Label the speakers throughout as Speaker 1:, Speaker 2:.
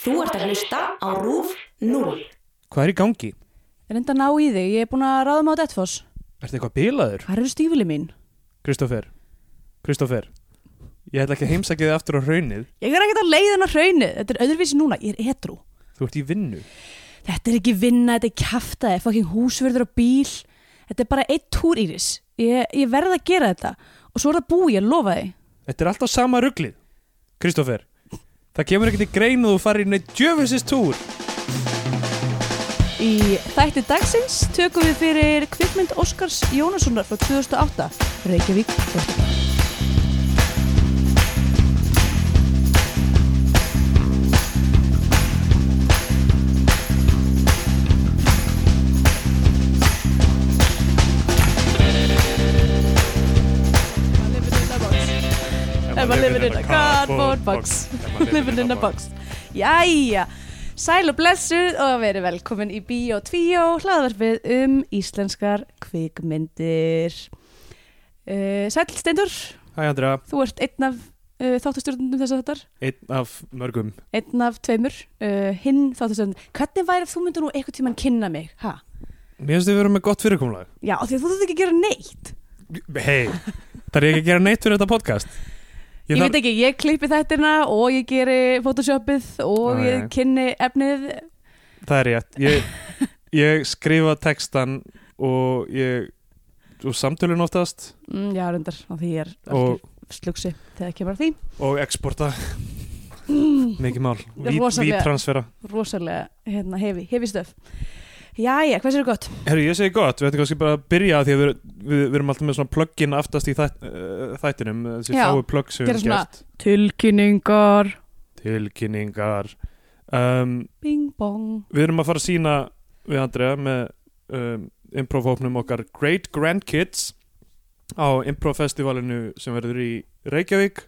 Speaker 1: Þú ert að hlusta á RÚF 0.
Speaker 2: Hvað er í gangi?
Speaker 3: Reynda að ná í þig, ég er búin að ráða mig á Detfoss.
Speaker 2: Ertu eitthvað bilaður?
Speaker 3: Hvað eru stífili mín?
Speaker 2: Kristoffer, Kristoffer, ég ætla ekki að heimsækja þig aftur á hraunið.
Speaker 3: Ég er ekkert að leiðin á hraunið. Þetta er öðruvísi núna, ég er edru.
Speaker 2: Þú ert í vinnu.
Speaker 3: Þetta er ekki vinna, þetta er kæfta, þetta er fucking húsverður og bíl. Þetta er bara eitt túr, Íris. Ég, ég verð að gera þetta. Og svo er það búið, ég lofa þig.
Speaker 2: Þetta er alltaf sama ruglið. Kristoffer, það kemur ekkert í greinu og þú farir í neitt djöfusist túr.
Speaker 3: Í þætti dagsins tökum við fyrir kvikmynd Óskars Jónassonar frá 2008, Reykjavík, Þorfinn. Ef maður lifir in a cardboard box
Speaker 2: Ef maður
Speaker 3: Living in a box Jæja, sæl og blessuð og verið velkomin í Bíó 2 hlaðvarpið um íslenskar kvikmyndir uh, Sæl Steindur,
Speaker 2: Hæ Andra,
Speaker 3: þú ert einn af uh, þáttastjórnundum þess að þáttar
Speaker 2: einn af mörgum.
Speaker 3: Einn af tveimur, uh, hinn þáttastjórnundum Hvernig væri ef þú myndir nú einhvern tímann kynna mig? Ha?
Speaker 2: Mér finnst þið vera með gott fyrirkomlag.
Speaker 3: Já, af því að þú þurft ekki að gera neitt
Speaker 2: Hei, það er ekki að gera neitt fyrir þetta podcast.
Speaker 3: Ég, veit ekki, ég klippi þættina og ég geri photoshopið og
Speaker 2: Já,
Speaker 3: ég
Speaker 2: já.
Speaker 3: kynni efnið
Speaker 2: Það er rétt. Ég, ég skrifa textan og ég, og samtölun oftast
Speaker 3: mm, Já, reyndar, og því ég er
Speaker 2: og,
Speaker 3: algjör slugsi þegar kemur að því
Speaker 2: og exporta. Mikið mál.
Speaker 3: er rosalega.
Speaker 2: Vítransfera.
Speaker 3: rosalega hérna, hefi, hefi stöf Jæja, hvers er gott?
Speaker 2: Herru, ég segi gott, við ættum kannski bara að byrja af því að við, við, við erum alltaf með svona plugin aftast í þætt, uh, þættinum, þessi
Speaker 3: Já,
Speaker 2: fáu plugg sem við
Speaker 3: gera
Speaker 2: erum
Speaker 3: svona-
Speaker 2: gert.
Speaker 3: Tilkynningar
Speaker 2: Tilkynningar. Um,
Speaker 3: Bing bong
Speaker 2: við erum að fara að sína við Andrea með um, improv-hópnum okkar Great Grand Kids á improv-festivalinu sem verður í Reykjavík.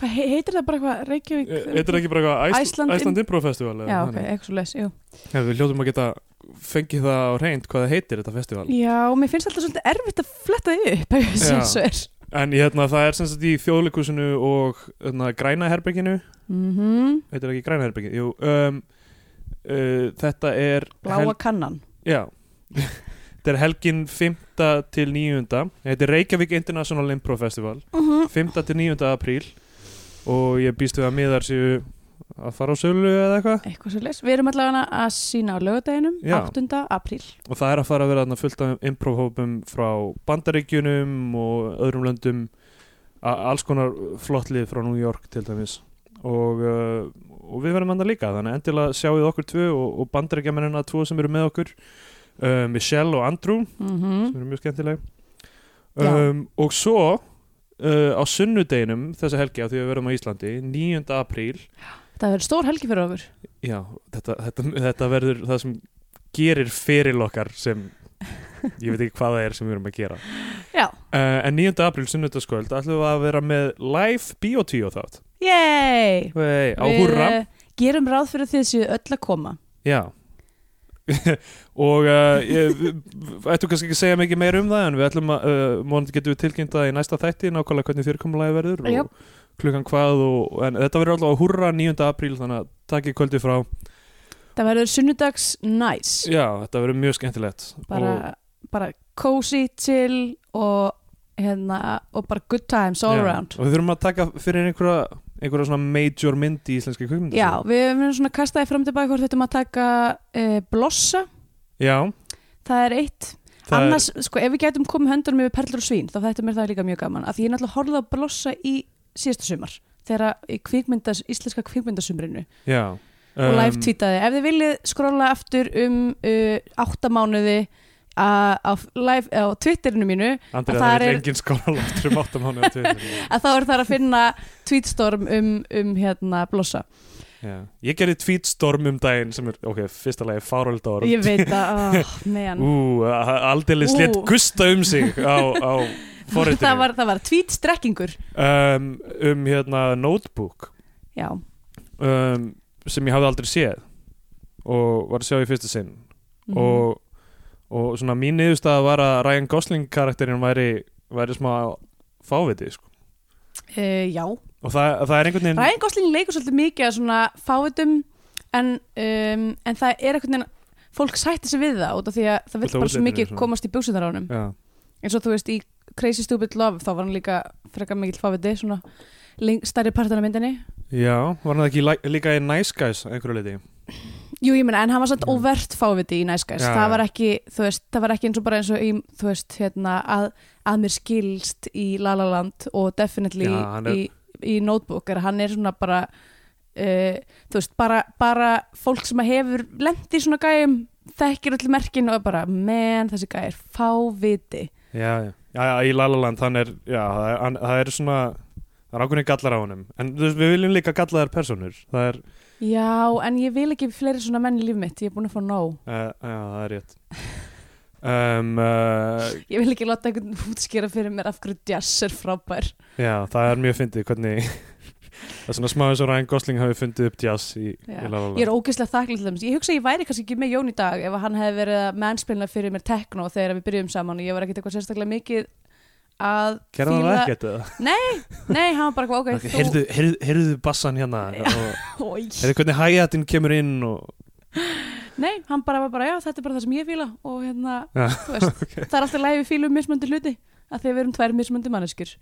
Speaker 3: Hvað he heitir það bara eitthvað? Reykjavík?
Speaker 2: Eh, Þetta er ekki bara eitthvað
Speaker 3: Iceland
Speaker 2: Æsland, Æsland Improv-festival?
Speaker 3: Já, ok, eitthvað svo les, jú
Speaker 2: Ja, við hljóðum að geta fengið það á reynd hvað það heitir þetta festival.
Speaker 3: Já, mér finnst alltaf svolítið erfitt að fletta því upp ef ég sé
Speaker 2: Já.
Speaker 3: svo er
Speaker 2: En hérna, það er sem sagt í þjóðleikusinu og hérna, græna herberginu
Speaker 3: Mhm,
Speaker 2: heitir það ekki græna herbergi Jú, um, uh, þetta er
Speaker 3: Bláa kannan
Speaker 2: já, þetta er helgin 5. til 9. þetta er Reykjavík International Improv Festival
Speaker 3: Mhm.
Speaker 2: 5. til 9. apríl og ég býst við að miðar séu að fara á sölu eða eitthvað
Speaker 3: Eitthvað svo les Við erum allavega að sína á lögadeginum
Speaker 2: Já.
Speaker 3: 8. apríl
Speaker 2: og það er að fara að vera þarna fullt af improvhópum frá bandaríkjunum og öðrum löndum a- alls konar flottlið frá New York til dæmis og, uh, og við verðum andan líka þannig að endilega sjáuð okkur tvö og, og bandaríkjamennina tvo sem eru með okkur uh, Michelle og Andrew
Speaker 3: Mhm.
Speaker 2: sem eru mjög skemmtileg
Speaker 3: Já.
Speaker 2: um, og svo uh, á sunnudeginum þessa helgi af því við verðum á Íslandi 9. apríl
Speaker 3: Það verður stór helgi fyrir okkur
Speaker 2: Já, þetta, þetta, þetta verður það sem gerir fyrir okkar sem ég veit ekki hvað það er sem við erum að gera
Speaker 3: Já,
Speaker 2: uh, En 9. apríl sunnudagskvöld ætlum við að vera með live biotíu þátt
Speaker 3: yey
Speaker 2: Hey, á húrra
Speaker 3: eh, gerum ráð fyrir því þessu öll að koma
Speaker 2: Já og uh, ég við- við ættum kannski ekki að segja mikið meir um það en við ætlum að, uh, mónandi getum við tilkynnt það í næsta þætti nákvæmlega hvernig fyrirkomulagi verður
Speaker 3: Já.
Speaker 2: og klukkan hvað og, en þetta verður alltaf á húrra 9. apríl þannig að takkið kvöldið frá
Speaker 3: Það verður sunnudags næs
Speaker 2: Já, þetta verður mjög skemmtilegt
Speaker 3: bara,
Speaker 2: og,
Speaker 3: bara cozy til og hérna og bara good times all
Speaker 2: Já,
Speaker 3: around
Speaker 2: og við þurfum að taka fyrir einhverja, einhverja svona major mynd í íslenski kvikmyndu
Speaker 3: Já, við erum svona kastaði fram til baka hvort þetta maður taka e, blossa,
Speaker 2: já
Speaker 3: það er eitt
Speaker 2: það
Speaker 3: annars, sko, ef við getum komið höndunum yfir perlur og svín, þá þetta mér það líka mjög gaman af því ég náttúrulega horfði á blossa í síðasta sumar þegar í kvikmyndas, íslenska kvikmyndasumrinu
Speaker 2: er já, Um,
Speaker 3: og live tweetaði ef þið viljið skrolla aftur um uh, áttamánuði á, live, á Twitterinu mínu
Speaker 2: Andrið,
Speaker 3: að þar
Speaker 2: það er
Speaker 3: er-
Speaker 2: engin skóla langt um áttum hann
Speaker 3: að þá er það að finna tweetstorm um, um hérna blossa
Speaker 2: ég gerði tweetstorm um daginn sem er, ok, fyrsta lagi fáröld ára
Speaker 3: ég veit að, oh, meðan
Speaker 2: ú, aldeilis
Speaker 3: Ú.
Speaker 2: létt gusta um sig á, á
Speaker 3: það
Speaker 2: forritinu
Speaker 3: var, það var tweetstrekkingur
Speaker 2: um, um hérna notebook
Speaker 3: já,
Speaker 2: um, sem ég hafði aldrei séð og var að sjá í fyrsta sinn
Speaker 3: Mhm.
Speaker 2: og, og svona mín niðurstaða var að Ryan Gosling karakterinn væri, væri smá fáviti sko.
Speaker 3: uh, já
Speaker 2: og það, það er einhvern veginn
Speaker 3: Ryan Gosling leikur svolítið mikið að svona fávitum en, um, en það er einhvern veginn fólk sætti sig við það út af því að það
Speaker 2: Út
Speaker 3: vill
Speaker 2: af
Speaker 3: bara svo
Speaker 2: útlitinu
Speaker 3: mikið
Speaker 2: svona.
Speaker 3: komast í bjóksunar á honum
Speaker 2: já,
Speaker 3: eins og þú veist í Crazy Stupid Love þá var hann líka frekar mikill fáviti svona leng, stærri partin af myndinni
Speaker 2: já, var hann ekki læ- líka í Nice Guys að einhverju leiti
Speaker 3: Jú, ég meina, en hann var samt
Speaker 2: Mm.
Speaker 3: óvert fáviti í Nice Guys
Speaker 2: Já,
Speaker 3: það
Speaker 2: já.
Speaker 3: var ekki, þú veist, það var ekki eins og bara eins og í, þú veist, hérna, að, að mér skilst í La La Land og definitely
Speaker 2: Já, hann er-
Speaker 3: í, í Notebook, er hann er svona bara uh, þú veist, bara, bara fólk sem að hefur lent í svona gæjum þekkir öll merkin og er bara menn, þessi gæj er fáviti
Speaker 2: já, já, já, já, í Lalaland hann er, já, það er, hann, það er svona það er ákveðin gallar á honum en þú veist, við viljum líka gallaðar personur það er,
Speaker 3: Já, en ég vil ekki fleiri svona menn í líf mitt, ég er búin að fá nóg
Speaker 2: uh, já, það er rétt um, uh,
Speaker 3: Ég vil ekki láta einhvern útskýra fyrir mér af hverju jazz er frábær
Speaker 2: Já, það er mjög fyndið hvernig það er svona smá eins og Ryan Gosling hafi fundið upp jazz í,
Speaker 3: Já.
Speaker 2: í Lala
Speaker 3: Ég er ógeðslega þakklæð til þeim. Ég hugsa að ég væri kannski ekki með Jón í dag ef að hann hefði verið að mennspilna fyrir mér tekno þegar við byrjum saman og ég var ekkert eitthvað sérstaklega mikið að
Speaker 2: Gerða það
Speaker 3: fíla-
Speaker 2: ekkert eða?
Speaker 3: Nei, hann var bara eitthvað, ok,
Speaker 2: Okay, heyrðu, heyrðu, heyrðu bassan hérna og
Speaker 3: þú... Oj.
Speaker 2: heyrðu hvernig hi-hatin kemur inn og
Speaker 3: Nei, hann bara var bara, já, þetta er bara það sem ég fíla og hérna,
Speaker 2: Já,
Speaker 3: þú veist, það er alltaf lægi við fílum mismöndi hluti að því að við erum tvær mismöndi manneskjur.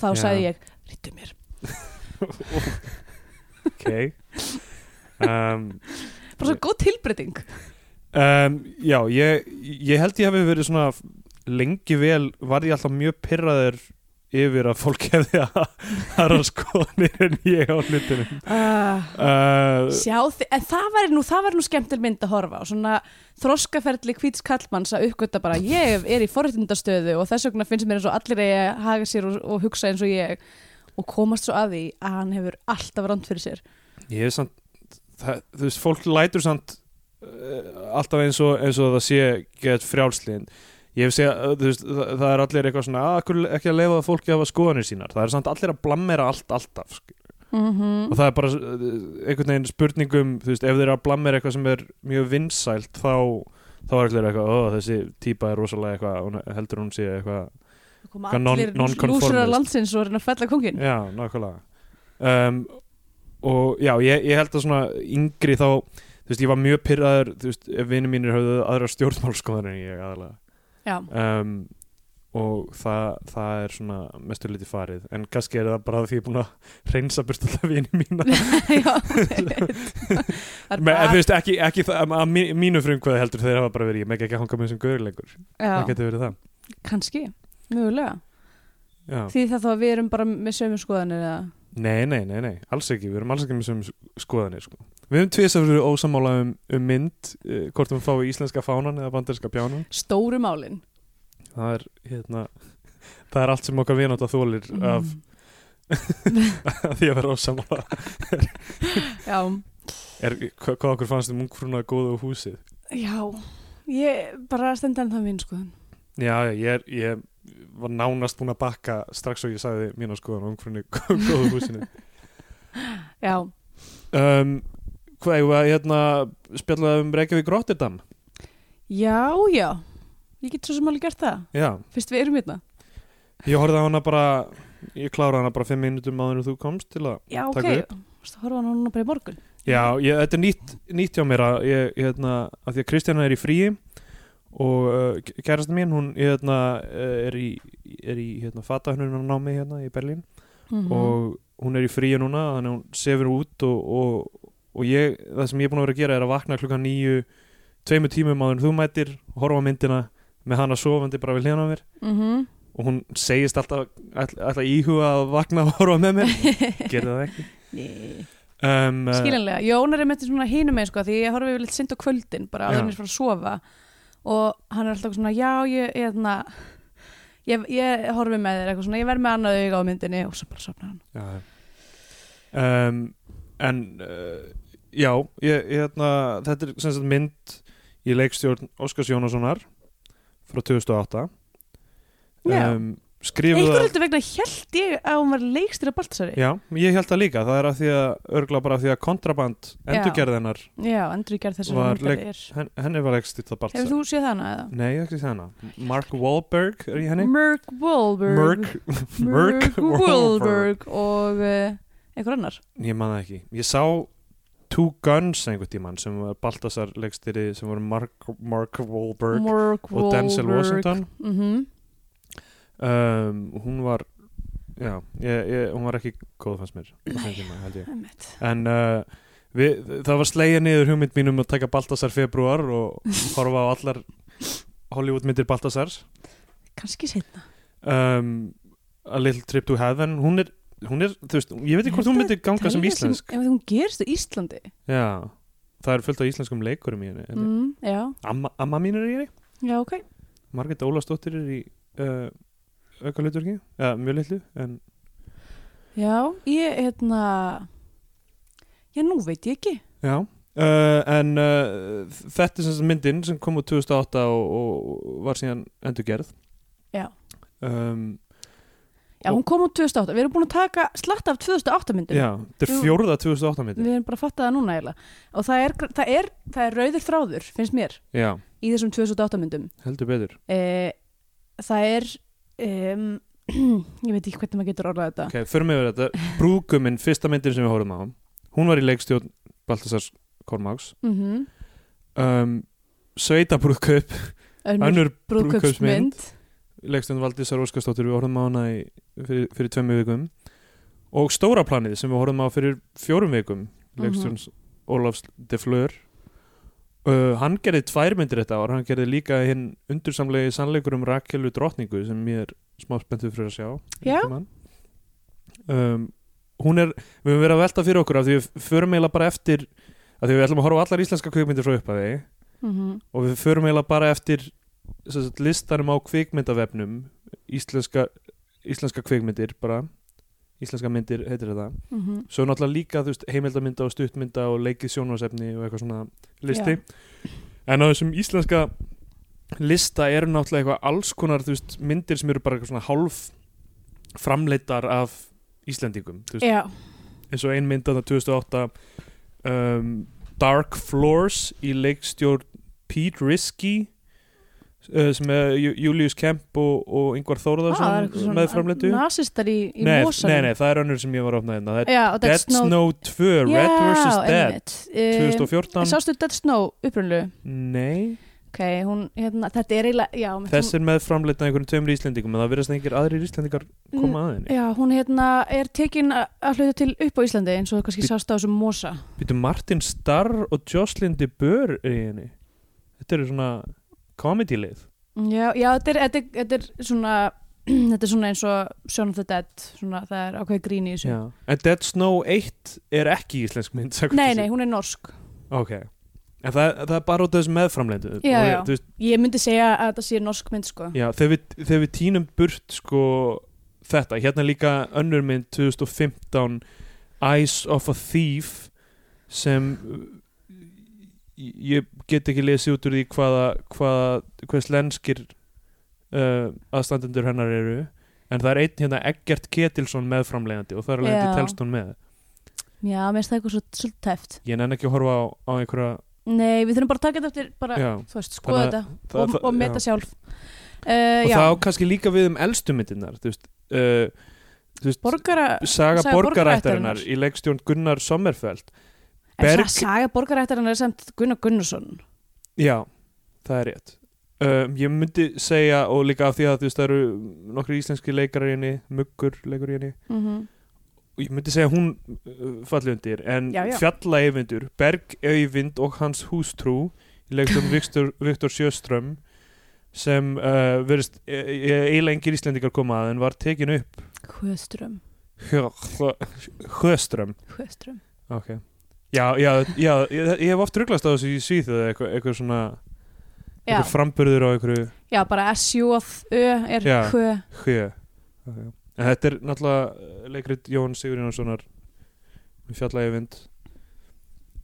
Speaker 3: Þá
Speaker 2: Já.
Speaker 3: sagði ég, rýttu mér.
Speaker 2: ok um,
Speaker 3: Bara svo góð tilbreyting.
Speaker 2: um, Já, ég, ég held ég hefði verið svona lengi vel var ég alltaf mjög pirraður yfir að fólk hefði að- aðra skoðanir en ég á hlutunum
Speaker 3: Ah.
Speaker 2: uh,
Speaker 3: Sjá, þi- en það væri nú, það væri nú skemmtileg mynd að horfa á, svona þroskaferli hvíts kallmanns að uppgöta bara ég er í forréttindastöðu og þess vegna finnst mér eins og allir eigi að haga sér og, og hugsa eins og ég og komast svo að því að hann hefur alltaf rand fyrir sér.
Speaker 2: Ég hef samt, það, þú veist, fólk lætur samt uh, alltaf eins og, eins og það sé get frjálslinn. Ég hef segjað, uh, þú veist, það, það er allir eitthvað svona, að hverju ekki að leifa fólki að hafa skoðanir sínar. Það er samt allir að blammera allt, alltaf. skilur.
Speaker 3: Mm
Speaker 2: Og það er bara uh, einhvern veginn spurningum, þú veist, ef þeir eru að blammera eitthvað sem er mjög vinsælt, þá, þá er allir eitthvað, ó, þessi típa er rosalega eitthvað, hún heldur hún sé eitthvað.
Speaker 3: Það koma
Speaker 2: Hvað non-
Speaker 3: allir
Speaker 2: nonconformist.
Speaker 3: lúsur að landsins og reyna að fella kongin.
Speaker 2: Já, nákvæmlega. Um, og já, ég, ég held að svona yngri þá, þú veist, ég var mjög pyrraður, þú veist, ef vinir mínir höfðu aðra stjórnmálskoðar en ég aðalega.
Speaker 3: Já,
Speaker 2: Um, og það, það er svona mestu liti farið. En kannski er það bara því ég er búin að reynsa burt alltaf vinir mína.
Speaker 3: já, ég veit. Það
Speaker 2: Men,
Speaker 3: er
Speaker 2: en,
Speaker 3: bara-
Speaker 2: þú veist, ekki, ekki það, að mí- mínu frumkvæði heldur þeir hafa bara verið, ég megg ekki að hanga með þessum gaur lengur. Það
Speaker 3: já,
Speaker 2: getur verið það.
Speaker 3: kannski, mögulega.
Speaker 2: Já.
Speaker 3: Því það þá að við erum bara með sömu skoðanir eða...
Speaker 2: Nei, nei, nei, nei, alls ekki, við erum alls ekki með sem skoðanir sko. Við höfum tvisar fyrir ósamála um, um mynd, uh, hvort um fái íslenska fánan eða banderska bjánan.
Speaker 3: Stóru málin.
Speaker 2: Það er, hérna, það er allt sem okkar vináta þólir af
Speaker 3: Mm.
Speaker 2: því að vera ósamála.
Speaker 3: Já.
Speaker 2: Er, hva- hvað okkur fannst um ungfruna góða og húsið?
Speaker 3: Já, ég bara stend enn það minn skoðan.
Speaker 2: Já, já, ég, er, ég var nánast búin að bakka strax og ég sagði mína skoðan á ungfrunni góða og húsinu.
Speaker 3: Já,
Speaker 2: Um, hvað, eigum við að, hérna, spjallaði um Reykjavík Rotterdam?
Speaker 3: já, já, ég get svo sem alveg gert það.
Speaker 2: Já,
Speaker 3: Fyrst við erum hérna.
Speaker 2: Ég horfði á hana bara, ég kláraði hana bara fimm minutum áður en þú komst til að
Speaker 3: Já,
Speaker 2: Takk
Speaker 3: ok,
Speaker 2: fyrir.
Speaker 3: þú veist að horfa á hana núna bara í morgun.
Speaker 2: Já, ég, þetta er nýtt, nýtt hjá mér að, ég, ég, hérna, að því að Kristjana er í fríi og uh, kærasta mín, hún hérna, eh, er í, er í hérna, fatahönnunarnámi hérna í Berlín
Speaker 3: Mm
Speaker 2: og hún er í fríi núna, þannig að hún sefur út og, og, og ég, það sem ég er búin að vera að gera er að vakna klukkan nýju, tveimur tímum áður en þú mætir, horfa á myndina með hana sofandi bara við hljóna á mér
Speaker 3: Mhm.
Speaker 2: og hún segist alltaf all, alltaf íhuga að vakna og horfa með mér gerði það ekki um, eh,
Speaker 3: Skiljanlega, Jón er einmitt svona hínum með sko, því ég horfi yfirleitt synd á kvöldin, bara
Speaker 2: Já.
Speaker 3: áður en ég fyrir að sofa og hann er alltaf svona, já, ég, ég, hérna, ég, ég horfi með þér eitthvað svona, ég verð með annað auga á myndinni og svo bara sopna hann.
Speaker 2: já, já. um, en uh, já ég, ég, hérna, þetta er sem sagt mynd í leikstjórn Óskars Jónassonar frá 2008
Speaker 3: Já.
Speaker 2: um, skrifuð
Speaker 3: Einhver
Speaker 2: af-
Speaker 3: heldur vegna held ég að hún var leikstýra Baltasari.
Speaker 2: já, ég held það líka, það er að því að örgla bara af því að kontraband
Speaker 3: Já.
Speaker 2: endurgerðinar,
Speaker 3: Já, Andri gerð þessar
Speaker 2: Var
Speaker 3: myndar
Speaker 2: leik-
Speaker 3: er.
Speaker 2: henn, henni var leikstýrt það
Speaker 3: Hefur
Speaker 2: bara
Speaker 3: þú séð hana eða?
Speaker 2: Nei, ég hef ekki séð hana. Mark Wahlberg er í henni
Speaker 3: Merk Wahlberg
Speaker 2: Merk Merk
Speaker 3: Wahlberg og uh, einhver annar
Speaker 2: Ég man það ekki Ég sá Two Guns einhvern tíman sem var Baltasar leikstýri sem voru Mark, Mark Wahlberg
Speaker 3: Mark
Speaker 2: og Denzel
Speaker 3: Wahlberg.
Speaker 2: Washington
Speaker 3: Mhm.
Speaker 2: um, hún var já, ég, ég, hún var ekki góð fannst mér á þeim tíma, held ég.
Speaker 3: Einmitt.
Speaker 2: en uh, við, það var slegja niður hugmynd mínum um að taka Baltasar februar og horfa á allar Hollywoodmyndir Baltasars
Speaker 3: kannski setna
Speaker 2: um, A Little Trip to Heaven hún er, hún er þú veist, ég veit ekki hvort hún myndi ganga sem íslensk
Speaker 3: ef hún gerist á Íslandi
Speaker 2: já, það er fullt af íslenskum leikurum í henni mm.
Speaker 3: mm, já,
Speaker 2: amma, amma mín er í henni
Speaker 3: já ok
Speaker 2: Margrét Ólastóttir er í uh, auka hlutverki, eða mjög litlu en
Speaker 3: já, ég hérna já nú veit ég ekki
Speaker 2: já uh, en uh, þetta er sem sagt myndin sem kom úr 2008 og, og var síðan endurgerð
Speaker 3: Já.
Speaker 2: um,
Speaker 3: já, hún kom úr 2008, við erum búin að taka slatta af 2008 myndum
Speaker 2: já þetta er
Speaker 3: Jú.
Speaker 2: fjórða 2008 myndin
Speaker 3: við erum bara að fatta það núna eiginlega og það er, það, er, það er rauður þráður, finnst mér
Speaker 2: já,
Speaker 3: í þessum 2008 myndum
Speaker 2: heldur betur
Speaker 3: eh, það er um, ég veit ekki hvernig maður getur orðað þetta
Speaker 2: ok, förum yfir þetta, brúkuminn fyrsta myndin sem við horfum á, hún var í leikstjórn Baltasars Kormáks
Speaker 3: mm
Speaker 2: um, Sveitabrúðkaup,
Speaker 3: önnur
Speaker 2: önnur brúðkaupsmynd
Speaker 3: brúðkaupsmynd
Speaker 2: leikstund Valdísar Óskarsdóttir við horfum á hana í, fyrir, fyrir tveimu vikum og stóra planið sem við horfum á fyrir fjórum vikum leikstund Ólafs de Fleur uh, hann gerði tvær myndir þetta ár, hann gerði líka hinn undursamlegi sannleikur um Rakelu drottningu sem ég er smá spenntu fyrir að sjá
Speaker 3: Já.
Speaker 2: einhvern tímann. um, hún er, við höfum verið að velta fyrir okkur af því við förum eiginlega bara eftir af því við ætlum að horfa á allar íslenska kvikmyndir frá upphafi
Speaker 3: mm -hmm.
Speaker 2: og við förum eiginlega bara eftir sem sagt, listanum á kvikmyndavefnum íslenska, íslenska kvikmyndir bara, íslenska myndir heitir þetta,
Speaker 3: Mhm.
Speaker 2: svo er náttúrulega líka þú veist, heimildamynda og stuttmynda og leikið sjónvarsefni og eitthvað svona listi en á þessum íslenska lista eru náttúrulega eitthvað alls konar þú veist, myndir sem eru bara eitthvað svona hálf framleitar af Íslendingum, þú veist,
Speaker 3: já,
Speaker 2: eins og ein mynd að 2008 um, Dark Floors í leikstjórn Pete Risky uh, sem er Ju- Julius Kemp og, og Yngvar
Speaker 3: Ah,
Speaker 2: Þórðarsson
Speaker 3: eitthvað
Speaker 2: með framleitu
Speaker 3: nasistar í, í
Speaker 2: nei,
Speaker 3: mosanum
Speaker 2: nei, nei, það er önnur sem ég var að opna hérna Það er
Speaker 3: já, og
Speaker 2: Dead Snow, 2, Red vs. Dead
Speaker 3: Dead
Speaker 2: 2014
Speaker 3: Eh, sástu Dead Snow upprunlu
Speaker 2: Nei,
Speaker 3: ok, hún, hérna, þetta er eiginlega já, mitt-
Speaker 2: þess er með framleitna einhvern tveimur Íslendingum en það verðast einhver aðrir Íslendingar koma að henni
Speaker 3: Já, hún hérna er tekin a- að hluta til upp á Íslandi eins og þú kannski
Speaker 2: Bíddu.
Speaker 3: sást á þessum mosa.
Speaker 2: Býtu Martin Starr og Jocelyn de Boer er í henni Þetta eru svona comedy leið
Speaker 3: Já, já þetta, er, þetta, er, þetta er svona þetta er svona eins og Shaun of the Dead svona, það er ákveð grín í þessu.
Speaker 2: Já. En Dead Snow 1 er ekki íslensk mynd sagði
Speaker 3: Nei,
Speaker 2: þessi.
Speaker 3: nei, hún er norsk.
Speaker 2: Ok En það, það er bara út af þessu meðframlendu
Speaker 3: Já,
Speaker 2: Og,
Speaker 3: já.
Speaker 2: þú veist,
Speaker 3: Ég myndi segja að þetta sé norsk mynd sko.
Speaker 2: já þegar, við, þegar við tínum burt sko þetta Hérna er líka önnur mynd 2015 Eyes of a Thief sem uh, ég get ekki lesið út úr því hvaða, hvaða hvers lenskir uh, aðstandendur hennar eru en það er einn hérna Eggert Ketilsson meðframlegandi og það er alveg
Speaker 3: Já.
Speaker 2: þetta telst hún með
Speaker 3: Já, mér finnst það eitthvað svo svolítið tæft.
Speaker 2: ég nenn ekki að horfa á, á einhverja
Speaker 3: Nei, við þurfum bara að taka þetta eftir bara,
Speaker 2: já,
Speaker 3: þú veist, skoða
Speaker 2: Þannig
Speaker 3: þetta
Speaker 2: það-
Speaker 3: og,
Speaker 2: það-
Speaker 3: og meta
Speaker 2: já.
Speaker 3: sjálf. Uh,
Speaker 2: og
Speaker 3: já,
Speaker 2: það á kannski líka við um elstu myndirnar þú veist, uh, þú veist
Speaker 3: borgara,
Speaker 2: saga,
Speaker 3: saga
Speaker 2: borgarættarinnar
Speaker 3: borgarættarinnar.
Speaker 2: í leikstjórn Gunnar Sommerfeld
Speaker 3: Berg...
Speaker 2: Berg-
Speaker 3: en saga borgarættarinn er semt Gunnar Gunnarsson.
Speaker 2: já, það er rétt um, ég myndi segja og líka af því að þú veist það eru nokkri íslenski leikarar í henni muggur leikur í henni
Speaker 3: Mm
Speaker 2: og ég myndi segja hún uh, falli undir en
Speaker 3: Já, já.
Speaker 2: fjalla eyvindur Berg Eyvind og hans hústrú í leikstjórn Viktor, Viktor Sjöström sem uh, verðist e- e- eiginlega engir íslendingar koma að en var tekin upp
Speaker 3: Hvöström,
Speaker 2: Hjö- Hjö- Sjöström
Speaker 3: hvöström.
Speaker 2: okay. Já, já, já ég, ég hef oft ruglast á þessu í Svíþjóð eitthvað, eitthvað svona
Speaker 3: Já.
Speaker 2: eitthvað framburður á einhverju
Speaker 3: Já, bara S-J-Ö er
Speaker 2: Já.
Speaker 3: hvö.
Speaker 2: hjö okay. En þetta er náttúrulega eh, leikrit Jón Sigurjónssonar við fjallægi vind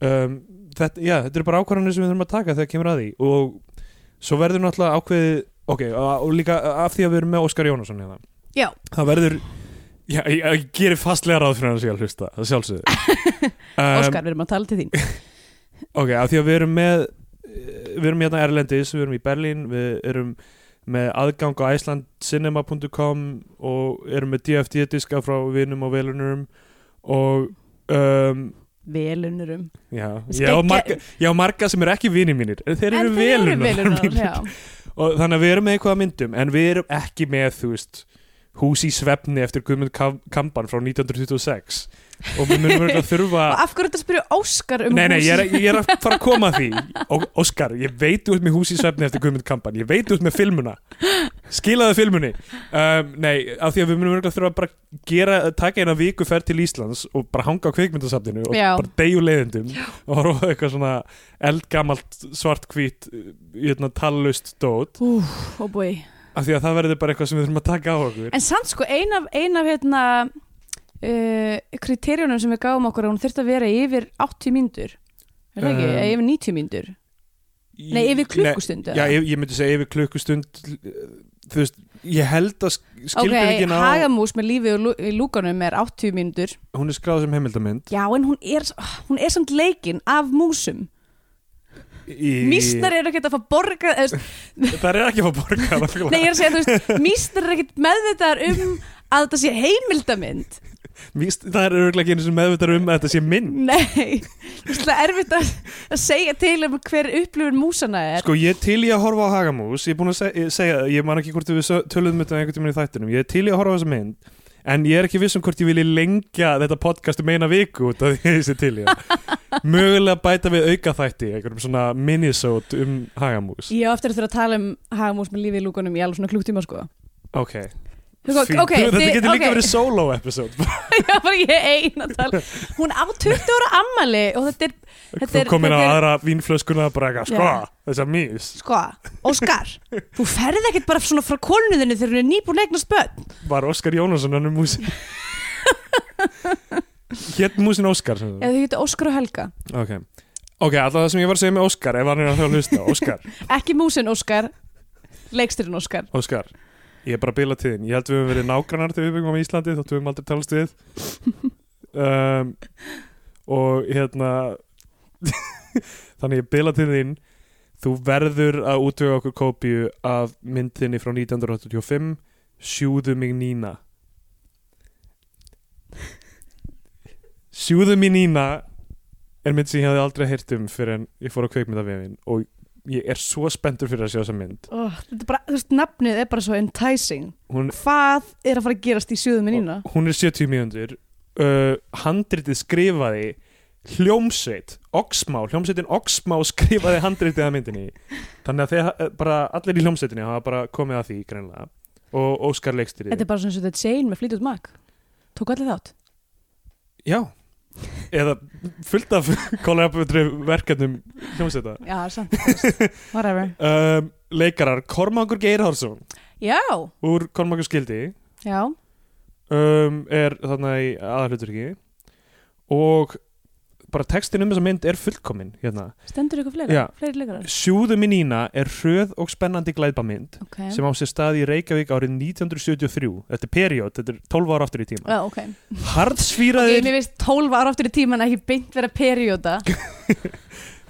Speaker 2: um, þetta, Já, þetta er bara ákvarðanir sem við þurfum að taka þegar kemur að því og svo verður náttúrulega ákveðið ok, og og líka eh, af því að við erum með Óskar Jónasson hérna
Speaker 3: Já.
Speaker 2: Það verður Já, ég, ég gerir fastlega ráð fyrir hann sé að hlusta, það sjálfsögðu um,
Speaker 3: Óskar, við erum að tala til þín.
Speaker 2: Ok, af því að við erum með við erum hérna Erlendis, við erum í Berlín við erum með aðgang á icelandcinema.com og erum með DFD-diska frá vinum og velunurum og um,
Speaker 3: velunurum
Speaker 2: já,
Speaker 3: Skegg-
Speaker 2: ég á marga, ég á marga sem eru ekki vinir mínir en þeir eru
Speaker 3: En þeir eru
Speaker 2: velunar
Speaker 3: velunar
Speaker 2: mínir.
Speaker 3: já.
Speaker 2: og þannig að við erum með eitthvað að myndum en við erum ekki með þú veist hús í svefni eftir Guðmund Kam- Kamban frá 1926 og við munum verið að þurfa
Speaker 3: Og af hverju þetta spyrja Óskar um
Speaker 2: nei, nei,
Speaker 3: hús?
Speaker 2: ég er, ég er að fara að koma að því og Óskar, ég veit út með hús í svefni eftir Guðmund Kampan, ég veit út með filmuna skilaðu filmunni um, nei, af því að við munum örugglega þurfa að bara gera, taka eina viku ferð til Íslands og bara hanga á kvikmyndasafninu og
Speaker 3: Já.
Speaker 2: bara deyju leiðindum og horfa á eitthvað svona eldgamalt svart-hvít jötna, tallust dót,
Speaker 3: Úf, ó búi
Speaker 2: af því að það verður bara eitthvað sem við þurfum að taka á okkur
Speaker 3: oh En samt sko, ein af, ein af hérna uh, kriterjónum sem við gáum okkur að hún þurfti að vera yfir 80 mínútur Er það ekki?
Speaker 2: Um,
Speaker 3: Eða yfir 90 mínútur Nei, yfir klukkustundu
Speaker 2: Já, ég, ég myndi segja yfir klukkustund þú veist, ég held að
Speaker 3: Ok,
Speaker 2: skilgjöringin á
Speaker 3: hagamús með lífi og lú, í lúkanum er 80 mínútur
Speaker 2: hún er skráð sem heimildamynd
Speaker 3: Já, en hún er, ah, hún er samt leikinn af músum
Speaker 2: í...
Speaker 3: Mísnar eru ekkert að fá borga eða, þú veist,
Speaker 2: það er ekki að fá borga
Speaker 3: Nei, ég
Speaker 2: náttúrulega.
Speaker 3: er að segja, þú veist, mísnar eru ekkert meðvitaðar um að þetta sé heimildamynd
Speaker 2: Víst, það er örgulega ekki einu sem meðvitað um að þetta sé minn
Speaker 3: Nei, það er erfitt að, að segja til um hver upplifun músana er
Speaker 2: sko ég er til í að horfa á Hagamús ég er búin að seg segja það, ég man ekki hvort við sö- töluðum um þetta einhvern tímann í þættinum, ég er til í að horfa á þessa mynd en ég er ekki viss um hvort ég vilji lengja þetta podcast um eina viku út af því að ég sé til í það mögulega bæta við auka þætti einhverjum svona minisót um Hagamús
Speaker 3: Ég á eftir að þurfa að tala um hagamús með lífi í lúkunum í alveg svona klukktíma sko
Speaker 2: ok,
Speaker 3: Sko,
Speaker 2: Fínt.
Speaker 3: ok,
Speaker 2: þetta
Speaker 3: þið-
Speaker 2: getur líka
Speaker 3: ok.
Speaker 2: verið solo episode
Speaker 3: Já, bara ég ein að tala Hún á 20 ára ammali og þetta er, þetta
Speaker 2: þú
Speaker 3: er,
Speaker 2: komin á
Speaker 3: þetta er
Speaker 2: aðra vínflöskuna og bara eitthvað, sko,
Speaker 3: Já.
Speaker 2: þessa mís
Speaker 3: Sko, Óskar, þú ferð ekkert bara svona frá konuðinu þegar hún er nýbúin að eignast börn
Speaker 2: var Óskar Jónasson hann um músin hétt músin Óskar sem
Speaker 3: Eða
Speaker 2: það.
Speaker 3: þau geta Óskar og Helga
Speaker 2: ok, ok, alltaf það sem ég var að segja með Óskar ef hann er að þá að hlusta, Óskar
Speaker 3: Ekki músin Óskar, leiksturinn Óskar
Speaker 2: Óskar, ég er bara að bila tíðin ég held við höfum verið nágrannar þegar við byggum á Íslandi þóttum við höfum aldrei talast við um, og hérna þannig ég bila tíðin þú verður að útvega okkur kópíu af myndinni frá 1985 Sjúðu mig Nína Sjúðu mig Nína er mynd sem ég hafði aldrei heyrt um fyrir en ég fór á kveikmyndavefin og ég er svo spenntur fyrir að sjá þessa mynd
Speaker 3: oh, Þetta er bara, þú veist, nafnið er bara svo enticing
Speaker 2: hún
Speaker 3: Hvað er að fara að gerast í sjöðum minna?
Speaker 2: hún er 70 mínútur uh, handritið skrifaði hljómsveit, Oxmá hljómsveitin Oxmá skrifaði handritið að myndinni þannig að þeir, eh, bara allir í hljómsveitinni hafa bara komið að því greinlega og Óskar leikstir
Speaker 3: Þetta er bara svona svo þetta Jane með flýtut mak Tók allir þátt
Speaker 2: já, eða fullt af kollabutri verkefnum hljómsveita
Speaker 3: Já, það er samt þú veist. Whatever
Speaker 2: um, leikarar Kormákur Geirhársson
Speaker 3: Já,
Speaker 2: úr Kormákur skildi
Speaker 3: já
Speaker 2: um, er þarna í aðalhuturki og bara textin um þessa mynd er fullkomin hérna
Speaker 3: Stendur ykkur fleira?
Speaker 2: Já.
Speaker 3: Fleiri leikarar?
Speaker 2: Sjúðu minn ína er hröð og spennandi glæðbamind
Speaker 3: Ok
Speaker 2: sem á sér stað í Reykjavík árið 1973 þetta er period, þetta er 12 ára aftur í tíma
Speaker 3: Já, ok Ég
Speaker 2: Harðsvíraðir,
Speaker 3: mér veist 12 ára aftur í tíman ekki beint vera perjóta
Speaker 2: heldur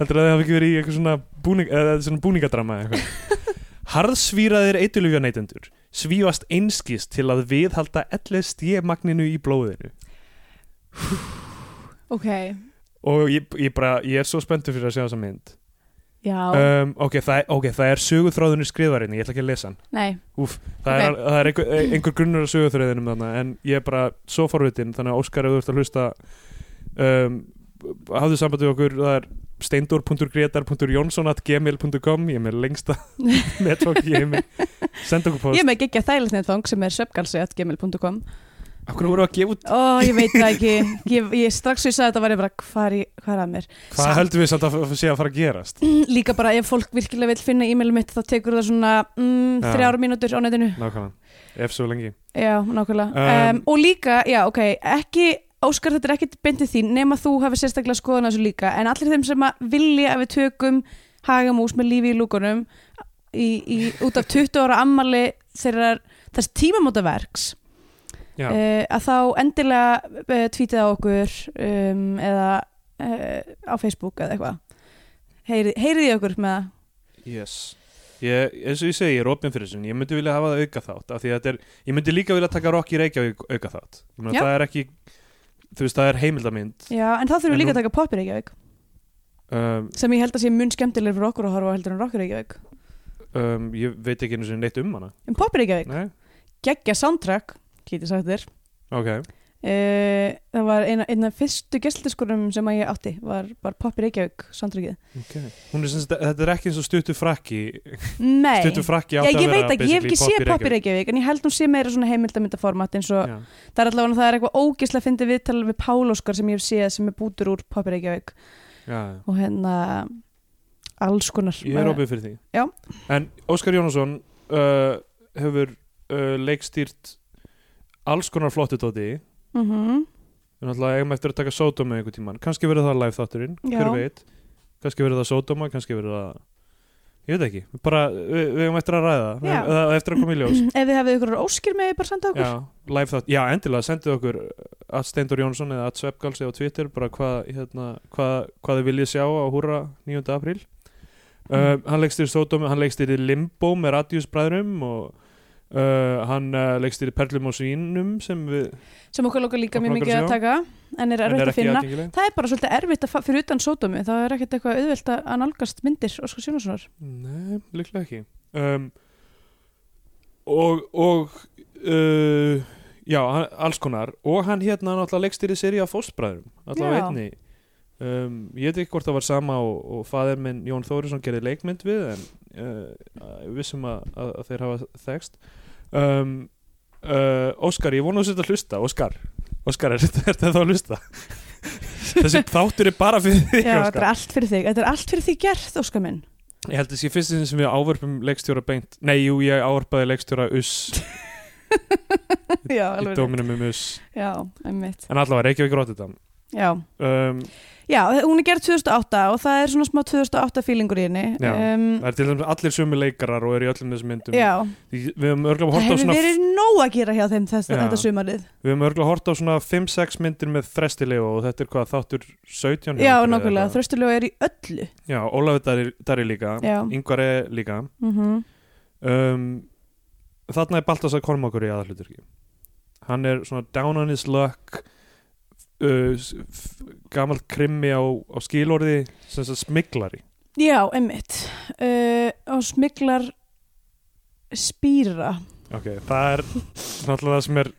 Speaker 2: að það hafi ekki verið í eitthvað svona, búning, eða, svona búningadrama eða eitthvað Harðsvíraðir eitulufja neytendur svífast einskist til að viðhalda LSD-magninu í blóðinu
Speaker 3: Ok
Speaker 2: og ég, ég, bara, ég er svo spenntur fyrir að sjá þessa mynd
Speaker 3: Já,
Speaker 2: um, ok, það, ok, það er sögutráðunir skrifarinn, ég ætla ekki að lesa hann
Speaker 3: nei
Speaker 2: Úf, það er, það er einhver, einhver grunnur að sögurþröðinum þannig en ég er bara svo forvitin þannig að Óskar ef þú ert að hlusta um, hafðu sambandi við okkur það er steindor.gretar.jónsson.gmail.com ég er með lengsta netfók í heimi senda okkur
Speaker 3: Ég
Speaker 2: post
Speaker 3: er með geggja þægilegtnið sem er söpgalsi.gmail.com
Speaker 2: af hverju voru að gefa út
Speaker 3: Ó, ég veit það ekki Ég, ég strax svo ég sagði þetta var ég bara Hvað er, í- hvað er að mér?
Speaker 2: hvað höldum við samt að f- sé að fara að gerast
Speaker 3: Líka bara ef fólk virkilega vil finna e-mailum mitt þá tekur það svona mm,
Speaker 2: Já.
Speaker 3: þrjára mínútur á netinu
Speaker 2: nákvæmlega, ef svo lengi
Speaker 3: Já, nákvæmlega.
Speaker 2: Um,
Speaker 3: Um, og líka, já, ok, ekki, Óskar, þetta er ekkit bindið þín nema þú hafi sérstaklega skoðan á þessu líka, en allir þeim sem að vilja að við tökum hagamús með lífi í lúkunum í, í, út af 20 ára ammali þeirrar, þess tímamótaverks
Speaker 2: Já,
Speaker 3: uh, að þá endilega uh, tweetið á okkur um, eða uh, á Facebook eða eitthvað Heyri, heyrið í okkur með það
Speaker 2: yes Ég, eins og ég segi, ég er opinn fyrir þessu en ég myndi vilja hafa það auka þátt af því að þetta er, ég myndi líka vilja taka Rock í Reykjavík auka þátt
Speaker 3: Já.
Speaker 2: það er ekki þú veist, það er heimildamind
Speaker 3: Já, en þá þurfum
Speaker 2: En
Speaker 3: við líka
Speaker 2: hún-
Speaker 3: að taka poppir Reykjavík
Speaker 2: um,
Speaker 3: sem ég held að sé mun skemmtilegur fyrir okkur að horfa á heldur en rockir Reykjavík
Speaker 2: um, ég veit ekki einu sinni neitt um hana
Speaker 3: En poppir Reykjavík,
Speaker 2: Nei?
Speaker 3: geggja soundtrack getið sagt þér
Speaker 2: ok,
Speaker 3: uh, Það var eina, eina fyrstu gesldiskurum sem að ég átti var, var poppir Reykjavík soundtrackið
Speaker 2: okay. Hún er, sem, sagt- þetta er ekki eins og stuttu frakki
Speaker 3: Nei,
Speaker 2: stuttu frakki
Speaker 3: Já,
Speaker 2: átti
Speaker 3: ég
Speaker 2: að vera
Speaker 3: veit ekki, ég hef ekki séð Pappi
Speaker 2: Reykjavík.
Speaker 3: Reykjavík en ég held hún sé meira svona heimildamindaformat eins og
Speaker 2: Já.
Speaker 3: það er allavega það er eitthvað ógislega fyndið viðtal við Pál Óskar sem ég hef séð sem er bútur úr Pappi Reykjavík
Speaker 2: Já, já.
Speaker 3: og hérna alls konar
Speaker 2: Ég er opið fyrir því
Speaker 3: Já.
Speaker 2: En Óskar Jónasson uh, hefur uh, leikstýrt alls konar flottu tóti
Speaker 3: mm
Speaker 2: við náttúrulega eigum eftir að taka sódóma einhvern tíman kannski verður það live þátturinn, hver
Speaker 3: Já.
Speaker 2: veit kannski verður það sódóma, kannski verður það ég veit ekki, bara við, við eigum eftir að ræða það,
Speaker 3: Já.
Speaker 2: Við- það er eftir að koma í ljós
Speaker 3: Ef þið hefðu ykkur óskir með ég bara senda okkur
Speaker 2: Já, live þátt, já endilega sendið okkur að Steindur Jónsson eða að Sveppgalsi á Twitter bara hvað hérna, hva, hva þið viljið sjá á húra 9. apríl
Speaker 3: Mhm.
Speaker 2: uh, hann leikstýr Sódómi, hann leikstýr Limbo með Radius bræðrum og uh, hann uh, leikstýr Perlum og Svínum sem við
Speaker 3: sem okkur lókar líka
Speaker 2: Okkur langar
Speaker 3: mjög mikið
Speaker 2: að
Speaker 3: að taka en er
Speaker 2: en
Speaker 3: erfitt að
Speaker 2: ekki
Speaker 3: finna
Speaker 2: aðgengileg
Speaker 3: Það er bara svolítið erfitt að fa- fyrir utan sódómi þá er ekkert eitthvað auðvelt að að nálgast myndir og sko sjónarsonar
Speaker 2: Nei, líklega ekki um, og og uh, já, hann, alls konar og hann hérna náttúrulega leikstýri seri af fóstbræðrum, allavega
Speaker 3: Já.
Speaker 2: einni um, ég veit ekki hvort það var sama og, og faðir minn Jón Þórisson gerði leikmynd við en uh, við vissum að, að, að þeir hafa þekst um, uh, Óskar, ég vona þú sért að hlusta Óskar, Óskar, er þetta þá að hlusta? Þessi þáttur er bara fyrir þig
Speaker 3: Já, þetta
Speaker 2: Óskar
Speaker 3: er allt fyrir þig, þetta er allt fyrir þig gert, Óskar minn
Speaker 2: Ég held að þessi fyrst sem við ávarpum leikstjóra beint Nei, jú, ég ávarpaði leikstjóra us
Speaker 3: Já,
Speaker 2: í
Speaker 3: alveg rétt.
Speaker 2: dóminum um us
Speaker 3: Já, einmitt
Speaker 2: En allavega, Reykjavík rótið það
Speaker 3: Já,
Speaker 2: um,
Speaker 3: Já, hún er gerð 2008 og það er svona smá 2008 fílingur í henni
Speaker 2: Já,
Speaker 3: um,
Speaker 2: Það er til dæmis allir sömu leikarar og eru í öllum þessum myndum
Speaker 3: já
Speaker 2: Því Við höfum örgulega
Speaker 3: það
Speaker 2: hort á
Speaker 3: hefur
Speaker 2: svona
Speaker 3: verið nóg að gera hjá þeim þess,
Speaker 2: Já.
Speaker 3: þetta sumarið
Speaker 2: Við höfum örgulega hort á svona 5-6 myndir með frestilegu og þetta er hvað þáttur 17 hjá
Speaker 3: Já,
Speaker 2: okkur eða
Speaker 3: nákvæmlega,
Speaker 2: eitthvað.
Speaker 3: þröstulegu er í öllu
Speaker 2: Já, Ólafur Dari, Dari líka
Speaker 3: Já.
Speaker 2: Yngvar er líka
Speaker 3: mm
Speaker 2: um, Þarna er Baltasar Kormákur í aðalhuturki Hann er svona down on his luck uh, s- f- gamalt krimmi á, á skilorði sem sem smiklari
Speaker 3: Já, emmitt uh, og smiklar spýra
Speaker 2: Ok, það er náttúrulega það sem er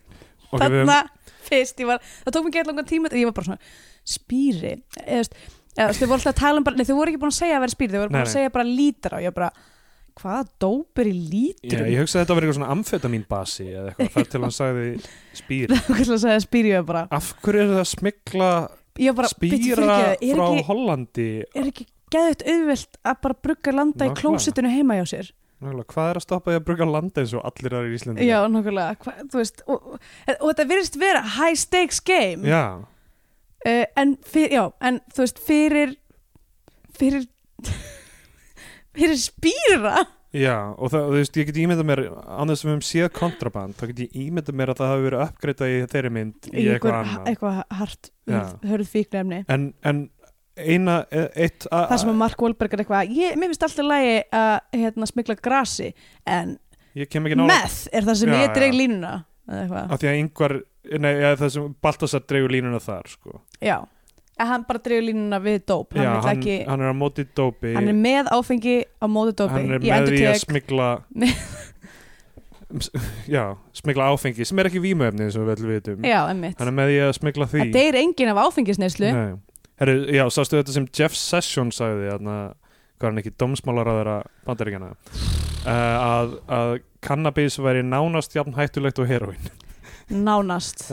Speaker 2: ok, við höfum-
Speaker 3: þarna fyrst ég var, það tók mér gett langan tíma ég var bara svona spýri eða þú veist, eða, þú veist, þau voru alltaf að tala um bara, nei, þau voru ekki búin að segja að vera spýri þau voru
Speaker 2: Nei,
Speaker 3: búin að
Speaker 2: nei.
Speaker 3: segja bara lítra og ég var bara, hvaða dóp er í
Speaker 2: Já,
Speaker 3: lítrum
Speaker 2: ég hugsa að þetta var eitthvað svona amfetamin basi eða eitthvað, þar til hann sagði spýr
Speaker 3: það var kannski að segja spýri og ég var bara,
Speaker 2: Af hverju er það að smikla
Speaker 3: ég var bara "Bíddu,
Speaker 2: spýra
Speaker 3: fyrirgefðu, er
Speaker 2: frá
Speaker 3: ekki-
Speaker 2: Hollandi
Speaker 3: er ekki geðvægt auðvelt að bara brugga landa
Speaker 2: Nákvæmlega.
Speaker 3: í klósitinu heima hjá sér
Speaker 2: Nákvæmlega, Hvað er að stoppa því að bruga landa eins og allir aðra í Íslandi
Speaker 3: já, nokkulega, hva, þú veist og, og, og þetta virðist vera high stakes game
Speaker 2: Já,
Speaker 3: uh, en, fyr, já, en þú veist fyrir fyrir fyrir spýra
Speaker 2: Já, og það, þú veist, ég get ímyndað mér án þess að við höfum séð kontraband þá get ég ímyndað mér að það hafi verið uppgreita í þeirri mynd í eitthvað annað
Speaker 3: eitthvað hart
Speaker 2: Já.
Speaker 3: hörð fíknefni
Speaker 2: en, en eina, e- eitt a-
Speaker 3: það sem að Mark Wahlberg er eitthvað ég, mér finnst alltaf lægi að hérna, smikla grasi en
Speaker 2: ég kem ekki nála
Speaker 3: meth er það sem
Speaker 2: Já,
Speaker 3: ég dreig
Speaker 2: já.
Speaker 3: línuna eða eitthvað.
Speaker 2: af því að yngvar, nei, ja, það sem Baltasar dreigur línuna þar, sko
Speaker 3: já, að hann bara dreig línuna við dóp hann
Speaker 2: Já,
Speaker 3: vill
Speaker 2: hann,
Speaker 3: ekki
Speaker 2: hann er á móti dópi
Speaker 3: Hann er með áfengi á móti dópi
Speaker 2: hann er
Speaker 3: Ég
Speaker 2: með því að
Speaker 3: endurtek
Speaker 2: smikla
Speaker 3: Nei.
Speaker 2: S- já, smikla áfengi sem er ekki vímöfni eins og við öll vitum
Speaker 3: Já, emmitt
Speaker 2: hann er með því að smikla því
Speaker 3: Það er enginn af áfengisneislu
Speaker 2: Nei. Herru, já, sástu þetta sem Jeff Sessions sagði þarna, hvað er hann ekki, domsmálaráðara bandaríkjana uh, að, að cannabis væri nánast jafn hættulegt og heroin
Speaker 3: Nánast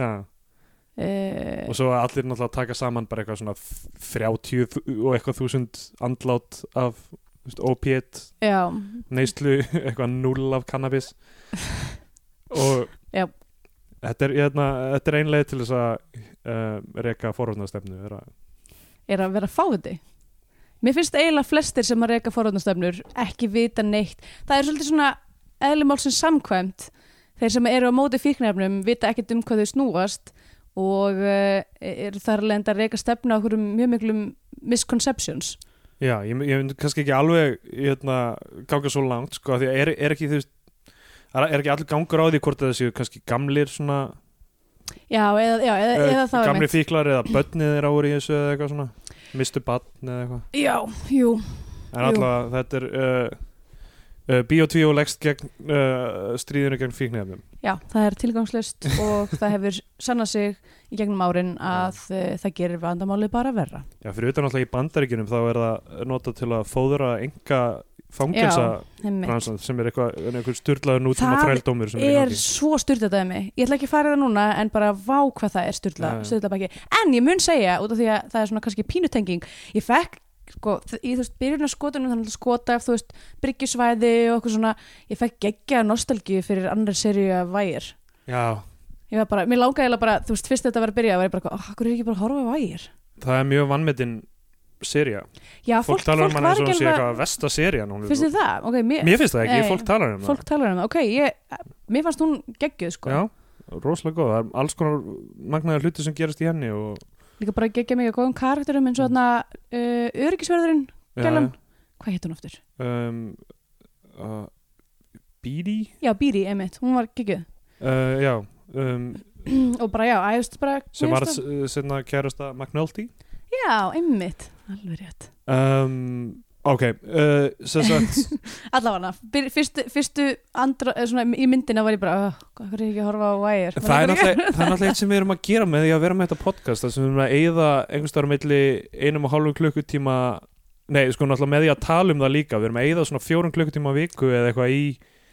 Speaker 3: Eh, uh,
Speaker 2: ja. og svo að allir náttúrulega taka saman bara eitthvað svona þ- 30 þú- og eitthvað þúsund andlát af þú veist, opiate
Speaker 3: Já,
Speaker 2: neyslu, eitthvað null af cannabis og
Speaker 3: Já.
Speaker 2: þetta er, hérna, þetta er einlega til þess að uh, reka forhóðnastefnu vera
Speaker 3: er að vera fáviti Mér finnst eiginlega flestir sem að reyka forhóðnastöfnur ekki vita neitt Það er svolítið svona eðlumálsins samkvæmt Þeir sem eru á móti fíknefnum vita ekkert um hvað þau snúast og uh, eru þar leðend að reyka stefnu á okkur mjög miklum misconceptions
Speaker 2: Já, ég, ég myndi kannski ekki alveg hérna, ganga svo langt sko, af því að er, er ekki þú veist er, er ekki allur gangur á því hvort að það séu kannski gamlir svona
Speaker 3: já, eða, já, eða, E, eða þá
Speaker 2: Eh, gamli
Speaker 3: einmitt.
Speaker 2: fíklar eða börnið er ári í þessu eða eitthvað svona mistu batn eða eitthvað
Speaker 3: Já, jú,
Speaker 2: en
Speaker 3: Jú.
Speaker 2: alltaf þetta er uh, uh, Bíotvíó leggst gegn uh, stríðinu gegn fíknefnum
Speaker 3: já, það er tilgangslust og það hefur sannað sig í gegnum árin að uh, það gerir vandamálið bara verra.
Speaker 2: já, fyrir utan alltaf í bandaríkjunum þá er það notað til að fóðra enga fangelsa
Speaker 3: Einmitt.
Speaker 2: bransan sem er eitthvað, einhver styrlaður nútíma
Speaker 3: Það
Speaker 2: þrældómur sem er í
Speaker 3: er
Speaker 2: gangi.
Speaker 3: svo styrtadæmi ég ætla ekki að fara það núna en bara vá hvað það er styrla,
Speaker 2: Já, já.
Speaker 3: styrlabæki en ég mun segja, út af því að það er svona kannski pínutenging ég fekk, sko, þ- í þú veist byrjun að skotunum þannig að skota þú veist, bryggjusvæði og okkur svona ég fekk geggja nostalgíu fyrir annar seríu af vægir
Speaker 2: já,
Speaker 3: ég var bara, mér langaði eiginlega bara, þú veist, fyrst þetta var að byrja var ég bara, oh, hvað er ekki bara að horfa á vægir
Speaker 2: það er mjög vannmetinn seria,
Speaker 3: já,
Speaker 2: fólk,
Speaker 3: fólk,
Speaker 2: talar
Speaker 3: fólk,
Speaker 2: um hana
Speaker 3: var
Speaker 2: eins og
Speaker 3: ekki
Speaker 2: hún sé
Speaker 3: alveg
Speaker 2: eitthvað versta serían hún er-
Speaker 3: finnst þið það? ok, mér,
Speaker 2: mér finnst það ekki,
Speaker 3: Nei.
Speaker 2: fólk talar um
Speaker 3: fólk talar um það, ok, ég, mér fannst hún geggjuð, sko,
Speaker 2: það já, rosalega góð, það er alls konar magnaður hluti sem gerast í henni og,
Speaker 3: líka bara geggja mig á góðum karakterum eins og
Speaker 2: Mm.
Speaker 3: þarna uh, öryggisverðurinn
Speaker 2: Já,
Speaker 3: Gælan. hvað hétt hún aftur?
Speaker 2: um, uh, Bídi
Speaker 3: Já, Bíri, einmitt, hún var geggjuð
Speaker 2: uh, já, um,
Speaker 3: og bara já, æðust bara
Speaker 2: sem
Speaker 3: mér
Speaker 2: var
Speaker 3: finnst
Speaker 2: setna kærasta McNulty
Speaker 3: það- Já, einmitt, alveg rétt
Speaker 2: um, ok uh, sem sagt,
Speaker 3: Allavega, byr- fyrstu, fyrstu andra, eða svona, í myndina var ég bara "Ugh, hvað er ég ekki að horfa á Wire
Speaker 2: það er náttúrulega það er náttúrulega eitt sem við erum að gera með því að vera með þetta podcast þar sem við erum að eyða einhverstaðar milli einum og hálfum klukkutíma nei, sko náttúrulega með því að tala um það líka við erum að eyða svona fjórum klukkutíma á viku eða eitthvað í,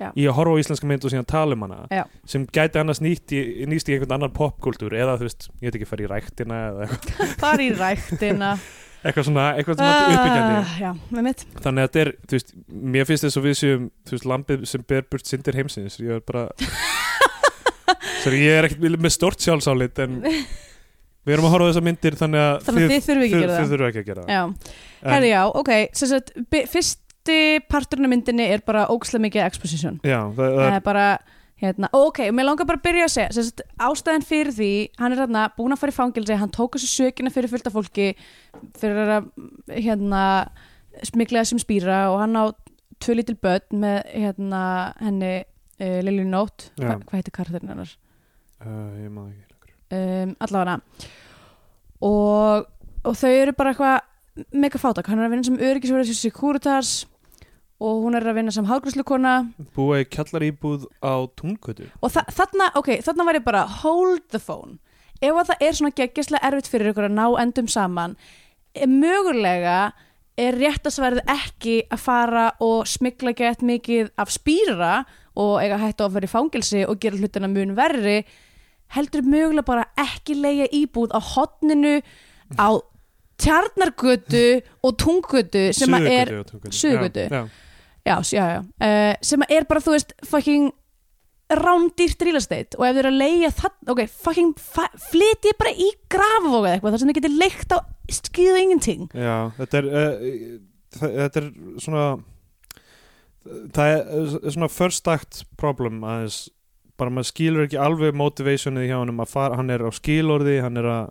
Speaker 3: Já.
Speaker 2: í að horfa á íslenska mynd og síðan tala um hana
Speaker 3: Já.
Speaker 2: sem gæti annars nýtt í, nýst í einhvern annan popkultúr eða þú veist, ég veit ekki, fara í ræktina eða eitthvað,
Speaker 3: Far í ræktina
Speaker 2: eitthvað svona, eitthvað svona uppbyggjandi
Speaker 3: Ah, Já, einmitt
Speaker 2: þannig að þetta er, þú veist, mér finnst þess að við séum, þú veist, lambið sem ber burt sindir heimsins, ég er bara svo ég er ekkert með stort sjálfsálit en við erum að horfa á þessar myndir þannig að
Speaker 3: Þannig að þið þurfum ekki að gera
Speaker 2: þið
Speaker 3: það
Speaker 2: þurfum ekki að gera það
Speaker 3: Já,
Speaker 2: En-
Speaker 3: herri já, ok sem sagt, by- Fyrsti parturinn af myndinni er bara ókslega mikið exposition
Speaker 2: já, það, það
Speaker 3: það
Speaker 2: er,
Speaker 3: er bara hérna, ok, mér langar bara að byrja að segja sérst, ástæðan fyrir því, hann er hérna búin að fara í fangelsi, hann tók þessu sökina fyrir fullta fólki fyrir að hérna, smikla sem spýra og hann á tvö lítil börn með hérna, henni uh, Lilju Nótt,
Speaker 2: Já.
Speaker 3: hva, hvað heitir karakterinn hennar
Speaker 2: uh, ég maður ekki lengur.
Speaker 3: um, allavega og, og þau eru bara eitthvað mega fátak, hann er að vinna sem öryggisverðis í Securitas og hún er að vinna sem hálgrúslukona
Speaker 2: búa í kjallaríbúð á túnkötu
Speaker 3: og þa þarna, ok, þarna var ég bara hold the phone ef að það er svona geggjastlega erfitt fyrir ykkur að ná endum saman eh, mögulega er rétt að sverðið ekki að fara og smikla gett mikið af spýra og eiga hættu að fara í fangilsi og gera hlutina mun verri heldur mögulega bara ekki leia íbúð á hotninu á tjarnargötu og tunggötu sem að er
Speaker 2: Suðurgötu og Túngötu.
Speaker 3: Suðurgötu.
Speaker 2: Já, já.
Speaker 3: já, s- já, já, uh, sem er bara, þú veist, fucking rándýrt real estate og ef þau eru að leigja það ok, fucking fa- flytja bara í grafavóga eitthvað þar sem þau getur leikt á skýðu ingenting
Speaker 2: Já, þetta er uh, þa- þetta er svona það er uh, svona first act problem aðeins bara maður skilur ekki alveg motivationið hjá honum að fara, hann er á skilorði hann er að,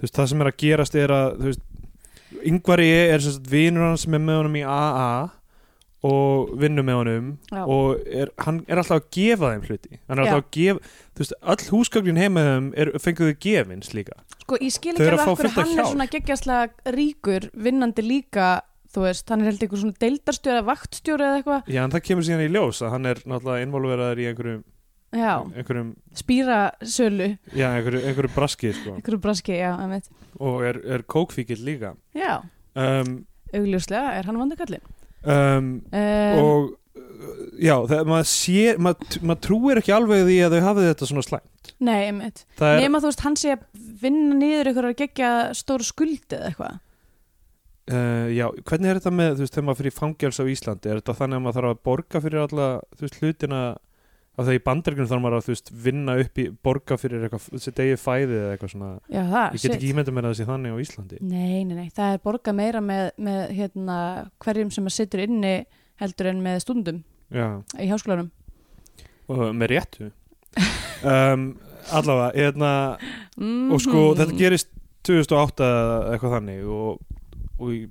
Speaker 2: þú veist, það sem er að gerast er að, þú veist, yngvari er sem sagt vinur hann sem er með honum í AA og vinnur með honum
Speaker 3: Já.
Speaker 2: og er, hann er alltaf að gefa þeim hluti, hann er
Speaker 3: Já.
Speaker 2: alltaf að gefa þú veist, all húsgögnin heima hjá þeim er, fenguðu gefins líka
Speaker 3: sko, ég
Speaker 2: Þau
Speaker 3: skil ekki
Speaker 2: eru að
Speaker 3: alveg
Speaker 2: fá
Speaker 3: af hverju
Speaker 2: fullt af
Speaker 3: hann er
Speaker 2: hjálp.
Speaker 3: svona geggjastlega ríkur vinnandi líka, þú veist, hann er held ykkur svona deildarstjóri eða vaktstjóri eða eitthvað
Speaker 2: Já, en það kemur síðan í ljós að hann er náttúrulega involveraður í einhverjum,
Speaker 3: já,
Speaker 2: einhverjum,
Speaker 3: spýrasölu,
Speaker 2: já, einhverju, einhverju braski sko.
Speaker 3: ykkur braski, já, emitt
Speaker 2: og er, er kókfíkil líka
Speaker 3: já,
Speaker 2: um,
Speaker 3: augljóslega er hann vandakallin
Speaker 2: um,
Speaker 3: um,
Speaker 2: og uh, já, það, maður sér maður, maður trúir ekki alveg því að þau hafið þetta svona slæm
Speaker 3: nei, emitt
Speaker 2: það er,
Speaker 3: nema þú veist, hann sé að vinna niður ykkur að gegja stóru skuldi eða eitthvað
Speaker 2: uh, já, hvernig er þetta með þú veist, þegar maður fyrir fangjals á Íslandi er þetta þannig að maður þarf að borga fyrir alla þú veist, hlutina af því að í bandargrunum þarf maður að þú veist, vinna upp í borga fyrir eitthvað, þessi degi fæði eða eitthvað svona,
Speaker 3: Já, það,
Speaker 2: ég get ekki
Speaker 3: Ah, shit.
Speaker 2: ímyndið mér að þessi þannig á Íslandi
Speaker 3: Nei, nei, nei, það er borgað meira með, með hérna, hverjum sem að situr inni heldur en með stundum
Speaker 2: já
Speaker 3: í háskólanum.
Speaker 2: og með réttu um, allavega hérna,
Speaker 3: Mm
Speaker 2: og sko þetta gerist 2008 eða eitthvað þannig og, og í-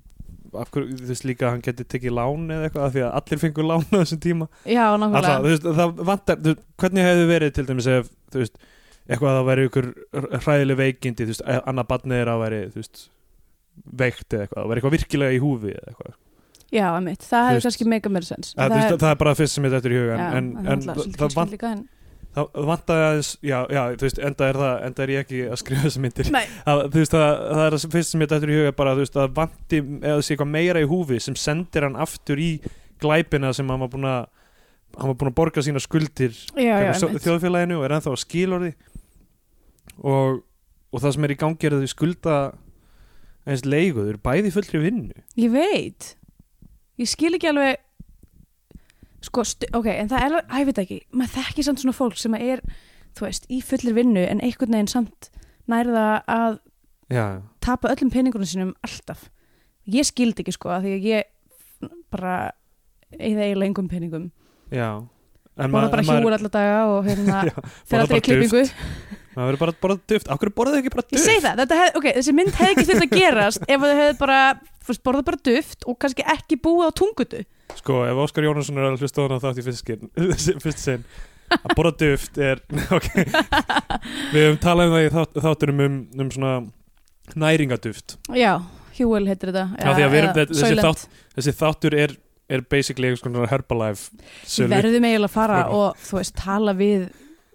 Speaker 2: af hverju þú veist líka að hann geti tekið lán eða eitthvað af því að allir fengur lán á þessum tíma
Speaker 3: Já, nákvæmlega.
Speaker 2: allavega, þú veist, það vantar þú, veist, hvernig hefði verið til dæmis ef þú veist eitthvað að það væri ykkur hræðileg veikindi þú veist, að- annað barnið er að væri þú veist, veikt eða eitthvað, það væri eitthvað virkilega í húfi eða eitthvað
Speaker 3: já, emitt, það hefur
Speaker 2: veist-
Speaker 3: kannski mega meira sens
Speaker 2: það, það, er, það er bara fyrst sem ég þetta er í hugan
Speaker 3: já,
Speaker 2: en,
Speaker 3: það er
Speaker 2: en
Speaker 3: náttúrulega
Speaker 2: það,
Speaker 3: svolítið
Speaker 2: það,
Speaker 3: kynnskyld
Speaker 2: vant,
Speaker 3: líka, en-
Speaker 2: það vantaði aðeins já, já, þú veist, enda er, það, enda er ég ekki að skrifa þessar myndir
Speaker 3: Nei.
Speaker 2: það, þú veist, það, það er það fyrst sem ég þetta er í hugan bara, þú veist, það vanti eða sé eitthvað meira í húfi sem sendir hann aftur í glæpina sem hann var búin að hann var búin að borga sína skuldir
Speaker 3: já, já,
Speaker 2: gagnvart
Speaker 3: einmitt.
Speaker 2: þjóðfélaginu og er ennþá að skilorði og, og það sem er í gangi er að þau skulda eins leigu, þau eru bæði í fullri vinnu
Speaker 3: Ég veit Ég skil ekki alveg Sko, stu, ok, en það er alveg, að ég veit ekki maður þekki samt svona fólk sem er þú veist, í fullir vinnu en einhvern veginn samt nærða að
Speaker 2: já,
Speaker 3: tapa öllum peningunum sínum alltaf Ég skildi ekki sko, af því að ég bara eða eiginlega engum peningum
Speaker 2: já en
Speaker 3: Borða bara
Speaker 2: en maður-
Speaker 3: hjúur alla daga og hérna
Speaker 2: Já,
Speaker 3: fer
Speaker 2: borða
Speaker 3: aldrei
Speaker 2: bara
Speaker 3: í klippingu
Speaker 2: maður verður bara að borða duft, okkur borðaðu ekki bara
Speaker 3: Ég
Speaker 2: duft
Speaker 3: segi það, þetta hef, ok, þessi mynd hefði ekki þurft að gerast ef þau hefði bara, fyrst borða bara duft og kannski ekki búið á tungutu
Speaker 2: sko, ef Óskar Jónasson er að hlusta á hana þátt í fyrst sinn- fyrst sinn að borða duft er ok, við höfum talað um það í þátt, þáttunum um, um svona næringaduft
Speaker 3: Já, hjúul heitir þetta Eh,
Speaker 2: Já, því að við erum-
Speaker 3: eða
Speaker 2: þessi
Speaker 3: Soylent.
Speaker 2: þátt- þessi þáttur er, er basically einhvers konar Herbalife
Speaker 3: Við
Speaker 2: sölu.
Speaker 3: verðum eiginlega að fara
Speaker 2: Sölu.
Speaker 3: og þú veist, tala við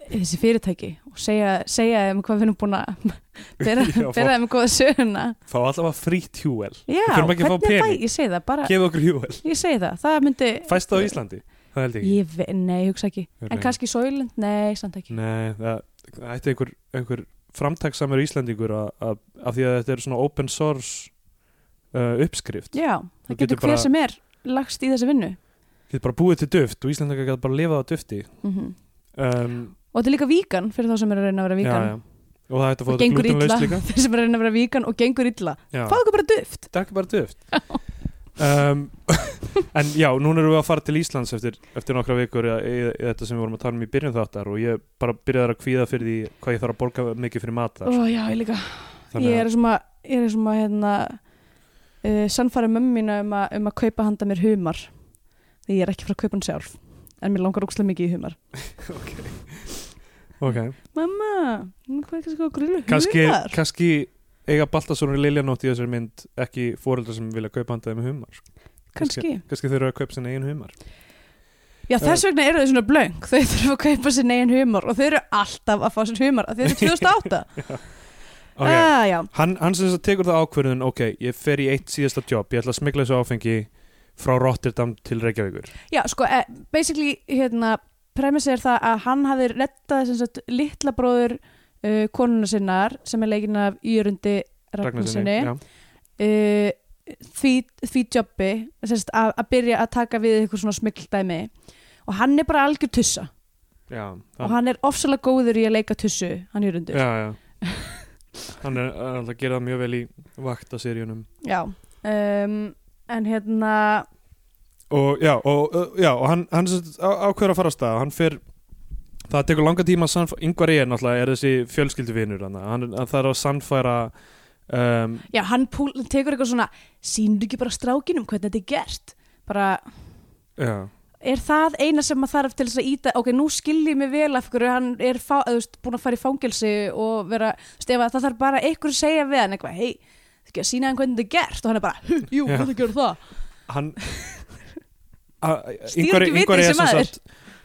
Speaker 3: þessi fyrirtæki og segja, segja þeim hvað við erum búin að bera,
Speaker 2: Já, fá-
Speaker 3: bera þeim góða söguna
Speaker 2: fá allavega frítt hjúel
Speaker 3: Já,
Speaker 2: þurfum ekki að fá
Speaker 3: er
Speaker 2: pening.
Speaker 3: ég segi það bara,
Speaker 2: gefa okkur hjúel,
Speaker 3: ég segi það, það myndi
Speaker 2: fæst það á Íslandi það held ég ekki
Speaker 3: Ég ve- Nei, hugsa ekki,
Speaker 2: Ég veit
Speaker 3: en
Speaker 2: ekki.
Speaker 3: kannski Soylent, nei, samt ekki
Speaker 2: Nei, það, það ætti einhver, einhver framtagssamur Íslandingur að- að- af því að þetta er svona open source uh, uppskrift
Speaker 3: Já,
Speaker 2: Þú
Speaker 3: það
Speaker 2: getur
Speaker 3: getur hver
Speaker 2: bara-
Speaker 3: sem er lagst í þessi vinnu
Speaker 2: Þið bara búið til duft og Íslandingar gæti bara lifað á dufti
Speaker 3: Mhm.
Speaker 2: um,
Speaker 3: Og þetta er líka víkan fyrir þá sem er að reyna að vera víkan
Speaker 2: já, já. Og það ætti að fá
Speaker 3: Og
Speaker 2: þetta
Speaker 3: gengur illa,
Speaker 2: glutenlaust líka
Speaker 3: þeir sem er að reyna að vera víkan og gengur illa
Speaker 2: Já,
Speaker 3: Fáðu ekki bara duft
Speaker 2: það er ekki bara duft um, En já, núna erum við að fara til Íslands eftir, eftir nokkra vikur í, í, í þetta sem við vorum að tala um í byrjun þáttar og ég bara byrjaði að kvíða fyrir því hvað ég þarf að borga mikið fyrir mat þar
Speaker 3: Ó, já, ég líka
Speaker 2: Þannig
Speaker 3: Ég
Speaker 2: að-
Speaker 3: er svona, ég er svona hérna, uh, sannfæra mömmina um, að- um að kaupa handa mér humar því ég er ekki frá að kaupa hann sjálf en mér langar ókslega mikið í humar
Speaker 2: okay.
Speaker 3: Mamma, nú hvað er kannski að grilla
Speaker 2: kannski,
Speaker 3: humar?
Speaker 2: kannski eiga Baltasónu Liljanótt í þessari mynd ekki fóreldra sem vilja kaupa handaði með humar sko.
Speaker 3: kannski
Speaker 2: kannski þeir eru að kaupa sinna eigin humar
Speaker 3: Já, þess vegna eru þau svona blöng þau þurfum að kaupa sér negin humar og þau eru alltaf að fá sér humar af því þau eru 2008
Speaker 2: okay.
Speaker 3: ah, Já,
Speaker 2: hann, hann sem þess að tekur það ákvörðun ok, ég fer í eitt síðasta jobb ég ætla að smigla þessu áfengi frá Rotterdam til Reykjavíkur
Speaker 3: Já, sko, eh, basically, hérna, premissi er það að hann hafi rettað sem sagt litla bróður uh, konuna sinnar sem er leikinn af Írundi Ragnarssoni
Speaker 2: já.
Speaker 3: uh, því, því jobbi sem sagt, að, að byrja að taka við eitthvað svona smikldæmi og hann er bara algjör tussa
Speaker 2: Já,
Speaker 3: og
Speaker 2: hann,
Speaker 3: hann er ofsalega góður í að leika tussu, hann Írundur.
Speaker 2: já, já. hann er er alltaf að gera það mjög vel í vaktaseríunum
Speaker 3: Já. Um, en hérna,
Speaker 2: og já, og, uh, já, og hann, hann sem sagt á- ákveður að fara að stað hann fer, það tekur langa tíma að sannf- Ingvar ég náttúrulega er þessi fjölskylduvinur hann, hann, hann þarf að sannfæra um,
Speaker 3: já, hann púl, tekur eitthvað svona, sínur ekki bara strákinum hvernig þetta er gert? Bara,
Speaker 2: já,
Speaker 3: er það eina sem maður þarf til þess að íta ok, nú skiljið mig vel af hverju hann er fá, eða, þú veist, búin að fara í fangelsi og vera, þú veist, ef að það þarf bara einhver að segja við hann eitthvað, hei, þú ekki að sína hann hvernig þetta er gert og hann er bara, "Hm, jú,
Speaker 2: Já.
Speaker 3: hvernig gerðu það
Speaker 2: hann
Speaker 3: Stýr ekki viti sem maður.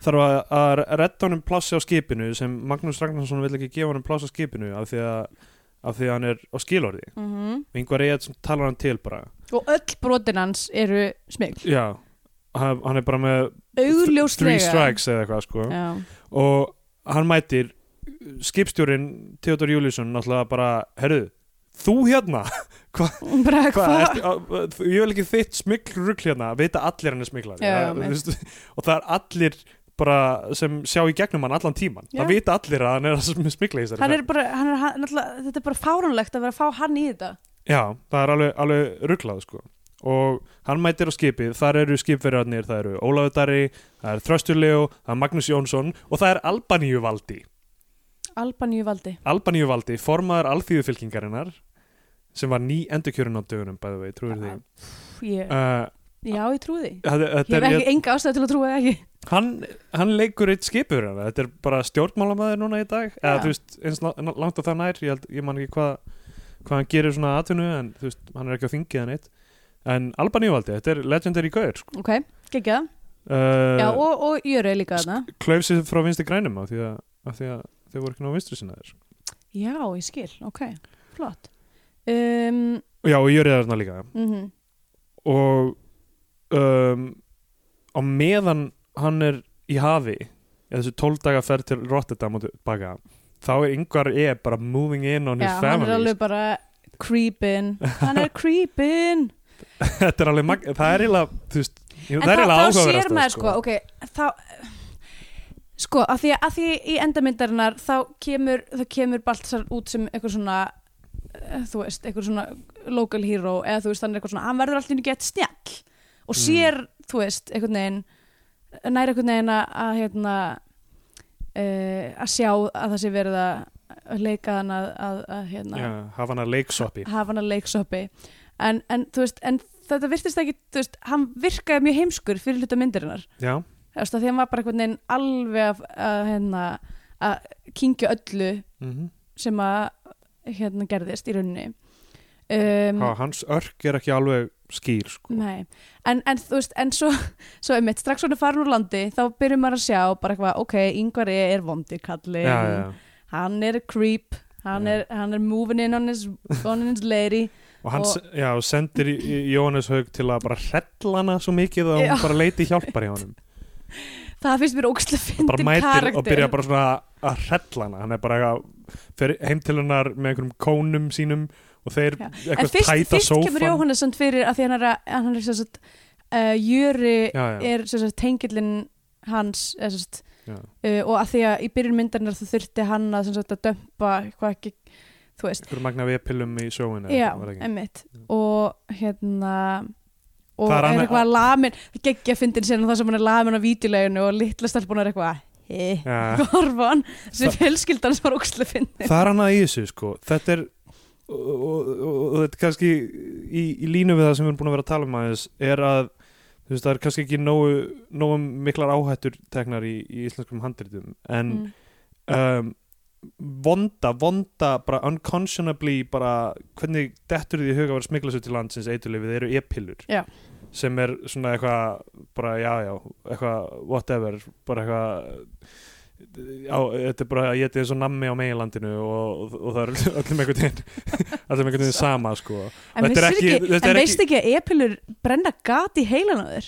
Speaker 2: þarf að, að redda honum plási á skipinu sem Magnús Ragnarsson vil ekki gefa honum plási á skipinu af því að, af því að hann er á skilorði Ingvar Egert talar hann til bara
Speaker 3: og öll brotin hans eru smigl
Speaker 2: já, hann hann er bara með three
Speaker 3: augljóslega
Speaker 2: strikes eða eitthvað sko
Speaker 3: Já.
Speaker 2: og hann mætir skipstjórin Theodor Júliusson náttúrulega bara, herru, þú hérna
Speaker 3: bara
Speaker 2: Hva,
Speaker 3: hvað
Speaker 2: ertu, á- þú- ég vil ekki þitt smikl rugl hérna, vita allir hann er smiklari
Speaker 3: Já,
Speaker 2: Það-
Speaker 3: mitt.
Speaker 2: þú veist, og það er allir bara sem sjá í gegnum hann allan tíman
Speaker 3: Já.
Speaker 2: það vita allir að hann er að smikla í þessari
Speaker 3: hann er
Speaker 2: ferð.
Speaker 3: bara, hann er, hann, náttúrulega- þetta er bara fáránlegt að vera að fá hann í þetta
Speaker 2: Já, það er alveg, alveg rugglað sko og hann mætir á skipið, þar eru skipverjarnir, það eru Ólafur Darri, það er Þröstur Leo, það er Magnús Jónsson og það er Albaníu Valdi
Speaker 3: Albaníu valdi
Speaker 2: Albaníu valdi formaður alþýðufylkingarinnar sem var ný endurkjörun á dögunum bæðu vei, trúir því
Speaker 3: Pff, ég,
Speaker 2: uh,
Speaker 3: já, ég trúi því
Speaker 2: þetta,
Speaker 3: ég
Speaker 2: þetta
Speaker 3: hef
Speaker 2: er,
Speaker 3: ekki enga ástæð til að trúa það ekki
Speaker 2: hann, hann leikur eitt skipur hann. þetta er bara stjórnmálamæður núna í dag eða
Speaker 3: Já.
Speaker 2: þú veist, eins la- langt á það nær ég, held, ég man ekki hvað hvað hann gerir svona atvinnu en þú veist, hann er ekki á þingið en eitt en Albaníuvaldi, þetta er legendary gaur sko.
Speaker 3: ok, geggja Já,
Speaker 2: uh,
Speaker 3: og, og Jörau líka þarna
Speaker 2: klöfsið frá vinstri grænum af því að, af því að þau voru ekki ná vinstri sinna þér sko.
Speaker 3: Já, ég skil, ok, flott um,
Speaker 2: já, og Jörið er þarna líka
Speaker 3: mm
Speaker 2: og um, á meðan hann er í hafi eða þessu 12 daga ferð til Rotterdam og tilbaka þá er yngvar E bara moving in on
Speaker 3: Já,
Speaker 2: his
Speaker 3: hann
Speaker 2: family sko.
Speaker 3: er alveg bara creepin Hann er creepin
Speaker 2: þetta er alveg mag það er eiginlega þú veist jú,
Speaker 3: En
Speaker 2: það er
Speaker 3: þá,
Speaker 2: eiginlega
Speaker 3: þá
Speaker 2: áhugaverðast
Speaker 3: sér maður sko, ok, þá sko, að því, að því í endamyndarinnar þá kemur, þá kemur Baltasar út sem eitthvað svona eh, þú veist, eitthvað svona local hero eða þú veist, hann er eitthvað svona, hann verður alltaf gett snjall og
Speaker 2: Mm.
Speaker 3: sér, þú veist, eitthvað neginn nær eitthvað neginn að, að hérna uh, að sjá að það sé verið að leika hann að, að, að hérna
Speaker 2: já, hafa hann að leiksoppi
Speaker 3: hafa hann að leiksoppi en, en, þú veist, en þetta virtist ekki þú veist, hann virkaði mjög heimskur fyrir hluta myndirinnar
Speaker 2: já,
Speaker 3: þú veist, af því hann var bara einhvern veginn alveg að, að, hérna, að kynkja öllu
Speaker 2: mm
Speaker 3: sem að hérna gerðist í rauninni um,
Speaker 2: hans örk er ekki alveg skýr sko
Speaker 3: Nei, en, en þú veist, en svo, svo einmitt, strax svona farin úr landi þá byrjum maður að sjá bara eitthvað, ok, yngvar er vondi kalli,
Speaker 2: já, já, já.
Speaker 3: hann er a creep, hann,
Speaker 2: Já.
Speaker 3: er, hann er moving in on his, on his lady
Speaker 2: og hann
Speaker 3: Og-
Speaker 2: og... Já, og sendir í- í- Jóhannes Haug til að bara hrella hana svo mikið að hún
Speaker 3: Já.
Speaker 2: bara leiti hjálpar hjá honum
Speaker 3: það finnst mér ógstlega
Speaker 2: bara
Speaker 3: fyndin
Speaker 2: mætir
Speaker 3: karakter
Speaker 2: og byrja bara svona að hrella hana hann er bara eitthvað fer heim til hennar með einhverjum kónum sínum og þeir
Speaker 3: Já. En
Speaker 2: eitthvað
Speaker 3: fyrst,
Speaker 2: tæta
Speaker 3: fyrst
Speaker 2: sófan
Speaker 3: kemur Jóhannesson fyrir að því hann er, að, hann er sem sagt, uh, Jöri
Speaker 2: já, já,
Speaker 3: er sem sagt, tengillin hans er, sem sagt,
Speaker 2: já.
Speaker 3: uh, og að því að í byrjun myndarinnar þú þurfti hann að, sem sagt, að dömpa hvað ekki, þú veist
Speaker 2: einhverjum magna viðpillum í sjóinu
Speaker 3: já,
Speaker 2: var það ekki?
Speaker 3: emmitt og hérna og
Speaker 2: Það er
Speaker 3: er,
Speaker 2: annað-
Speaker 3: eitthvað lamin það geggja fyndin sér það sem hann er lamin á vítuleginu og litla stelpun er eitthvað eh,
Speaker 2: Já.
Speaker 3: horfa á hann sem fjölskyldan sem var ógstlega fyndin
Speaker 2: það er hann að í þessu sko þetta er og, og, og, og þetta er kannski í, í línu við það sem við erum búin að vera að tala um aðeins er að þú veist, það er kannski ekki nógu, nógu miklar áhættur teknar í, í íslenskum handritum en
Speaker 3: Mm.
Speaker 2: um, vonda, vonda bara unconscionably bara hvernig dettur því í huga að vera smikla sér til landsins eiturlifið eru e-pillur
Speaker 3: Já.
Speaker 2: sem er svona eitthvað bara já já, eitthvað whatever bara eitthvað á, þetta er bara að geta eins og nammi á meginlandinu og, og, og það er öllum einhvern veginn öllum einhvern veginn sama sko
Speaker 3: En,
Speaker 2: Þetta er
Speaker 3: vissir
Speaker 2: ekki-
Speaker 3: ekki,
Speaker 2: þetta er
Speaker 3: en
Speaker 2: ekki-
Speaker 3: veist ekki að e-pillur brenna gat í heilan á þér?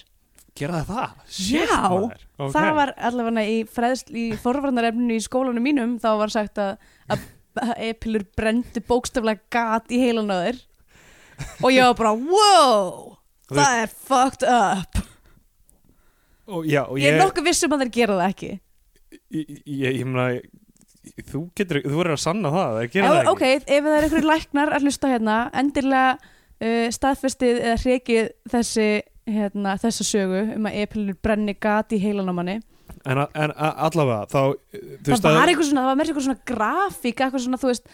Speaker 2: gera það það?
Speaker 3: Shit, Já. maður.
Speaker 2: okay.
Speaker 3: Það var allavega í, fræðsl, í forvarnarefninu í skólanum mínum þá var sagt að, að að e-pillur brendu bókstaflega gat í heilan á þér og ég var bara wow,
Speaker 2: Þú veist-
Speaker 3: það er fucked up
Speaker 2: og, já, og
Speaker 3: Ég er nokkuð vissum að þeir gera það ekki
Speaker 2: ég, ég, ég, ég meina þú getur, þú verður að sanna það það
Speaker 3: ef,
Speaker 2: gera það ekki
Speaker 3: Ok, ef það er einhverju læknar að hlusta hérna endilega uh, staðfestið eða hrekið þessi hérna, þessa sögu um að e-pillur brenni gat í heilan á manni
Speaker 2: en, a- en a- allavega þá þú
Speaker 3: það var eitthvað svona, það var meira eitthvað svona grafík eitthvað svona, þú veist,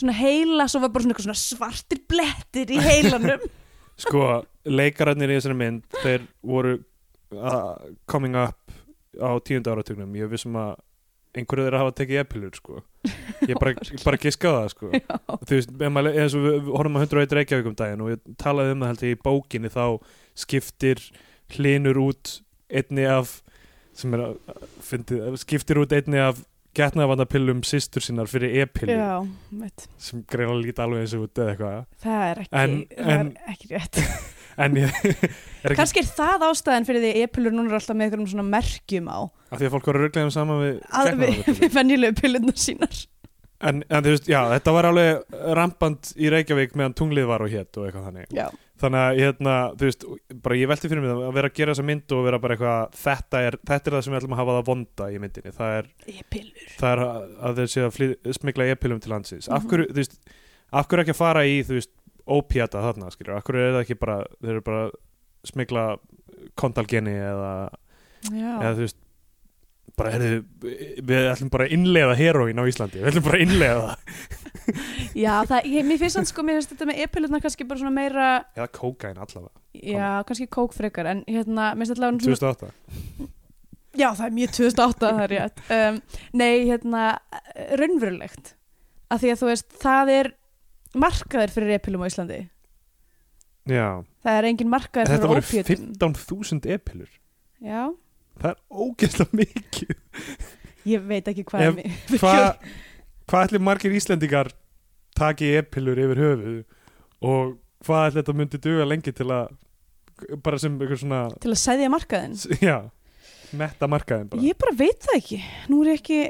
Speaker 3: svona heila svo var bara svona, eitthvað svona svartir blettir í heilanum
Speaker 2: sko, leikararnir í þessari mynd þeir voru uh, coming up á tíundu áratugnum ég er vissum að einhverju þeirra hafa tekið epilur sko. ég bara, okay. bara giska á það sko. þú veist, ef maður- eins og við við horfum að 101 Reykjavík um daginn og ég talaði um það held ég í bókinni þá skiptir hlinur út einni af sem er að, fyndi, skiptir út einni af getnaðavandapillum systur sinnar fyrir e-pillu
Speaker 3: já, veit,
Speaker 2: sem greina líta alveg eins og út eða eitthvað
Speaker 3: það er ekki
Speaker 2: En-
Speaker 3: það
Speaker 2: en-
Speaker 3: er ekki rétt
Speaker 2: en ég er ekki
Speaker 3: kannski er það ástæðan fyrir því að e-pillur núna er alltaf með einhverjum svona merkjum á
Speaker 2: af því að fólk voru rugglegum saman við
Speaker 3: að við,
Speaker 2: getnaðarvarnarpillur.
Speaker 3: við venjulegu pillurnar sínar
Speaker 2: en, en þú veist, já, þetta var alveg rampant í Reykjavík meðan tunglið var og hétt og eitthvað þannig
Speaker 3: já,
Speaker 2: þannig að, hérna, þú veist, bara ég velti fyrir mig það að vera að gera þessa mynd og vera bara eitthvað þetta er, þetta er það sem við ætlum að hafa það vonda í myndinni það er,
Speaker 3: e-pillur
Speaker 2: það er að- að þeir séu að flý, smikla epilum til landsins af
Speaker 3: Mhm.
Speaker 2: hverju, þú veist, af hverju ekki að fara í þú veist, ópjata þarna, skilur af hverju er það ekki bara, þeir eru bara að smikla kontalgeni eða eða
Speaker 3: já,
Speaker 2: þú veist bara herðu, við ætlum bara að innleiða heroín á Íslandi, við ætlum bara að innleiða það
Speaker 3: já það, ég, mér finnst þannig sko, mér finnst þetta með e-pillurnar kannski bara svona meira
Speaker 2: eða kókain allavega,
Speaker 3: já, kannski kók frekar en hérna, mér finnst allavega svona-
Speaker 2: 2008
Speaker 3: já það er mjög 2008 það er rétt um, nei hérna raunverulegt af því að þú veist það er markaður fyrir repilum á Íslandi
Speaker 2: Já,
Speaker 3: það er engin markaður
Speaker 2: þetta
Speaker 3: fyrir
Speaker 2: voru
Speaker 3: opiatum
Speaker 2: 15.000 epilur
Speaker 3: já,
Speaker 2: Það er ógeðslega mikið
Speaker 3: ég veit ekki hvað
Speaker 2: Ef-
Speaker 3: er mér
Speaker 2: Hva- Hvað ætli margir Íslendingar taki epilur yfir höfuð og hvað ætli þetta myndi duga lengi til að bara sem einhver svona
Speaker 3: til að segja markaðin
Speaker 2: já, metta markaðin bara
Speaker 3: ég bara veit það ekki nú er ég ekki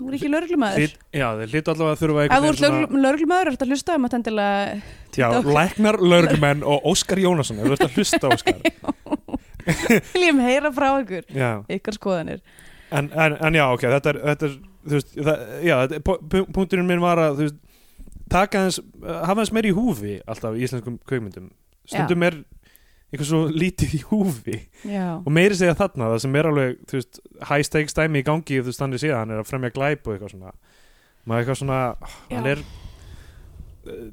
Speaker 3: nú er ég ekki lörglumæður
Speaker 2: Þið, já, þeir hlýtu allavega að þurfa
Speaker 3: ef þú
Speaker 2: einhvern
Speaker 3: ert lörglumæður lörglumæður ertu að hlusta um að endilega
Speaker 2: já,
Speaker 3: ok.
Speaker 2: læknar, lörgumenn og Óskar Jónasson, ef þú ert að hlusta Óskar
Speaker 3: viljum heyra frá ykkur
Speaker 2: já,
Speaker 3: ykkar skoðanir
Speaker 2: en, en, en já, ok, þetta er, þetta er þú veist, það, já, þetta er- pu- pu- punkturinn minn var að, þú veist, taka hans hafa hans meir í húfi alltaf í íslenskum kveikmyndum, stundum er eitthvað svo lítið í húfi
Speaker 3: já,
Speaker 2: og meiri segja þarna, það sem er alveg þú veist, high stakes dæmi í gangi þú veist, þannig síðan, hann er að fremja glæp og eitthvað svona maður eitthvað svona, hann
Speaker 3: Já.
Speaker 2: er uh,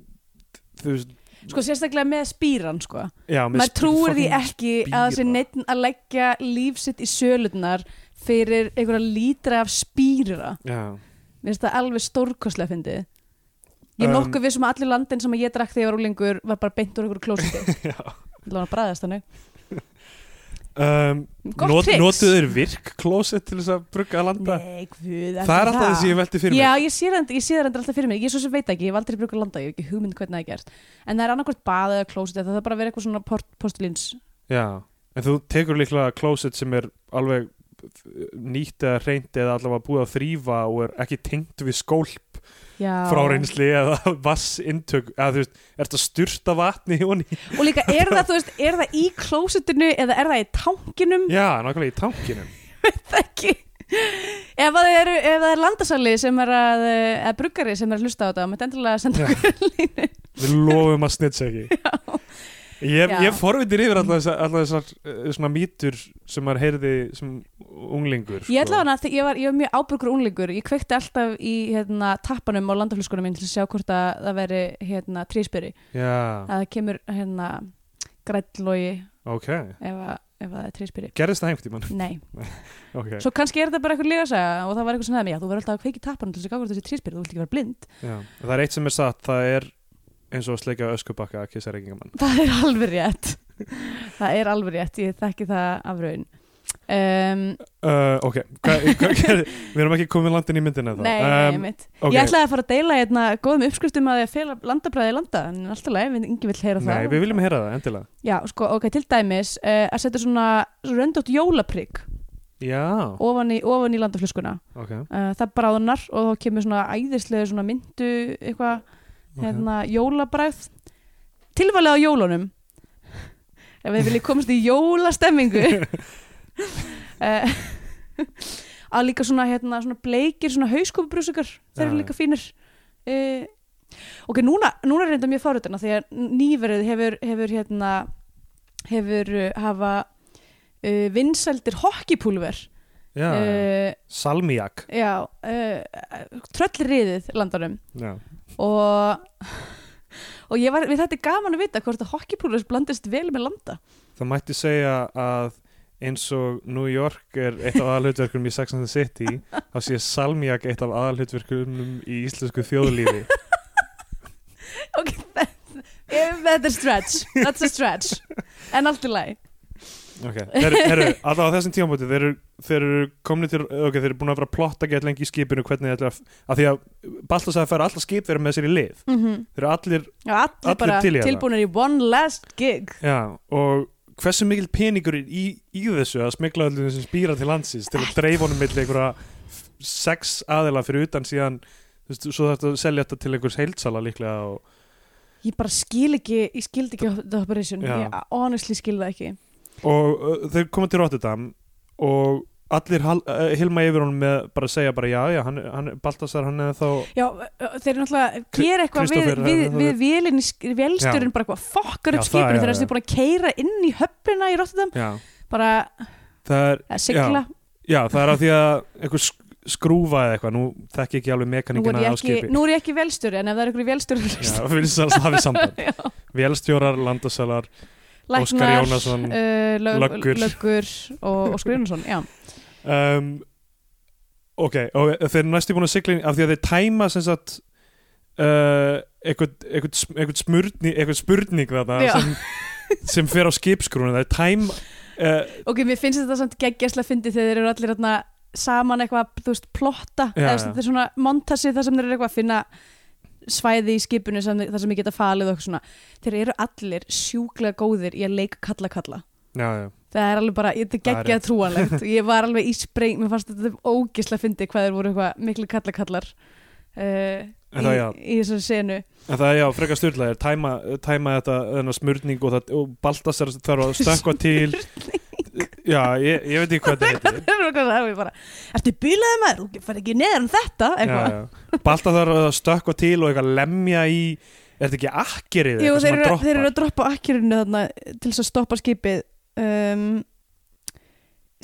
Speaker 2: þú veist,
Speaker 3: sko sérstaklega með spýran sko
Speaker 2: já með
Speaker 3: maður
Speaker 2: sp-
Speaker 3: trúir því
Speaker 2: fucking-
Speaker 3: ekki að það sé
Speaker 2: spýra.
Speaker 3: neitt að leggja lífsitt í sölurnar fyrir einhverja lítra af spýra
Speaker 2: já,
Speaker 3: mér finnst það alveg stórkostlega fyndið ég er
Speaker 2: Um,
Speaker 3: nokkuð vissum að allir landin sem ég drakk þegar ég var úlingur var bara beint úr einhverju klósiti allan að bræðast þannig
Speaker 2: um,
Speaker 3: gott
Speaker 2: not,
Speaker 3: trix
Speaker 2: notuðu þeir virk klósett til þess að brugga að landa
Speaker 3: Nei, guð,
Speaker 2: það er alltaf þessi ég velti fyrir
Speaker 3: Já,
Speaker 2: mig
Speaker 3: ég sé það ég sé það endur alltaf fyrir mig, ég svo sem veit ekki, ég hef aldrei brugað landa, ég hef ekki hugmynd hvernig það er gert en það er annarkvært bað eða klósit það er bara að vera eitthvað svona port, postulins
Speaker 2: já, en þú tekur líklega klósett sem er alveg nýtt eða reynd eða allavega búið að þrýfa og er ekki tengt við skólp
Speaker 3: Já.
Speaker 2: fráreinsli eða vassintök eða þú veist, er þetta styrta vatni í honni
Speaker 3: Og líka, er það, þú veist, er það í klósitinu eða er það í tankinum?
Speaker 2: já, nákvæmlega í tankinum
Speaker 3: Það ekki. Ef það er, ef það er landasali sem er að, eða bruggari sem er að hlusta á þetta, maður endilega að senda
Speaker 2: Já.
Speaker 3: okkur línu.
Speaker 2: við lofum að snitsa ekki ég,
Speaker 3: Já.
Speaker 2: ég forvitir yfir alltaf þessar, alltaf þessar eh, svona mítur sem maður heyrði sem unglingur sko.
Speaker 3: Ég ætla hana, ég var, ég var mjög ábyrgur unglingur, ég kveikti alltaf í hérna, tappanum á landaflöskunum minn til að sjá hvort að það veri hérna, trísbyrri,
Speaker 2: já,
Speaker 3: að það kemur hérna, grællógi
Speaker 2: ok,
Speaker 3: ef, að- ef að það er trísbyrri.
Speaker 2: gerðist það einhvern tímann
Speaker 3: Nei,
Speaker 2: ok,
Speaker 3: svo kannski er þetta bara eitthvað lífasaga og það var eitthvað sem það með, já, þú verður alltaf að kveiki tappanum til þess að gá hvort þessi trísbyrri, þú vilt ekki vera blind.
Speaker 2: já. það er eitt sem er satt, það er eins og að sleika öskubakka að kissa reykingamann
Speaker 3: Það er alveg rétt Það er alveg rétt, ég þekki það af raun um,
Speaker 2: uh, ok, hva, hva, við erum ekki komin landin í myndina
Speaker 3: Nei,
Speaker 2: þá Um,
Speaker 3: nei, mitt
Speaker 2: Ehm, ok.
Speaker 3: Ég ætlaði að fara að deila hérna góðum uppskriftum að því að fela landabræði landa en alltaf leið, ingi vill heyra það
Speaker 2: Nei, við viljum heyra það, endilega
Speaker 3: Já, sko, ok, til dæmis uh, að setja svona röndótt jólaprygg
Speaker 2: Já,
Speaker 3: ofan í, ofan í landaflöskuna
Speaker 2: ok,
Speaker 3: uh, Það bráðunar og þá kemur svona æðislega svona myndu eitthvað
Speaker 2: okay.
Speaker 3: hérna, jólabræð tilvalið á jólunum ef við viljum komast í jólastemmingu Eh, að líka svona, hérna, svona bleikir, svona hauskopubrúsukar þeir eru
Speaker 2: Já,
Speaker 3: líka fínir uh, ok, núna, núna er reynda mjög fárutina því að nýverið hefur hefur hérna hefur uh, hafa uh, vinsældir hokkipúlver
Speaker 2: já,
Speaker 3: uh,
Speaker 2: salmiak
Speaker 3: já uh, tröllriðið landanum
Speaker 2: Já,
Speaker 3: og og ég var, við þetta er gaman að vita hvort að hockeypúlur blandist vel með landa
Speaker 2: Það mætti segja að eins og New York er eitt af aðalhutverkunum í Sex and the City þá sé Salmiak eitt af aðalhutverkunum í íslensku þjóðlífi
Speaker 3: ok, ef þetta er stretch that's a stretch, en allt í lagi
Speaker 2: Ok, þeir eru alltaf á þessum tímabóti þeir eru, þeir eru komni til ok, þeir eru búin að vera að plotta gett lengi í skipinu hvernig þeir ætla að, að því að Baltasar fær alla skip þeir eru með sér í lið
Speaker 3: mm
Speaker 2: þeir eru allir,
Speaker 3: já, allir,
Speaker 2: Allir
Speaker 3: bara
Speaker 2: til í þetta.
Speaker 3: tilbúinir í one last gig
Speaker 2: já, og hversu mikil peningur er í, í þessu að smikla allir þessum spýra til landsins til að dreif honum milli einhverja f- sex aðila fyrir utan síðan þú veist, svo þetta selja þetta til einhvers heildsala líklega og
Speaker 3: ég bara skil ekki, ég skildi ekki the operation,
Speaker 2: Já.
Speaker 3: ég honestly skil það ekki
Speaker 2: og uh, þeir koma til Rotterdam og allir hal, uh, hilma yfir honum með bara að segja bara já, já, hann, hann, Baltasar hann eða þá
Speaker 3: já, ö, þeir eru náttúrulega
Speaker 2: Kri-
Speaker 3: gera eitthvað við,
Speaker 2: Kristófer,
Speaker 3: við,
Speaker 2: það- það-
Speaker 3: við vélinn, í sk- vélstjórinn bara eitthvað fokkar
Speaker 2: Já,
Speaker 3: upp
Speaker 2: það, já,
Speaker 3: skipinu þegar
Speaker 2: já.
Speaker 3: þessi búin að keira inn í höfnina í Rotterdam
Speaker 2: já.
Speaker 3: bara
Speaker 2: Það, er,
Speaker 3: að sigla
Speaker 2: já, það er af því að einhver sk- skrúfa eða eitthvað, nú þekki ég ekki alveg
Speaker 3: nú er,
Speaker 2: mekaningina
Speaker 3: ég
Speaker 2: á
Speaker 3: ekki,
Speaker 2: skipi
Speaker 3: nú er ég ekki velstjóri en ef það er ykkur velstjóri
Speaker 2: Já, finnst það að hafi samband
Speaker 3: Já.
Speaker 2: Vélstjórar, landasalar,
Speaker 3: læknar,
Speaker 2: Jónasson,
Speaker 3: uh, lög,
Speaker 2: löggur.
Speaker 3: löggur og, og Skrifunarsson já.
Speaker 2: um, ok, og þeir eru næstu búin að sigla inn af því að þeir tæma sem sagt uh, eitthvað, eitthvað, sm- eitthvað, smurni, eitthvað spurning þarna
Speaker 3: Já.
Speaker 2: sem, sem fer á skipskrúnu þeir tæma uh,
Speaker 3: ok, mér finnst þetta samt geggjastlega fyndi þegar þeir eru allir atna, saman eitthvað, þú veist, plotta
Speaker 2: Já,
Speaker 3: eða
Speaker 2: já.
Speaker 3: þetta er svona montasi þar sem þeir eru eitthvað að finna svæði í skipinu sem, þar sem ég geta falið og eitthvað svona þeir eru allir sjúklega góðir í að leika kalla kalla
Speaker 2: já, já,
Speaker 3: það er alveg bara, þetta
Speaker 2: Það
Speaker 3: er
Speaker 2: er
Speaker 3: geggjað
Speaker 2: rétt.
Speaker 3: trúanlegt ég var alveg í spreng, mér fannst þetta ógislega fyndi hvað þeir voru eitthvað miklu kalla kallar uh,
Speaker 2: En
Speaker 3: í,
Speaker 2: það, já.
Speaker 3: í þessari senu
Speaker 2: En það er já, frekar styrla er tæma, tæma þetta þennan smurning og, það, og Baltasar þarf að stökkva til Já, ég, ég veit ekki hvað þetta heitir
Speaker 3: þeir eru eitthvað, það er bara, ertu bílaði maður, þú fær ekki neðar en þetta
Speaker 2: já,
Speaker 3: eitthvað
Speaker 2: já. Baltasar þarf að stökkva til og eitthvað lemja í Er þetta ekki akkerið?
Speaker 3: Jú,
Speaker 2: eitthvað
Speaker 3: þeir
Speaker 2: sem
Speaker 3: eru,
Speaker 2: hann
Speaker 3: þeir
Speaker 2: droppar?
Speaker 3: eru að droppa akkirinu þarna til þess að stoppa skipið um,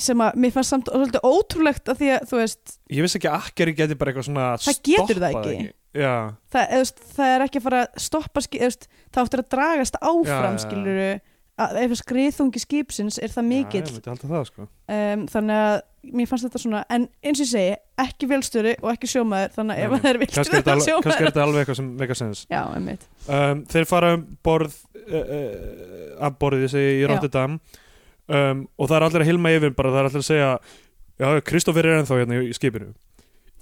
Speaker 3: sem að mér fannst samt svolítið ótrúlegt að því að þú veist,
Speaker 2: Ég vissi ekki að akkerið geti bara eitthvað svona
Speaker 3: Það getur það
Speaker 2: stoppað
Speaker 3: ekki.
Speaker 2: Já,
Speaker 3: það, eða, þú veist, það er ekki að fara að stoppa skipið, veist, það áttur að dragast áfram
Speaker 2: Já, já, já.
Speaker 3: skiluru að ef skriðþungi skipsins er það mikill
Speaker 2: Já, ég myndi halda það sko
Speaker 3: um, þannig að mér fannst þetta svona en eins og ég segi, ekki velstjóri og ekki sjómaður þannig að ef
Speaker 2: Nei,
Speaker 3: það er
Speaker 2: Kannski er
Speaker 3: velstjóri
Speaker 2: þetta alveg- kannski er
Speaker 3: það sjómaður
Speaker 2: þetta alveg eitthvað sem veikar sens
Speaker 3: Já, einmitt
Speaker 2: um, þeir fara um borð uh, uh, að borðið segi í
Speaker 3: Já.
Speaker 2: Rotterdam um, og það er allir að hilma yfir bara það er allir að segja já, Kristoffer er ennþá hérna í skipinu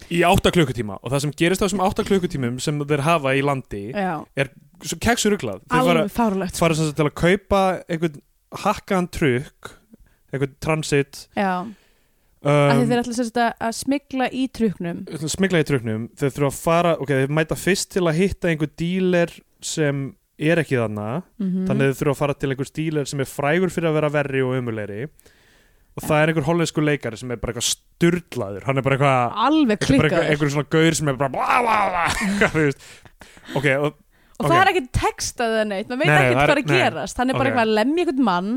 Speaker 2: í átta klukkutíma og það sem gerist á þessum átta klukkutímum sem þeir hafa í landi
Speaker 3: Já,
Speaker 2: svo keksu ruglað þeir fara,
Speaker 3: alveg sko. fárulegt
Speaker 2: fara sem sagt til að kaupa einhvern hakkaðan trukk einhvern transit
Speaker 3: Já, af því
Speaker 2: um,
Speaker 3: þeir ætla sem sagt að, að smikla í truknum
Speaker 2: smigla í truknum þeir þurfa að fara, ok, þeir mæta fyrst til að hitta einhver díler sem er ekki þarna
Speaker 3: mm
Speaker 2: þannig að þau þurfa að fara til einhvers dílar sem er frægur fyrir að vera verri og umulegri og það er einhver hollensku leikari sem er bara eitthvað sturlaður hann er bara eitthvað
Speaker 3: alveg
Speaker 2: þetta er bara eitthvað,
Speaker 3: Ah, klikkaður
Speaker 2: einhver svona gaur sem er bara bla bla bla eitthvað, þú veist. ok, og,
Speaker 3: og
Speaker 2: ok.
Speaker 3: það er ekkert textað eða neitt maður veit
Speaker 2: Nei, nei,
Speaker 3: ekkert
Speaker 2: það er-
Speaker 3: hvað er að
Speaker 2: nei.
Speaker 3: gerast hann er bara
Speaker 2: Ok.
Speaker 3: eitthvað að lemja einhvern mann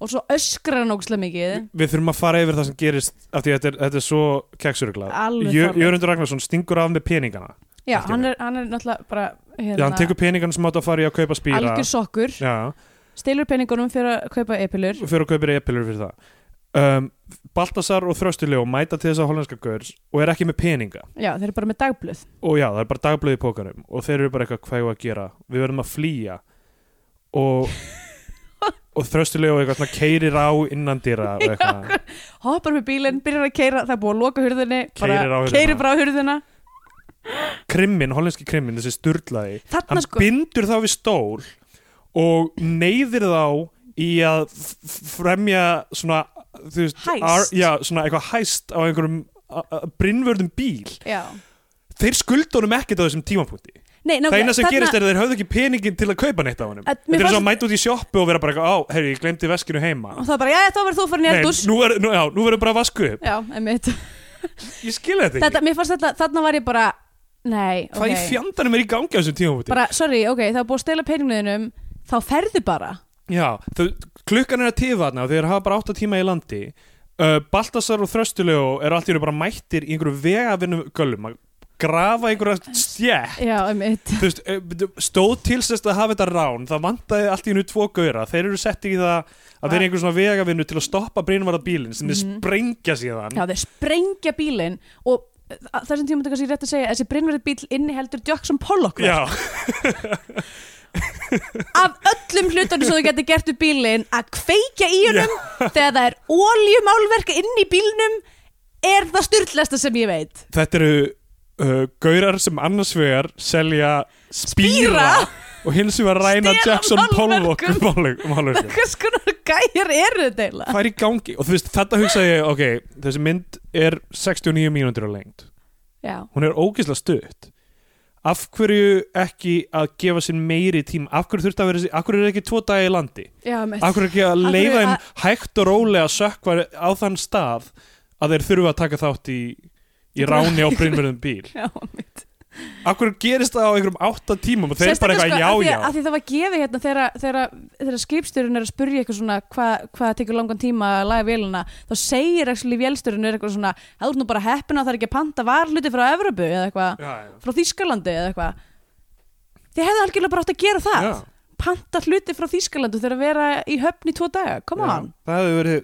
Speaker 3: og svo öskrar hann ógustlega mikið
Speaker 2: við þurfum að fara yfir það sem gerist af því að þetta er, þetta er svo keksurugla
Speaker 3: Alveg fáránlegt.
Speaker 2: Jörundur Ragnarsson stingur af með peningana
Speaker 3: já,
Speaker 2: Allt í
Speaker 3: hann er, hann er náttúrulega bara hérna,
Speaker 2: já, hann tekur peningana sem átt að fara í að kaupa spýra
Speaker 3: algjör sokkur
Speaker 2: já,
Speaker 3: stelur peningunum fyrir að kaupa epilur
Speaker 2: fyrir að kaupa epilur fyrir það um, Baltasar og Þröstuljó mæta til þessa hollenska gaurs og er ekki með peninga
Speaker 3: já, þeir eru bara með dagblöð
Speaker 2: og já, það er bara dagblöð í pókarum og þeir eru bara eitthvað hvað ég að gera við verðum að flýja og, og þröstulega og eitthvað keirir á innan dýra og eitthvað
Speaker 3: hoppar með bílinn, byrjar að keira það er búið að loka hurðinni
Speaker 2: Keyrir á
Speaker 3: bara
Speaker 2: hurðina.
Speaker 3: keirir bara á hurðina
Speaker 2: krimmin, hollenski krimmin, þessi sturlaði
Speaker 3: þarna
Speaker 2: hann
Speaker 3: sko
Speaker 2: bindur þá við stól og neyðir þá í að f- f- fremja svona, þú veist
Speaker 3: Hæst.
Speaker 2: já, svona eitthvað hæst á einhverjum a- a- brinnvörðum bíl
Speaker 3: já.
Speaker 2: þeir skulda honum ekkert á þessum tímapunkti
Speaker 3: Nei, ná,
Speaker 2: það eina sem gerist er að þeir höfðu ekki peningin til að kaupa neitt á honum
Speaker 3: Að-
Speaker 2: þetta er
Speaker 3: mér
Speaker 2: svo
Speaker 3: fannst-
Speaker 2: að mæta út í sjoppu og vera bara eitthvað, á, herri, ég glemdi veskinu heima
Speaker 3: og það er bara, já, þá verður þú farin í
Speaker 2: Nei,
Speaker 3: eldús
Speaker 2: nú, er, nú, já, nú verður bara að vasku upp
Speaker 3: já, einmitt
Speaker 2: ég skil þetta ekki
Speaker 3: þetta, mér fannst þetta, þarna var ég bara nei, ok
Speaker 2: hvað í fjandanum er í gangi á þessum tímapunkti
Speaker 3: bara, sorry, ok, það er búið að stela peningunum þá ferðu bara
Speaker 2: já, þau, klukkan er að tifa þarna og þeir hafa bara 8 tíma í landi uh, Baltasar og Þröstulegu eru allt í eru bara mættir í einhverju vegavinnum göllum að grafa einhverja stjætt
Speaker 3: já, einmitt,
Speaker 2: Þú veist, eh, bíddu, stóð til sérst að hafa þetta rán það vantaði allt í hennu tvo gauðra þeir eru sett í það að vera í einhver svona vegavinnu til að stoppa brinnvarða bílinn sem þeir sprengja síðan
Speaker 3: Mhm. já, þeir sprengja bílinn og að- þessum tíma þetta kannski rétt að segja að þessi brinnverði bíl inni heldur Jackson Pollock
Speaker 2: Já,
Speaker 3: af öllum hlutunum sem þú getur gert úr bílinn að kveikja í honum þegar það er óljumálverk inn í bílnum er það styrlasta sem ég veit
Speaker 2: þetta eru uh, gaurar sem annars vegar selja spýra,
Speaker 3: Spýra?
Speaker 2: og hins vegar ræna
Speaker 3: Stela
Speaker 2: Jackson Pollock
Speaker 3: málverkum.
Speaker 2: málverkum
Speaker 3: hvers konar gæjar eru þetta eiginlega?
Speaker 2: hvað er í gangi og þú veist þetta hugsaði ég ok, þessi mynd er 69 mínútur á lengt
Speaker 3: já,
Speaker 2: hún er ógislega stutt af hverju ekki að gefa sér meiri tíma af hverju þurfti að vera, af hverju er ekki tvo dagi í landi
Speaker 3: já, einmitt
Speaker 2: af hverju ekki að
Speaker 3: hverju
Speaker 2: leifa þeim
Speaker 3: að-
Speaker 2: hægt og rólega að sökva á þann stað að þeir þurfa að taka þátt í í ráni á brinnverðum bíl
Speaker 3: já, einmitt
Speaker 2: af hverju gerist það á einhverjum átta tímum og þeir bara eitthvað
Speaker 3: Sérstaklega, sko,
Speaker 2: já
Speaker 3: af því,
Speaker 2: já
Speaker 3: að því það var gefið hérna þegar, þegar, þegar skipstjórun er að spurja eitthvað svona hvað hva tekur langan tíma að laga vélina þá segir actually vélstjórun er eitthvað svona það er nú bara heppina að það er ekki að panta varluti frá Evropu eða eitthvað,
Speaker 2: já, já.
Speaker 3: frá Þýskalandi eða eitthvað þið hefðu algjörlega bara átt að gera það
Speaker 2: Já.
Speaker 3: panta hluti frá Þýskalandi þegar að vera í höfn í tvo daga, come
Speaker 2: Já.
Speaker 3: on
Speaker 2: það hefur verið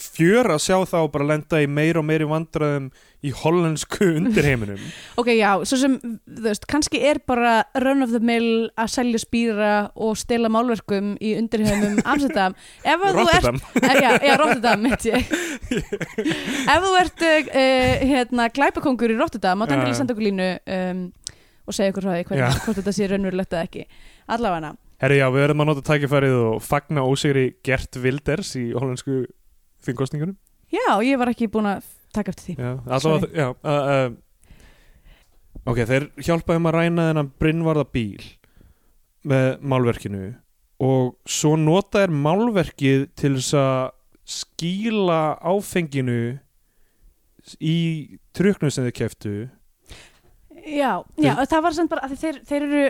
Speaker 2: fjör að sjá þá bara lenda í meir og meiri vandræðum í hollensku undirheiminum
Speaker 3: Ok, já, svo sem, þú veist, kannski er bara run of the mill að selja spýra og stela málverkum í undirheimum Amsterdam Ef að þú ert,
Speaker 2: Rotterdam
Speaker 3: Eh, já, já, Rotterdam, mitt ég Ef þú ert uh, hérna, glæpakongur í Rotterdam,
Speaker 2: Já,
Speaker 3: máttu endilega
Speaker 2: já.
Speaker 3: senda okkur línu um, og segja okkur frá því
Speaker 2: Já.
Speaker 3: hvernig, hvort þetta sé raunverulegt eða ekki Allavega
Speaker 2: Herri já, við verðum að nota tækifærið og fagna ósigri Gert Wilders í hollensku þingkostningunum
Speaker 3: Já, ég var ekki búin að taka eftir því
Speaker 2: Já, allavega, já uh, uh, Ok, þeir hjálpaðum að ræna þennan brinnvarða bíl með málverkinu og svo nota er málverkið til þess að skýla áfenginu í truknum sem þið keftu
Speaker 3: Já, já það var samt bara að þeir, þeir eru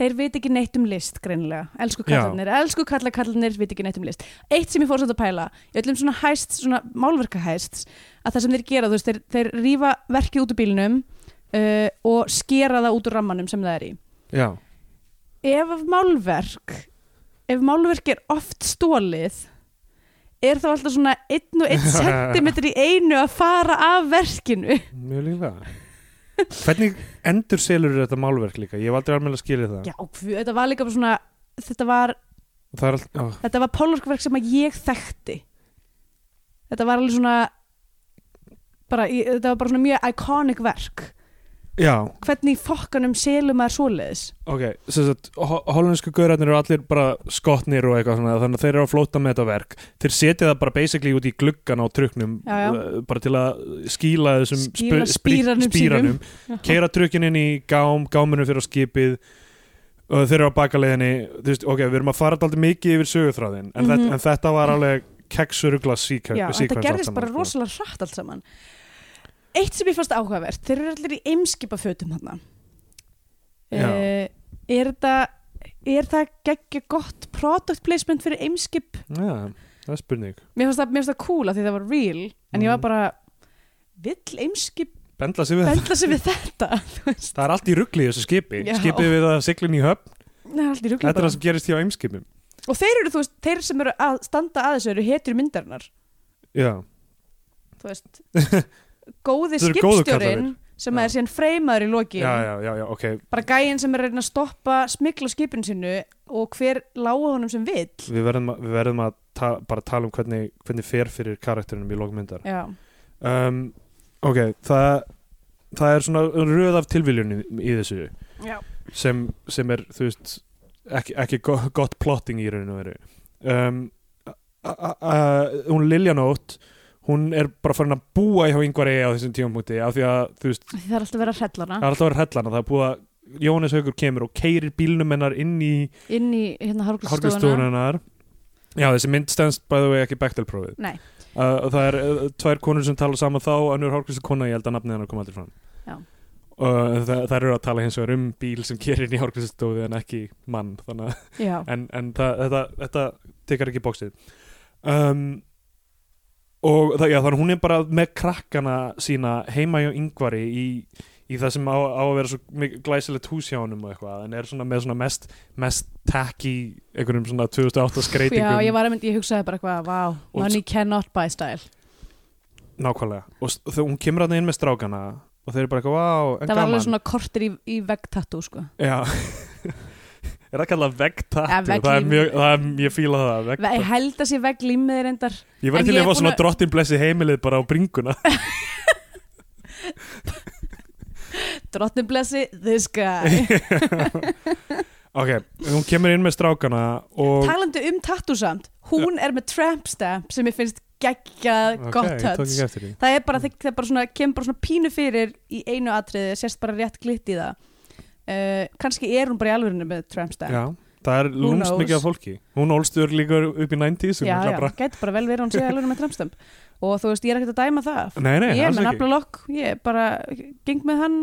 Speaker 3: þeir veit ekki neitt um list greinilega, elsku
Speaker 2: Já.
Speaker 3: kallarnir elsku kallar kallarnir veit ekki neitt um list eitt sem ég fór svolítið að pæla, í öllum svona hæst svona málverka hæst, að það sem þeir gera þú veist, þeir, þeir rífa verkið út úr bílnum uh, og skera það út úr rammanum sem það er í
Speaker 2: Já,
Speaker 3: ef að málverk ef málverk er oft stólið er þá alltaf svona einn og einn sentimetr í einu að fara af verkinu
Speaker 2: mjög líklega Hvernig endur selur þetta málverk líka? Ég hef aldrei alveg að skilja það
Speaker 3: já, guð, þetta var líka bara svona þetta var
Speaker 2: Það er alltaf, já,
Speaker 3: þetta var pálverkverk sem að ég þekkti þetta var alveg svona bara, ég, þetta var bara svona mjög iconic verk
Speaker 2: já
Speaker 3: hvernig í fokkanum selum maður svoleiðis
Speaker 2: Ok, sem sagt, ho- hollensku gaurarnir eru allir bara skotnir og eitthvað svona þannig að þeir eru að flóta með þetta verk þeir setja það bara basically út í gluggan á truknum
Speaker 3: Já, já.
Speaker 2: eh, bara til að skíla þessum
Speaker 3: Skýla spíranum
Speaker 2: spýranum
Speaker 3: sínum.
Speaker 2: keira trukkin inn í gám, gáminu fyrir á skipið og þeir eru á bakaleiðinni þú veist, ok, við erum að fara alltaf mikið yfir sögutráðin en, mm
Speaker 3: Mhm.
Speaker 2: en þetta var alveg keksurugla síkvæm
Speaker 3: Já, þetta gerðist
Speaker 2: sko.
Speaker 3: bara rosalega hratt allt saman eitt sem ég fannst áhugavert þeir eru allir í eimskipafötum hann
Speaker 2: Já.
Speaker 3: uh, er þetta er það geggja gott product placement fyrir eimskip
Speaker 2: Já, það er spurning
Speaker 3: mér fannst það, mér fannst það cool að því það var real en ég var
Speaker 2: Mhm.
Speaker 3: bara vill eimskip
Speaker 2: Bendla sig við það
Speaker 3: bendla sig við þetta þú veist
Speaker 2: Það er allt í rugli í þessu skipi
Speaker 3: Já.
Speaker 2: Skipið við að siglin í höfn
Speaker 3: Nei, allt í rugli
Speaker 2: Þetta er
Speaker 3: bara.
Speaker 2: það sem gerist hjá eimskipum
Speaker 3: Og þeir eru, þú veist, þeir sem eru að standa að þessu eru hetjur myndarinnar,
Speaker 2: Já
Speaker 3: þú veist góði
Speaker 2: Þeir eru góðu
Speaker 3: skipstjórin sem
Speaker 2: Já.
Speaker 3: er síðan freymaður í lokin
Speaker 2: já, já, já, já, ok
Speaker 3: bara gæinn sem er að reyna að stoppa smikla skipin sinu og hver lága honum sem vill
Speaker 2: við verðum að, við verðum að ta bara tala um hvernig, hvernig fer fyrir karakterinum í lókmyndar
Speaker 3: Já,
Speaker 2: um, ok, það það er svona röð af tilviljunni í þessu
Speaker 3: já,
Speaker 2: sem, sem er, þú veist ekki, ekki go gott plotting í raun og veru um, a- a- a- hún Liljanótt hún er bara farin að búa hjá yngvari á þessum tímapunkti af því að, þú veist,
Speaker 3: Af því það er alltaf að vera að hrella
Speaker 2: það
Speaker 3: hana
Speaker 2: er alltaf að vera hellana það er búið að Jónis Haugur kemur og keirir bílnum hennar inn í
Speaker 3: inn í hérna hárgulstofuna
Speaker 2: Horgustúrunar Já, þessi mynd stendst by the way ekki Bechtel-prófið
Speaker 3: Nei.
Speaker 2: uh, Það er uh, tvær konur sem tala saman þá önnur Horgustu kona, ég held að nafnið hennar kom aldrei fram
Speaker 3: Já.
Speaker 2: Uh, það, það eru að tala hins vegar um bíl sem gerir inn í hárgrisastóði en ekki mann þannig, að-
Speaker 3: Já,
Speaker 2: en, en það, þetta, þetta tekar ekki bóksið um, og það, já, þannig hún er bara með krakkana sína heima hjá yngvari í, í það sem á, á að vera svo mik- glæsilegt hús hjá honum og eitthvað en er svona með svona mest, mest tacky einhverjum svona 2008
Speaker 3: já,
Speaker 2: skreitingum
Speaker 3: ég var að myndi, ég hugsaði bara eitthvað, wow,
Speaker 2: Og-
Speaker 3: money cannot buy style
Speaker 2: nákvæmlega og s- þegar hún kemur hann inn með strákana og þeir eru bara eitthvað, wow, en
Speaker 3: Það var
Speaker 2: gaman
Speaker 3: alveg svona kortir í, í veggtattu, sko
Speaker 2: Já Er það kallað
Speaker 3: Ja,
Speaker 2: veggtattu?
Speaker 3: vegglím.
Speaker 2: Það er mjög, það er, ég fíla það
Speaker 3: Ve- Ég
Speaker 2: veggtattu
Speaker 3: held að sé vegglímið reyndar
Speaker 2: Ég verði
Speaker 3: en
Speaker 2: til að
Speaker 3: ég er
Speaker 2: fá svona
Speaker 3: búin að-
Speaker 2: drottin blessi heimilið bara á bringuna
Speaker 3: Drottin blessi, this guy
Speaker 2: Ok, hún kemur inn með strákana og
Speaker 3: Talandi um tattoo samt Hún er með tramp stamp sem ég finnst geggjað
Speaker 2: Ok,
Speaker 3: gott
Speaker 2: ég tók
Speaker 3: touch
Speaker 2: ekki eftir því
Speaker 3: Það er bara, það, það er bara svona, kemur bara svona pínu fyrir í einu atriði, sérst bara rétt glitt í það uh, Kanski er hún bara í alvörinu með tramp stamp
Speaker 2: Já, það er
Speaker 3: Who
Speaker 2: lúmst
Speaker 3: knows?
Speaker 2: mikið af fólki Hún ólstur líka upp í 90s hún
Speaker 3: já,
Speaker 2: er
Speaker 3: já,
Speaker 2: bara-
Speaker 3: gæti bara vel verið að hún sé í alvörinu með tramp stamp Og þú veist, ég er ekkert að dæma það
Speaker 2: Nei, nei,
Speaker 3: Ég er
Speaker 2: alls
Speaker 3: með
Speaker 2: ekki
Speaker 3: nafla lokk, ég er bara geng með hann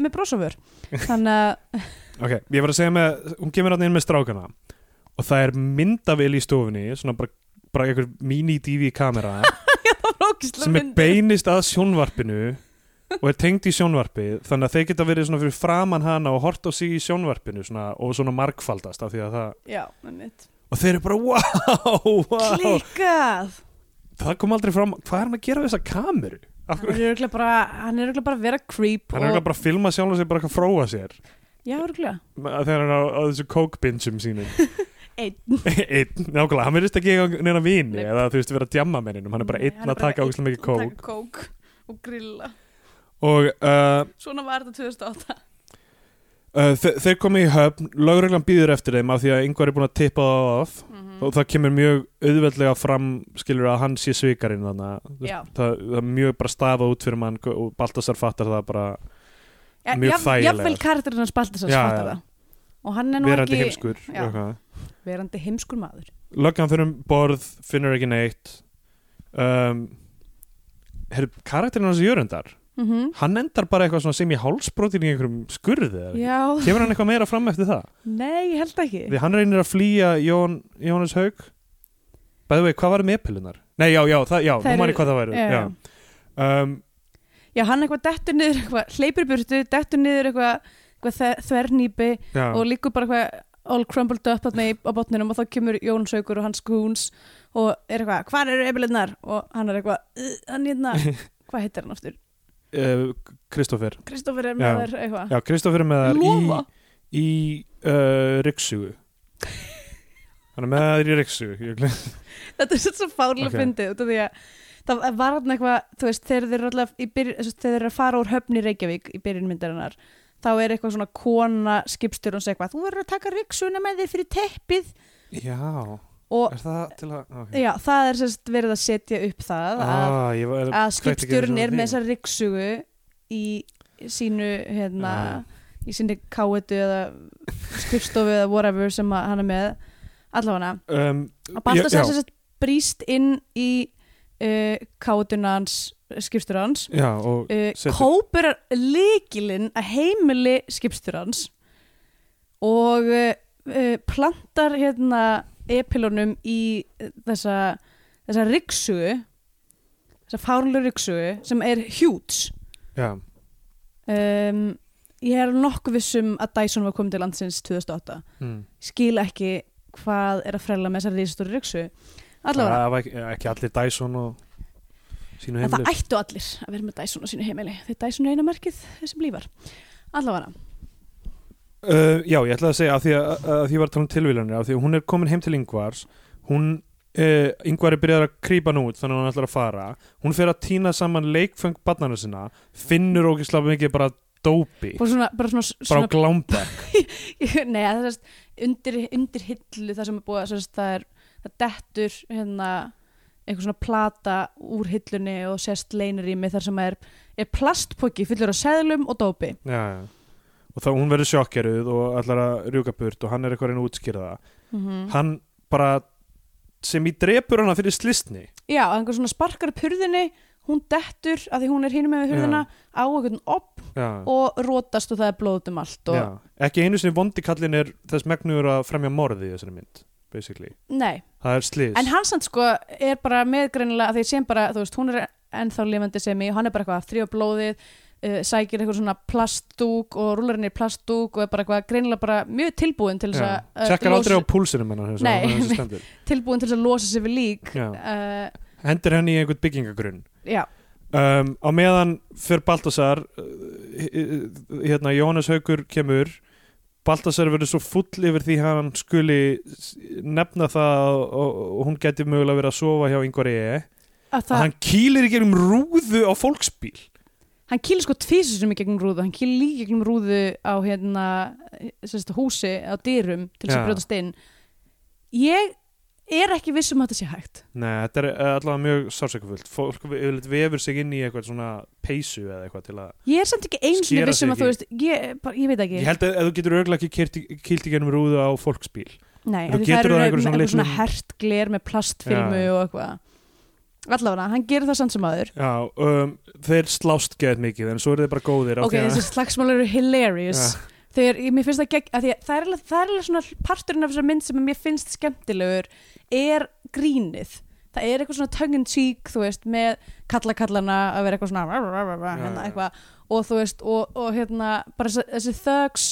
Speaker 3: með brosofur Þannig að,
Speaker 2: Ok, ég var að segja með, hún kemur hann inn með strákana og það er myndavél í stofunni svona bara, bara einhver mini-DV kamera
Speaker 3: það var ógislega
Speaker 2: sem er beinist að sjónvarpinu og er tengd í sjónvarpið þannig að þeir geta verið svona fyrir framan hana og hort á sig í sjónvarpinu svona, og svona markfaldast af því að það
Speaker 3: Já, með mitt
Speaker 2: og þeir eru bara wow, wow.
Speaker 3: Klikkað
Speaker 2: það kom aldrei fram, hvað er hann að gera við þessa kameru? Af
Speaker 3: Hann
Speaker 2: hverju?
Speaker 3: er örugglega bara, hann er örugglega bara að vera creep
Speaker 2: Hann er eiginlega bara að filma sjálf og sér bara eitthvað fróa sér
Speaker 3: Já, örugglega
Speaker 2: þegar hann er á, á þessu kókbindsum sínum
Speaker 3: Einn
Speaker 2: einn, nákvæmlega, hann verðist ekki eiga neina vini
Speaker 3: Nei.
Speaker 2: eða þú veist vera að djamma með hennum hann er bara
Speaker 3: Nei,
Speaker 2: einn að
Speaker 3: bara
Speaker 2: taka ógislega
Speaker 3: einn
Speaker 2: mikið
Speaker 3: að
Speaker 2: kók
Speaker 3: taka kók og grilla
Speaker 2: og uh,
Speaker 3: Svona var þetta 2008
Speaker 2: uh, þe þeir komu í höfn lögreglan býður eftir þeim af því að yngvar er búin að tippa það af
Speaker 3: Mm.
Speaker 2: og það kemur mjög auðveldlega fram skilur að hann sé svikarinn þannig að
Speaker 3: Já.
Speaker 2: það, það er mjög bara stafað út fyrir mann og Baltasar fattar það bara
Speaker 3: Ja,
Speaker 2: Mjög
Speaker 3: jafn-
Speaker 2: þægilegar.
Speaker 3: Jafnvel karakterinn hans Baltasar
Speaker 2: Já, já.
Speaker 3: fattar það Og hann er nú
Speaker 2: verandi
Speaker 3: ekki
Speaker 2: heimskur
Speaker 3: já.
Speaker 2: eitthvað.
Speaker 3: verandi heimskur maður
Speaker 2: löggan fyrir um borð finnur ekki neitt um, her, karakterinn hans Jörundar
Speaker 3: mm
Speaker 2: hann endar bara eitthvað svona sem í hálsbrotin í einhverjum skurði eða ekki?
Speaker 3: Já,
Speaker 2: kemur hann eitthvað meira fram eftir það
Speaker 3: nei, ég held ekki
Speaker 2: því hann reynir að flýja Jón, Jónas Haug bæðu vei, hvað var með pillunar? Nei, já, já, það, já,
Speaker 3: Þær
Speaker 2: nú maður
Speaker 3: eru-
Speaker 2: ég hvað það væri
Speaker 3: já.
Speaker 2: Um,
Speaker 3: Já, hann eitthvað dettur niður eitthvað, hleypir í burtu, dettur niður eitthvað, eitthvað þver- þvernýpi
Speaker 2: já.
Speaker 3: og líkur bara eitthvað all crumbled up þarna í- á botninum og þá kemur Jón Saukur og hans goons og er eitthvað, hvar eru ebilinnar? Og hann er eitthvað, "Ugh, hann hérna, hvað heitir hann aftur?
Speaker 2: uh, Kristoffer
Speaker 3: Kristoffer
Speaker 2: Já.
Speaker 3: er með þær eitthvað.
Speaker 2: Já, Kristoffer er með þær
Speaker 3: Lofa?
Speaker 2: í, í uh, Riksugu Hann er með þær í Riksugu ég glem-
Speaker 3: Þetta er svo
Speaker 2: Ok.
Speaker 3: fárlega okay. fyndið út af því að það var hann eitthvað, þú veist, þegar þeir eru alltaf í byrjun, þú veist, þegar þeir eru að fara úr höfn í Reykjavík í byrjun myndarinnar, þá er eitthvað svona kona skipstjórn sem eitthvað, þú verður að taka ryggsuna með þér fyrir teppið
Speaker 2: Já,
Speaker 3: og
Speaker 2: er það til að okay.
Speaker 3: já, það er sérst verið að setja upp það að,
Speaker 2: ah, ég var-
Speaker 3: að
Speaker 2: kveikti ekki
Speaker 3: skipstjórn
Speaker 2: þessu á
Speaker 3: er
Speaker 2: því.
Speaker 3: með þessa ryggsugu í sínu, hérna,
Speaker 2: Ah.
Speaker 3: í sínu káetu eða skipstofu eða whatever sem að hann er með, allavega
Speaker 2: um,
Speaker 3: að Baltasar
Speaker 2: já,
Speaker 3: sem sagt brýst inn í uh, kátuna hans skipstur hans
Speaker 2: já, og
Speaker 3: uh,
Speaker 2: setur-
Speaker 3: kópur líkilinn að heimili skipstur hans og uh, uh, plantar hérna epilonum í eh, þessa þessa ryggsugu þessa fárlu ryggsugu sem er hjúts
Speaker 2: já,
Speaker 3: um, ég er nokkuð vissum að Dyson var komið til landsins 2008
Speaker 2: mm.
Speaker 3: skil ekki hvað er að frella með þessa rísastóri ryggsugu allavega
Speaker 2: Það var ekki, ekki allir Dyson og sínu
Speaker 3: En það
Speaker 2: heimli
Speaker 3: ættu allir að vera með Dyson á sínu heimili. Því Dyson er eina merkið sem lífar. Allavega.
Speaker 2: Uh, já, ég ætlaði að segja að því að, að því ég var að tala um tilvílanir af því að hún er komin heim til Ingvars hún, uh, Ingvar er byrjað að krýpa nú út þannig að hún ætlar að fara hún fer að týna saman leikfeng barnana sinna finnur ógislega mikið bara dópi,
Speaker 3: Bara svona, bara svona,
Speaker 2: bara á
Speaker 3: svona
Speaker 2: glámba
Speaker 3: nei, það er sérst, undir, undir hillu það sem er búið að sérst, það er það dettur hérna einhver svona plata úr hillunni og sérst leinarími þar sem er, er plastpokki fullur á seðlum og dópi.
Speaker 2: já, já. og þá hún verður sjokkeruð og ætlar að rjúka burt og hann er eitthvað að reyna að útskýra það
Speaker 3: Mhm.
Speaker 2: hann bara sem í drepur hana fyrir slistni
Speaker 3: Já, og einhver svona sparkar upp hurðinni, hún dettur að því hún er hinum með hurðina á einhvern opp
Speaker 2: já,
Speaker 3: og rótast og það er blóðum allt og
Speaker 2: já. ekki einu sinni vondikallin er þess megnugur að fremja morði í þessari mynd, basically
Speaker 3: nei,
Speaker 2: það er slist
Speaker 3: En hann samt sko er bara meðgreinilega að því sem bara, þú veist, hún er ennþá lifandi sem í, hann er bara eitthvað að þrjá blóðið uh, sækir eitthvað svona plastdúk og rúlarinn er plastdúk og er bara eitthvað greinilega bara mjög tilbúin til þess
Speaker 2: Já.
Speaker 3: að uh,
Speaker 2: Tjekkar aldrei á
Speaker 3: losa,
Speaker 2: púlsinum hennar eins og
Speaker 3: Nei,
Speaker 2: hann eins og
Speaker 3: nei.
Speaker 2: stendur.
Speaker 3: tilbúin til þess að losa sig við lík
Speaker 2: Já.
Speaker 3: uh,
Speaker 2: Hendir henni í einhvern byggingagrunn
Speaker 3: Já,
Speaker 2: um, Á meðan fyrir Baltasar uh, hérna, Jónas Haukur kemur Baltasar verður svo full yfir því hann skuli s- nefna það og, og, og hún geti mögulega verið að sofa hjá yngvar E
Speaker 3: að
Speaker 2: að
Speaker 3: það, hann,
Speaker 2: hann kýlir í gerum rúðu á fólksbíl
Speaker 3: hann kýlir sko tvísusum í gegnum rúðu, hann kýlir líka gegnum rúðu á hérna, sérst, húsi á dyrum til þess
Speaker 2: Já.
Speaker 3: að brjótast inn Ég er ekki viss um að þetta sé hægt
Speaker 2: Nei, þetta er eh, allavega mjög sársökufullt Fólk yfirleitt vefur sig inn í eitthvað svona peysu eða eitthvað til að
Speaker 3: Ég er samt ekki eins og
Speaker 2: Skera
Speaker 3: viss um
Speaker 2: sig
Speaker 3: að þú veist, ég, bara, ég veit ekki
Speaker 2: Ég held að, að þú getur örgulega ekki keyrt í- kýlt í gerum rúðu á fólksbíl
Speaker 3: Nei,
Speaker 2: En
Speaker 3: af
Speaker 2: þú
Speaker 3: því það
Speaker 2: getur
Speaker 3: eru
Speaker 2: það
Speaker 3: með
Speaker 2: einhverju svona
Speaker 3: svona, svona
Speaker 2: litlum-
Speaker 3: hert gler með plastfilmu
Speaker 2: Já.
Speaker 3: og eitthvað allavega, hann gerir það samt sem aður
Speaker 2: Já, um, þeir slást geðið mikið en svo eru þeir bara góðir á
Speaker 3: ok,
Speaker 2: því að-
Speaker 3: þessi slagsmál eru hilarious þegar, ég- mér finnst það gegn að að það, er alveg, það er alveg svona parturinn af þessar mynd sem mér finnst skemmtilegur er grínið það er eitthvað svona tongue in cheek þú veist, með kallakallana að vera eitthvað svona rá, rá, rá, rá,
Speaker 2: Já,
Speaker 3: hérna,
Speaker 2: já.
Speaker 3: eitthvað, og þú veist, og, og hérna bara þessi, þessi thugs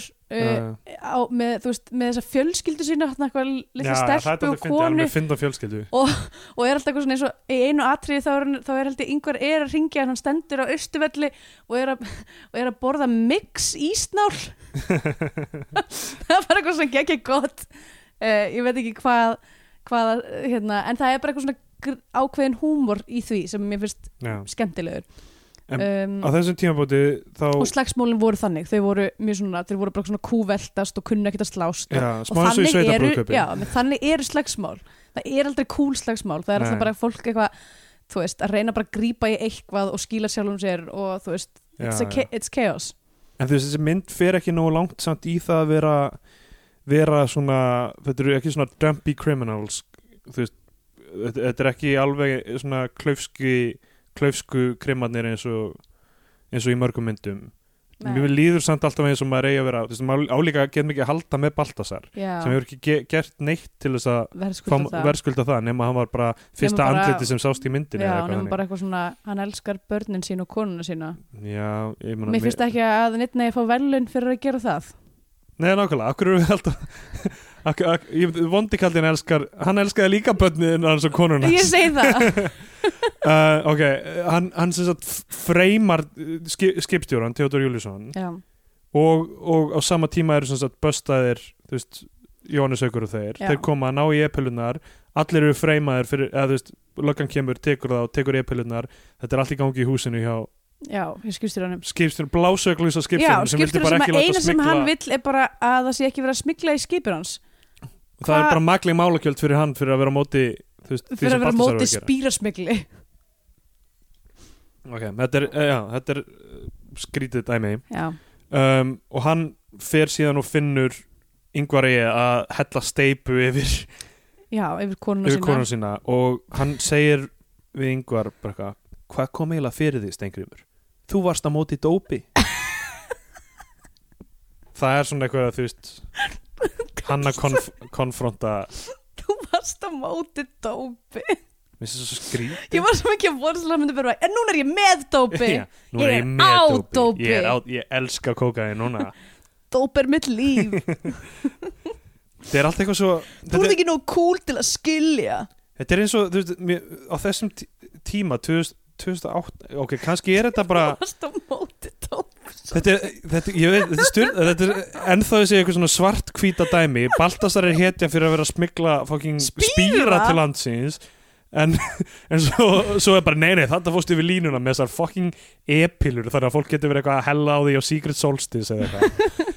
Speaker 3: uh,
Speaker 2: Uh,
Speaker 3: á, með, þú veist, með þessa fjölskyldu sína hann eitthvað litla stelpu og
Speaker 2: Það er
Speaker 3: konu
Speaker 2: alveg fynda fjölskyldu
Speaker 3: og er alltaf eitthvað svona eins og í einu atriði þá er, hann- þá er heldur yngvar er að ringja hann stendur á austuvelli og er að, og er að borða mix ísnál það er bara eitthvað svona gekkja gott uh, ég veit ekki hvað, hvað hérna, en það er bara eitthvað svona gr- ákveðin húmor í því sem mér finnst
Speaker 2: Já.
Speaker 3: skemmtilegur
Speaker 2: En
Speaker 3: um,
Speaker 2: Á þessum tímabóti þá
Speaker 3: og slagsmólin voru þannig þau voru mjög svona, þeir voru bara svona kúveltast og kunnu ekkert að slást og-
Speaker 2: Já,
Speaker 3: og
Speaker 2: smá eins og í
Speaker 3: þannig eru,
Speaker 2: sveitabrúðkaupi
Speaker 3: já, menn þannig eru slagsmál það er aldrei kúl slagsmál það er
Speaker 2: Nei.
Speaker 3: alltaf bara fólk eitthvað þú veist, að reyna bara að grípa í eitthvað og skýla sjálfum sér og þú veist, it's, a,
Speaker 2: já.
Speaker 3: cha- it's chaos
Speaker 2: En þú veist þessi mynd fer ekki nógu langt samt í það að vera vera svona, þetta eru ekki svona dumpy criminals þú veist, þetta þetta er ekki alveg svona klaufski, klaufsku krimarnir eins og eins og í mörgum myndum
Speaker 3: Nei.
Speaker 2: Mér líður samt alltaf eins og maður eigi að vera þú veist, maður álíka getur mikið að halda með Baltasar sem
Speaker 3: já,
Speaker 2: hefur ekki ge gert neitt til þess að
Speaker 3: verðskulda
Speaker 2: fá-
Speaker 3: það
Speaker 2: verðskulda það nema hann var bara fyrsta
Speaker 3: bara-
Speaker 2: andliti sem sást í myndinni
Speaker 3: já,
Speaker 2: eða eitthvað
Speaker 3: hann
Speaker 2: þannig.
Speaker 3: er bara eitthvað svona, hann elskar börnin sín og konuna sína
Speaker 2: Já, ég meina
Speaker 3: mér finnst ekki að neitt negi að fá velun fyrir að gera það
Speaker 2: Nei, nákvæmlega, akkur eru við alltaf ak, ak, ég, Vondi kallinn elskar Hann elskaði líka bönnin hans og konuna
Speaker 3: ég segi það,
Speaker 2: uh, Ok, hann, hann sem sagt f- freymar uh, ski, skipstjóran Theodor Júlíusson
Speaker 3: já,
Speaker 2: og, og á sama tíma eru sem sagt böstaðir, þú veist, Jóhannes Haukur og þeir
Speaker 3: Já.
Speaker 2: Þeir koma að ná í epilunar Allir eru freymaðir fyrir, eða þú veist löggan kemur, tekur það og tekur epilunar Þetta er allt í gangi í húsinu hjá
Speaker 3: já, ég skipstir honum
Speaker 2: skipstjóran, blásöglusa
Speaker 3: já,
Speaker 2: skipstjóran sem vildi
Speaker 3: skipstir
Speaker 2: bara
Speaker 3: sem
Speaker 2: ekki
Speaker 3: að
Speaker 2: láta
Speaker 3: eina sem hann
Speaker 2: smygla-
Speaker 3: vill er bara að það sé ekki verið að smigla í skipir hans
Speaker 2: það er
Speaker 3: Hva-
Speaker 2: bara magleg málakjöld fyrir hann fyrir að vera á móti þú veist, því sem
Speaker 3: fyrir að vera
Speaker 2: Baltasar
Speaker 3: á
Speaker 2: var
Speaker 3: móti
Speaker 2: gera.
Speaker 3: spýrasmigli
Speaker 2: Ok, þetta er, eh, já, þetta er eh, skrítið dæmi
Speaker 3: já,
Speaker 2: um, og hann fer síðan og finnur yngvar eigi að hella steipu yfir,
Speaker 3: já, yfir konuna
Speaker 2: yfir
Speaker 3: sína
Speaker 2: konun sína og hann segir við yngvar bara eitthvað, hvað kom eiginlega fyrir því Steingrimur? Þú varst á móti dópi Það er svona eitthvað þú veist hann að konf konfronta
Speaker 3: þú varst á móti dópi
Speaker 2: mér finnst það svo skrítið
Speaker 3: ég var svo mikið að voru til að myndi vera en núna er ég með dópi
Speaker 2: Já, nú er ég,
Speaker 3: Ég er á
Speaker 2: með dópi,
Speaker 3: dópi.
Speaker 2: Ég, er á, ég elska kókaði núna
Speaker 3: dópi er mitt líf,
Speaker 2: þetta er allt eitthvað svo
Speaker 3: þú
Speaker 2: þetta,
Speaker 3: ert ekki nóg cool til að skilja
Speaker 2: þetta er eins og þú veist, mér, á þessum tí- tíma 2000, 2008 ok, kannski er þetta bara
Speaker 3: þú varst á móti dópi
Speaker 2: þetta er, þetta, ég veit, þetta er styrn þetta er ennþá þessi eitthvað svona svart hvíta dæmi Baltasar er hetjan fyrir að vera að smikla fucking spýra,
Speaker 3: Spýra?
Speaker 2: til landsins en, en svo, svo er bara nei nei þetta fórstu við línuna með þessar fucking e-pillur þannig að fólk getur verið eitthvað að hella á því á Secret Solstice eða eitthvað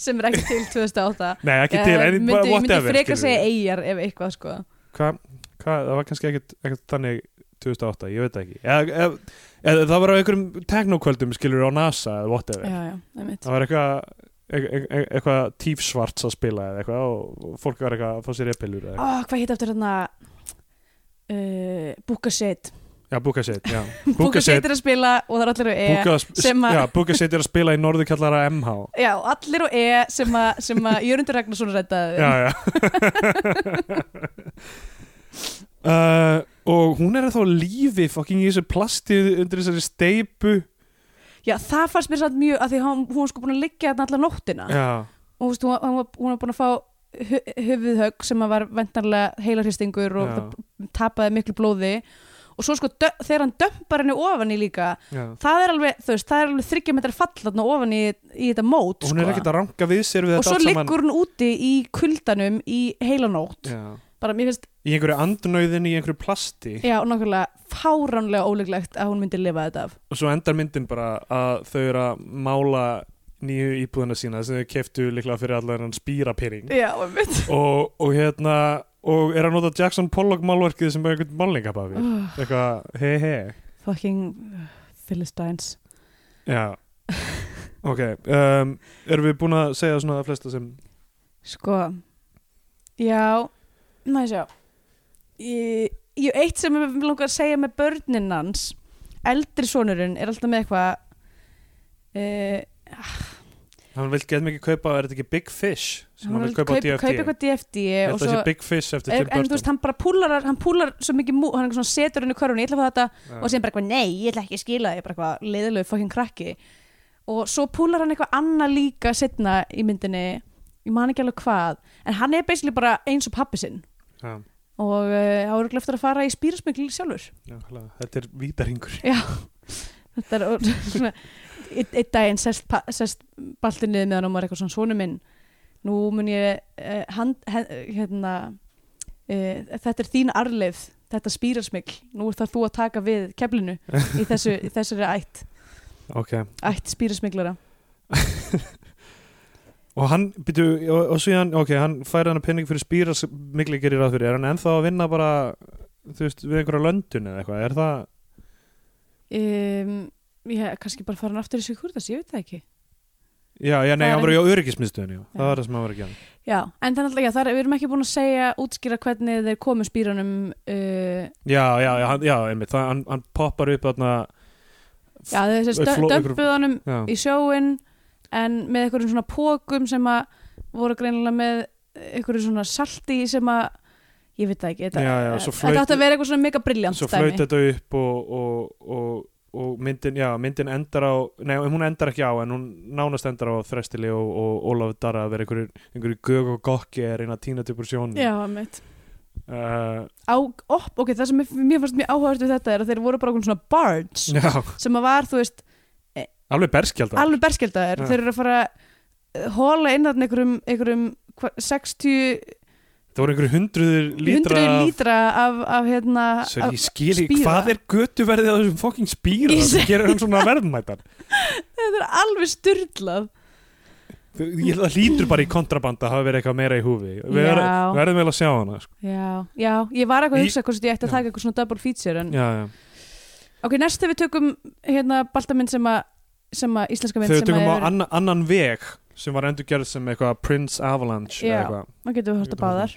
Speaker 3: sem er ekki til 2008
Speaker 2: nei ekki til,
Speaker 3: Eh,
Speaker 2: en
Speaker 3: myndi,
Speaker 2: bara
Speaker 3: ég myndi
Speaker 2: whatever
Speaker 3: frekar
Speaker 2: skilurðu.
Speaker 3: segja eigjar ef eitthvað sko
Speaker 2: hvað, hva, það var kannski ekkert, ekkert þannig 2008, ég veit það ekki eða, eða, eða það var á einhverjum teknokvöldum skilur á NASA eða whatever
Speaker 3: já, já, einmitt
Speaker 2: það var eitthvað eit- eit- eit- eitthvað tífsvarts að spila eða eitthvað og og fólk var eitthvað að fá sér eppilur eða eitthvað.
Speaker 3: oh, hvað hétt eftir hérna uh, Búkaseit
Speaker 2: já, Búkaseit, já
Speaker 3: Búkaseit
Speaker 2: Búkaseit
Speaker 3: er að spila og það er allir að e sem að-
Speaker 2: já, Búkaseit er að spila í norðurkallara MH
Speaker 3: já, allir og e sem að, sem að Jörundur Ragnarsson um. rættaði
Speaker 2: já, já Uh, og hún er þá á lífi fucking í þessu plasti undir þessari steipu
Speaker 3: Já, það fannst mér samt mjög að því hún, hún var sko búin að liggja þarna allar nóttina
Speaker 2: já,
Speaker 3: og þú veist, hún, var- hún, var, hún var búin að fá hö- höfuðhögg sem að var vendarlega heilarhristingur og
Speaker 2: já,
Speaker 3: það tapaði miklu blóði og svo sko dö, þegar hann dömpar henni ofan í líka
Speaker 2: já.
Speaker 3: það er alveg, þú veist, það er alveg þryggja metrar fall þarna ofan í, í þetta mót
Speaker 2: og hún er
Speaker 3: sko.
Speaker 2: ekkert að ranka við sér við
Speaker 3: og
Speaker 2: þetta
Speaker 3: svo
Speaker 2: allt saman
Speaker 3: liggur hún úti í kuldanum í heilanótt
Speaker 2: já.
Speaker 3: bara mér finnst,
Speaker 2: í einhverju andnauðin í einhverju plasti
Speaker 3: já, nákvæmlega fáránlega óleglegt að hún myndi lifa þetta af
Speaker 2: og svo endar myndin bara að þau eru að mála nýju íbúðina sína sem þau keftu líklega fyrir allan hann spýrapyrring
Speaker 3: Já, einmitt
Speaker 2: og, og hérna og er að nota Jackson Pollock málverkið sem er einhvern málningabafi
Speaker 3: oh,
Speaker 2: eitthvað hei hei
Speaker 3: Fucking uh, Philistines
Speaker 2: já ok um, erum við búin að segja svona að flesta sem
Speaker 3: Sko Já, næ sjá ég, ég, Eitt sem ég langar að segja með börnin hans Eldri sonurinn er alltaf með eitthvað uh,
Speaker 2: hann vil gett mikið kaupa er þetta ekki Big Fish sem hann vil kaupa á
Speaker 3: kaupa, kaupa
Speaker 2: DFD
Speaker 3: eitthvað DFD og
Speaker 2: þetta
Speaker 3: svo,
Speaker 2: sé Big Fish eftir Tim
Speaker 3: en, en þú veist,
Speaker 2: Burton
Speaker 3: hann bara púlar hann púlar svo mikið mú, hann er svona setur henni í körfunni, ég ætla að fá þetta
Speaker 2: Já.
Speaker 3: og síðan bara eitthvað, nei, ég ætla ekki að skila því bara eitthvað leiðilegu fokkin krakki og svo púlar hann eitthvað annað líka setna í myndinni ég man ekki alveg hvað en hann er basically bara eins og pappi sinn
Speaker 2: Já,
Speaker 3: og uh, hann er eftir að fara í spýrasmöggl sjálfur
Speaker 2: já, klálega. þetta er vítaringur
Speaker 3: þetta er og- svona einn einn daginn sest, pa- sest baltið niður með hann og maður er eitthvað svona svona minn nú mun ég uh, hand, he, hérna uh, þetta er þín arleif þetta spýrasmikl, nú þarf þú að taka við keflinu í, þessu, í þessari ætt
Speaker 2: Ok,
Speaker 3: ætt spýrasmiklara
Speaker 2: og hann, byrju, og, og síðan ok, hann fær hann að penning fyrir spýra mikli gerir ráð fyrir, er hann ennþá að vinna bara þú veist, við einhverja löndun eða eitthvað, er það
Speaker 3: um, ég er kannski bara farin aftur í Sigurdas, ég veit það ekki
Speaker 2: Já, já, nei,
Speaker 3: Það er
Speaker 2: hann var í öryggismiðstöðinu, já.
Speaker 3: Já.
Speaker 2: það var það sem hann var að gera
Speaker 3: já, en þannig að já, þar, við erum ekki búin að segja útskýra hvernig þeir komu spýranum uh,
Speaker 2: Já, já, já, hann, já, einmitt, það, hann, hann poppar upp þarna,
Speaker 3: já, þessi
Speaker 2: Fló- ykkur-
Speaker 3: dömpuð honum
Speaker 2: já,
Speaker 3: í sjóin en með einhverjum svona pókum sem að voru greinilega með einhverjum svona salti sem að ég veit það ekki, þetta,
Speaker 2: Já, já, svo flaut-
Speaker 3: þetta átti að vera eitthvað svona mega briljant
Speaker 2: svo flaut þetta upp og, og, og, og myndin, já, myndin endar á, nei, hún endar ekki á en hún nánast endar á Þrestili og, og Ólaf Darra að vera einhverju, einhverju gög og gokki að reyna að tína upp úr sjónum
Speaker 3: Já, mitt.
Speaker 2: uh,
Speaker 3: Á, op, ok, það sem mér- mér fannst mjög áhugavert við þetta er að þeir voru bara okkur svona bards
Speaker 2: já,
Speaker 3: sem að var, þú veist,
Speaker 2: alveg berskjaldar
Speaker 3: alveg berskjöldaðir
Speaker 2: Já.
Speaker 3: þeir eru að fara að hóla inn þarna einhverjum, einhverjum hva- 60,
Speaker 2: það voru einhverju hundruður lítra
Speaker 3: 100
Speaker 2: af-
Speaker 3: lítra af, af hérna
Speaker 2: Sér,
Speaker 3: af,
Speaker 2: ég skil ekki,
Speaker 3: spýra.
Speaker 2: hvað er götuverðið á þessum fokking spýra
Speaker 3: Ég
Speaker 2: sem gerir hann svona verðmættan
Speaker 3: þetta er alveg styrlað
Speaker 2: Þú- ég held að það hlýtur bara í kontrabanda að hafa verið eitthvað meira í húfi við
Speaker 3: Já.
Speaker 2: verðum- við verðum vel að sjá hana sko.
Speaker 3: Já, já, ég var eitthvað að
Speaker 2: Í-
Speaker 3: hugsa hvort ég ætti að
Speaker 2: Já.
Speaker 3: taka eitthvað svona double feature en...
Speaker 2: já, já.
Speaker 3: Ok, næst þegar við tökum hérna baltaminn sem að sem að íslenska mynd
Speaker 2: þau
Speaker 3: sem
Speaker 2: tökum á
Speaker 3: að er,
Speaker 2: anna, annan veg sem var endurgerð sem eitthvað Prince Avalanche eða
Speaker 3: Já.
Speaker 2: eitthvað.
Speaker 3: maður getur hort að báðar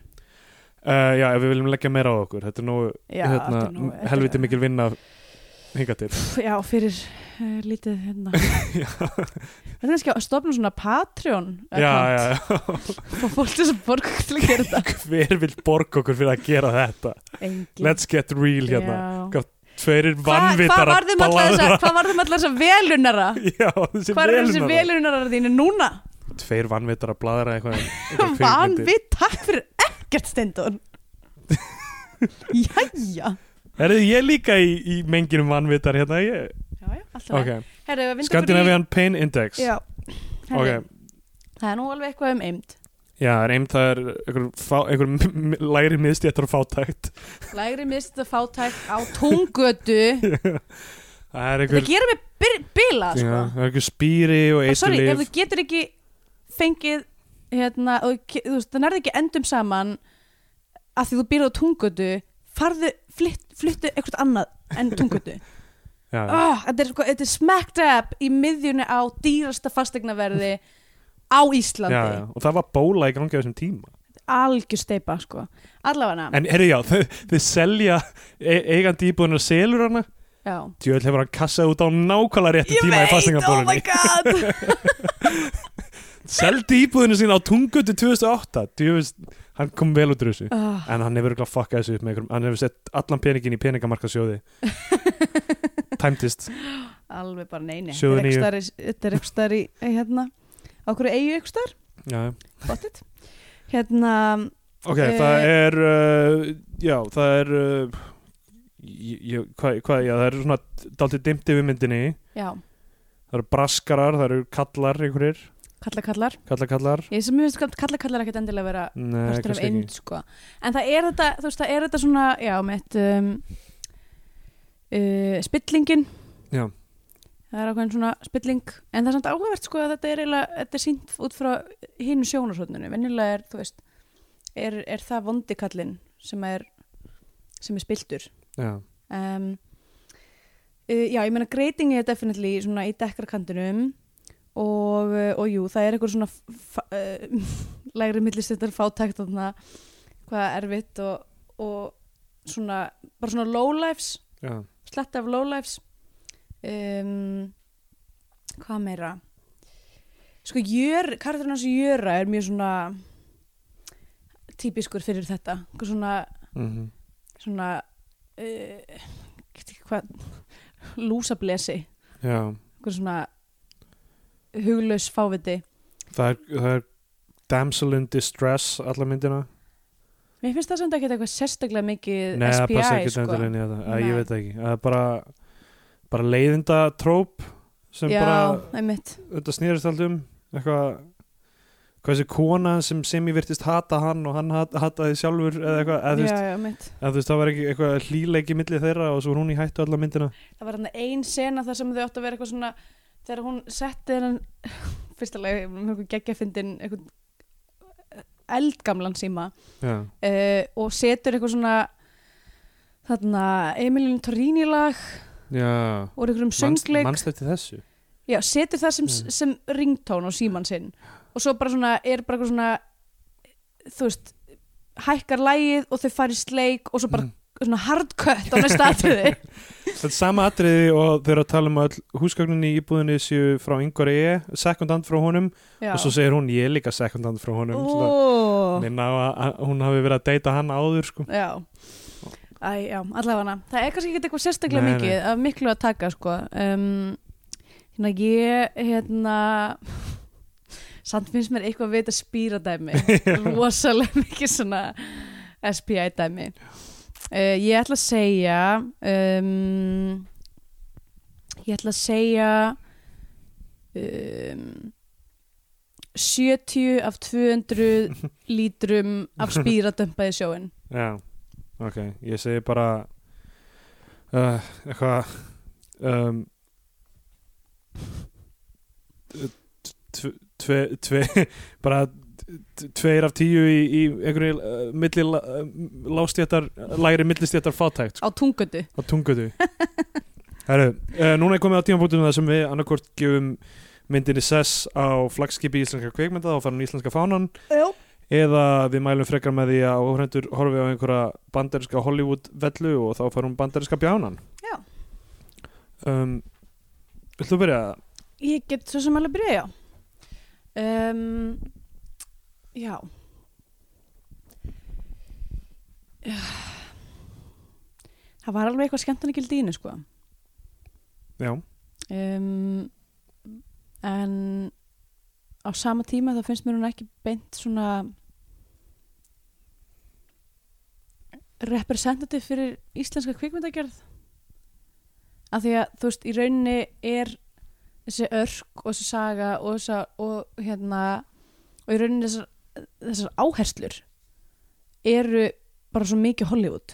Speaker 2: Uh, já, ef við viljum leggja meira á okkur þetta er nú
Speaker 3: Já,
Speaker 2: hérna,
Speaker 3: þetta er nú-
Speaker 2: helviti
Speaker 3: þetta-
Speaker 2: mikil vinna hinga til
Speaker 3: Pff, Já, fyrir uh, lítið hérna Þetta er kannski að stopna svona Patreon
Speaker 2: já, já, já.
Speaker 3: og fólk til að borga til að gera þetta
Speaker 2: hver vil borga okkur fyrir að gera þetta
Speaker 3: Engin
Speaker 2: let's get real hérna
Speaker 3: hérna
Speaker 2: Hvað tveirir
Speaker 3: Hvað
Speaker 2: vannvitar
Speaker 3: varðum allar um þessa- hvað varðum allar þess að velunara?
Speaker 2: já, þessi
Speaker 3: Hvað er þessi
Speaker 2: velunar.
Speaker 3: velunara þínu núna?
Speaker 2: tveir vannvitar að bladra eitthvað, eitthvað kvikmyndir.
Speaker 3: Vanvitt, takk fyrir ekkert Steindón Jæja
Speaker 2: Herðu, ég er líka í, í menginum vannvitar hérna ég,
Speaker 3: Já, já, alltaf
Speaker 2: ok,
Speaker 3: Herru, vindu
Speaker 2: Scandinavian Pain Index
Speaker 3: Já, herru,
Speaker 2: ok,
Speaker 3: það er nú alveg eitthvað um eimt
Speaker 2: Já, það er einn það er einhver, fá, einhver m- m- lægri miðstjættar og fátækt
Speaker 3: Lægri mistið fátæk á tunggötu
Speaker 2: Það er
Speaker 3: Þetta
Speaker 2: einhver,
Speaker 3: gerir mig byr-
Speaker 2: já,
Speaker 3: bilað sko.
Speaker 2: það er einhver spýri og
Speaker 3: Og Sorry, ef
Speaker 2: eitulif
Speaker 3: þú getur ekki fengið hérna, og, ke- þú veist, það nærði ekki endum saman að því þú býrð á tunggötu farðu, flytt, flyttu eitthvað annað en tunggötu
Speaker 2: já, já.
Speaker 3: oh, þetta, er, sko- þetta er smacked up í miðjunni á dýrasta fastegnaverði á
Speaker 2: já,
Speaker 3: Íslandi
Speaker 2: já, og það var bóla í gangi á þessum tíma
Speaker 3: algjör steipa sko allavega
Speaker 2: En herri já, þau, þau selja e eigandi íbúðunar selur hana
Speaker 3: já
Speaker 2: Djöðl hefur hann kassað út á nákvæmlega réttu tíma í fastingabólunni
Speaker 3: oh my god
Speaker 2: Seldi íbúðinu sín á tungutu 2008 Djöðl, hann kom vel út úr þessu
Speaker 3: oh,
Speaker 2: En hann hefur ekki fuckað þessu upp með einhverjum Hann hefur sett allan peningin í peningamarkasjóði Tæmtist
Speaker 3: alveg bara neini
Speaker 2: Sjóðu nýju.
Speaker 3: þetta er ekki star í hérna á hverju eigu ekki star
Speaker 2: Já, já
Speaker 3: bóttið hérna
Speaker 2: Ok,
Speaker 3: Eh,
Speaker 2: það er uh, já, það er uh, ég- ég- hvað, hvað, já, það er svona daltið dimmt yfir myndinni
Speaker 3: já
Speaker 2: það eru braskarar, það eru kallar einhverjir,
Speaker 3: kalla kallar
Speaker 2: kallar kallar
Speaker 3: ég sem mér finnst kalla kallar ekkert endilega vera
Speaker 2: Nei,
Speaker 3: partur af
Speaker 2: kannski
Speaker 3: einn
Speaker 2: ekki
Speaker 3: sko en það er þetta þú veist það er þetta svona já með um, uh, spillingin
Speaker 2: Já,
Speaker 3: það er ákveðin svona spilling en það er samt áhugavert sko að þetta er eiginlega þetta er sínt út frá hinu sjónarsókninu venjulega er þú veist er, er það vondikallin sem er sem er spiltur
Speaker 2: já,
Speaker 3: um, uh, já ég meina greiting er definitely svona í dekkarkantinum og, uh, og jú það er eitthvað svona fa- uh, lægri millistendar fátækt og þarna hvað erfitt og, og svona bara svona lowlifes
Speaker 2: já
Speaker 3: slett af lowlifes um, hvað meira sko jör karakterinn hans Jöra er mjög svona típiskur fyrir þetta Einhver svona,
Speaker 2: mm
Speaker 3: svona uh, get ekki hvað lúsablesi
Speaker 2: já,
Speaker 3: Einhver svona huglaus fáviti
Speaker 2: það er, það er damsel in distress alla myndina
Speaker 3: Mér finnst það samt ekki eitthvað sérstaklega mikið
Speaker 2: Nei, það
Speaker 3: SPI
Speaker 2: passa ekki
Speaker 3: sko.
Speaker 2: endilega inn í þetta Æ,
Speaker 3: Nei.
Speaker 2: Ég veit það ekki, það er bara bara leiðinda tróp sem
Speaker 3: Já,
Speaker 2: bara
Speaker 3: einmitt
Speaker 2: þetta snýrist allt um eitthvað hvað þessi kona sem sem ég virtist hata hann og hann hat, hataði sjálfur eða eitthvað, eða þú
Speaker 3: já,
Speaker 2: veist,
Speaker 3: Mm, já, einmitt.
Speaker 2: eða þú veist, það var ekki eitthvað hlíleiki milli þeirra og svo var hún í hættu alla myndina
Speaker 3: Það var hann ein sena þar sem þau áttu að vera eitthvað svona þegar hún setti hennan fyrsta leið, mjög geggjafindin eitthvað eldgamlan síma
Speaker 2: Já,
Speaker 3: uh, og setur eitthvað svona þarna Emilin Torrini lag
Speaker 2: já
Speaker 3: og einhverjum
Speaker 2: Manst-
Speaker 3: söngleik
Speaker 2: Manstu eftir þessu?
Speaker 3: Já, setur það sem,
Speaker 2: Mm.
Speaker 3: sem ringtón á síman sinn og svo bara svona, er bara eitthvað svona þú veist hækkar lægið og þau farið sleik og svo bara
Speaker 2: Mm.
Speaker 3: svona hardcut á næsta atriði
Speaker 2: Þetta er sama atriði og þau eru að tala um að öll húsgögninni í íbúðinni séu frá yngvar ég, second hand frá honum
Speaker 3: Já.
Speaker 2: og svo um segir hún ég er líka second hand frá honum svona-
Speaker 3: Ó.
Speaker 2: minna á að- að hún hafi verið að deyta hann áður sko.
Speaker 3: Já Æ, já, allavega Það er kannski ekki eitthvað sérstaklega
Speaker 2: Nei,
Speaker 3: mikið af miklu að taka sko um, Hérna ég hérna samt finnst mér eitthvað við þetta spýra dæmi rosalega mikið svona SPI dæmi uh, Ég ætla að segja um, Ég ætla að segja um, 70 af 200 lítrum af spýradömpa í sjóin
Speaker 2: Já, ok, ég segi bara uh, eitthvað um, tve, tve, tve, bara t- tveir af tíu í, í einhverju uh, milli uh, lástjættar, lægri millistjættar fátækt sko,
Speaker 3: á tungötu
Speaker 2: á tungutu Herru, uh, núna er komið á tímabútinu það sem við annarkort gefum myndinni sess á flagskipi íslenska kveikmynda þá fara hún íslenska fánan
Speaker 3: Já.
Speaker 2: eða við mælum frekar með því að óhrendur horfi á einhverja bandarinska Hollywood vellu og þá fær hún bandarinska bjánan
Speaker 3: Já.
Speaker 2: um, Viltu að byrja?
Speaker 3: Ég get svo sem alveg byrja, já um, Já Það var alveg eitthvað skemmtan ekki í henni sko
Speaker 2: Já,
Speaker 3: um, En á sama tíma þá finnst mér hún ekki beint svona representativ fyrir íslenska kvikmyndagerð af því að þú veist í rauninni er þessi örk og þessi saga og, þessa, og hérna og í rauninni þessar, þessar áherslur eru bara svo mikið Hollywood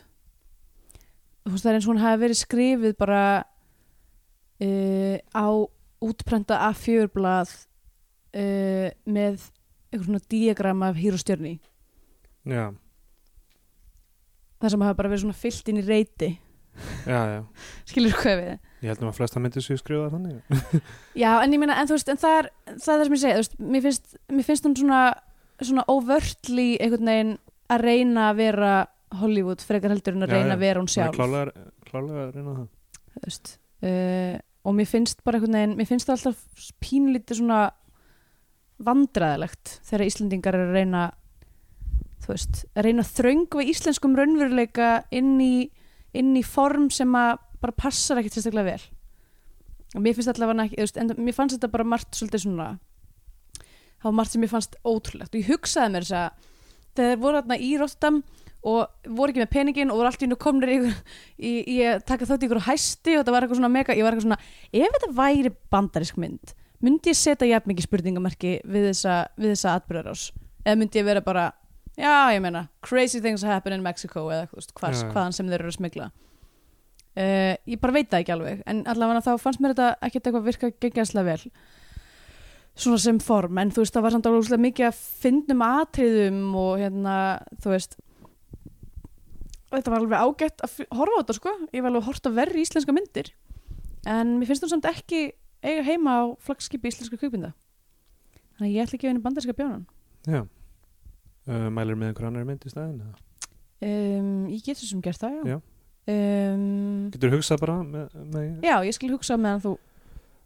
Speaker 3: þú veist það er eins og hún hafi verið skrifið bara uh, á útprenta A4 blað uh, með einhver svona diagram af hýrustjörni
Speaker 2: já,
Speaker 3: það sem hafa bara verið svona fyllt inn í reyti
Speaker 2: já, já
Speaker 3: skilur hvað ég við
Speaker 2: Ég held nú að flesta myndir séu skrifa þannig
Speaker 3: Já, en ég meina, en þú veist, en það er það, er það sem ég segi, þú veist, mér finnst, mér finnst hún svona, svona óvörtli einhvern veginn að reyna að vera Hollywood frekar heldur en að
Speaker 2: Já,
Speaker 3: reyna
Speaker 2: já,
Speaker 3: að vera hún
Speaker 2: Svona
Speaker 3: sjálf,
Speaker 2: Klálega klálega að reyna það
Speaker 3: þú veist, uh, og mér finnst bara einhvern veginn, mér finnst það alltaf pínlítið svona vandræðilegt þegar Íslendingar eru að reyna, þú veist, að reyna að þröngva íslenskum raunveruleika inn í, inn í form sem að bara passar ekkert sérstaklega vel. og mér finnst allavega ekki, þú veist, en mér fannst þetta bara margt svolítið svona það var margt sem mér fannst ótrúlegt og ég hugsaði mér þess að þegar þeir voru þarna í Rotterdam og voru ekki með peningin og voru allt í hennu komnir í, í, í að taka þátt í ykkur hæsti og það var eitthvað svona mega, ég var eitthvað svona ef þetta væri bandarisk mynd myndi ég setja jafn mikið spurningamarki við þessa, við þessa atbyrðarás eða myndi ég vera bara, já ég meina crazy things happen in Mexico eða þú veist, hvers,
Speaker 2: Já, já.
Speaker 3: hvaðan sem þeir eru að smigla Uh, ég bara veit það ekki alveg en allavega þá fannst mér þetta ekkert eitthvað virka geggjastlega vel svona sem form en þú veist það var samt alveg ógeðslega mikið að fyndum atriðum og hérna þú veist þetta var alveg ágætt að f- horfa á þetta sko ég var alveg hort að verri íslenska myndir en mér finnst þú samt ekki eiga heima á flagskipi íslenska kvikmynda þannig að ég ætla ekki að gefa henni bandarska bjánan
Speaker 2: Já uh, Mælir með einhver annar mynd í staðin
Speaker 3: um, ég get þessum gert það já,
Speaker 2: Já.
Speaker 3: Um,
Speaker 2: Getur hugsað bara með, með
Speaker 3: já ég skil hugsa meðan þú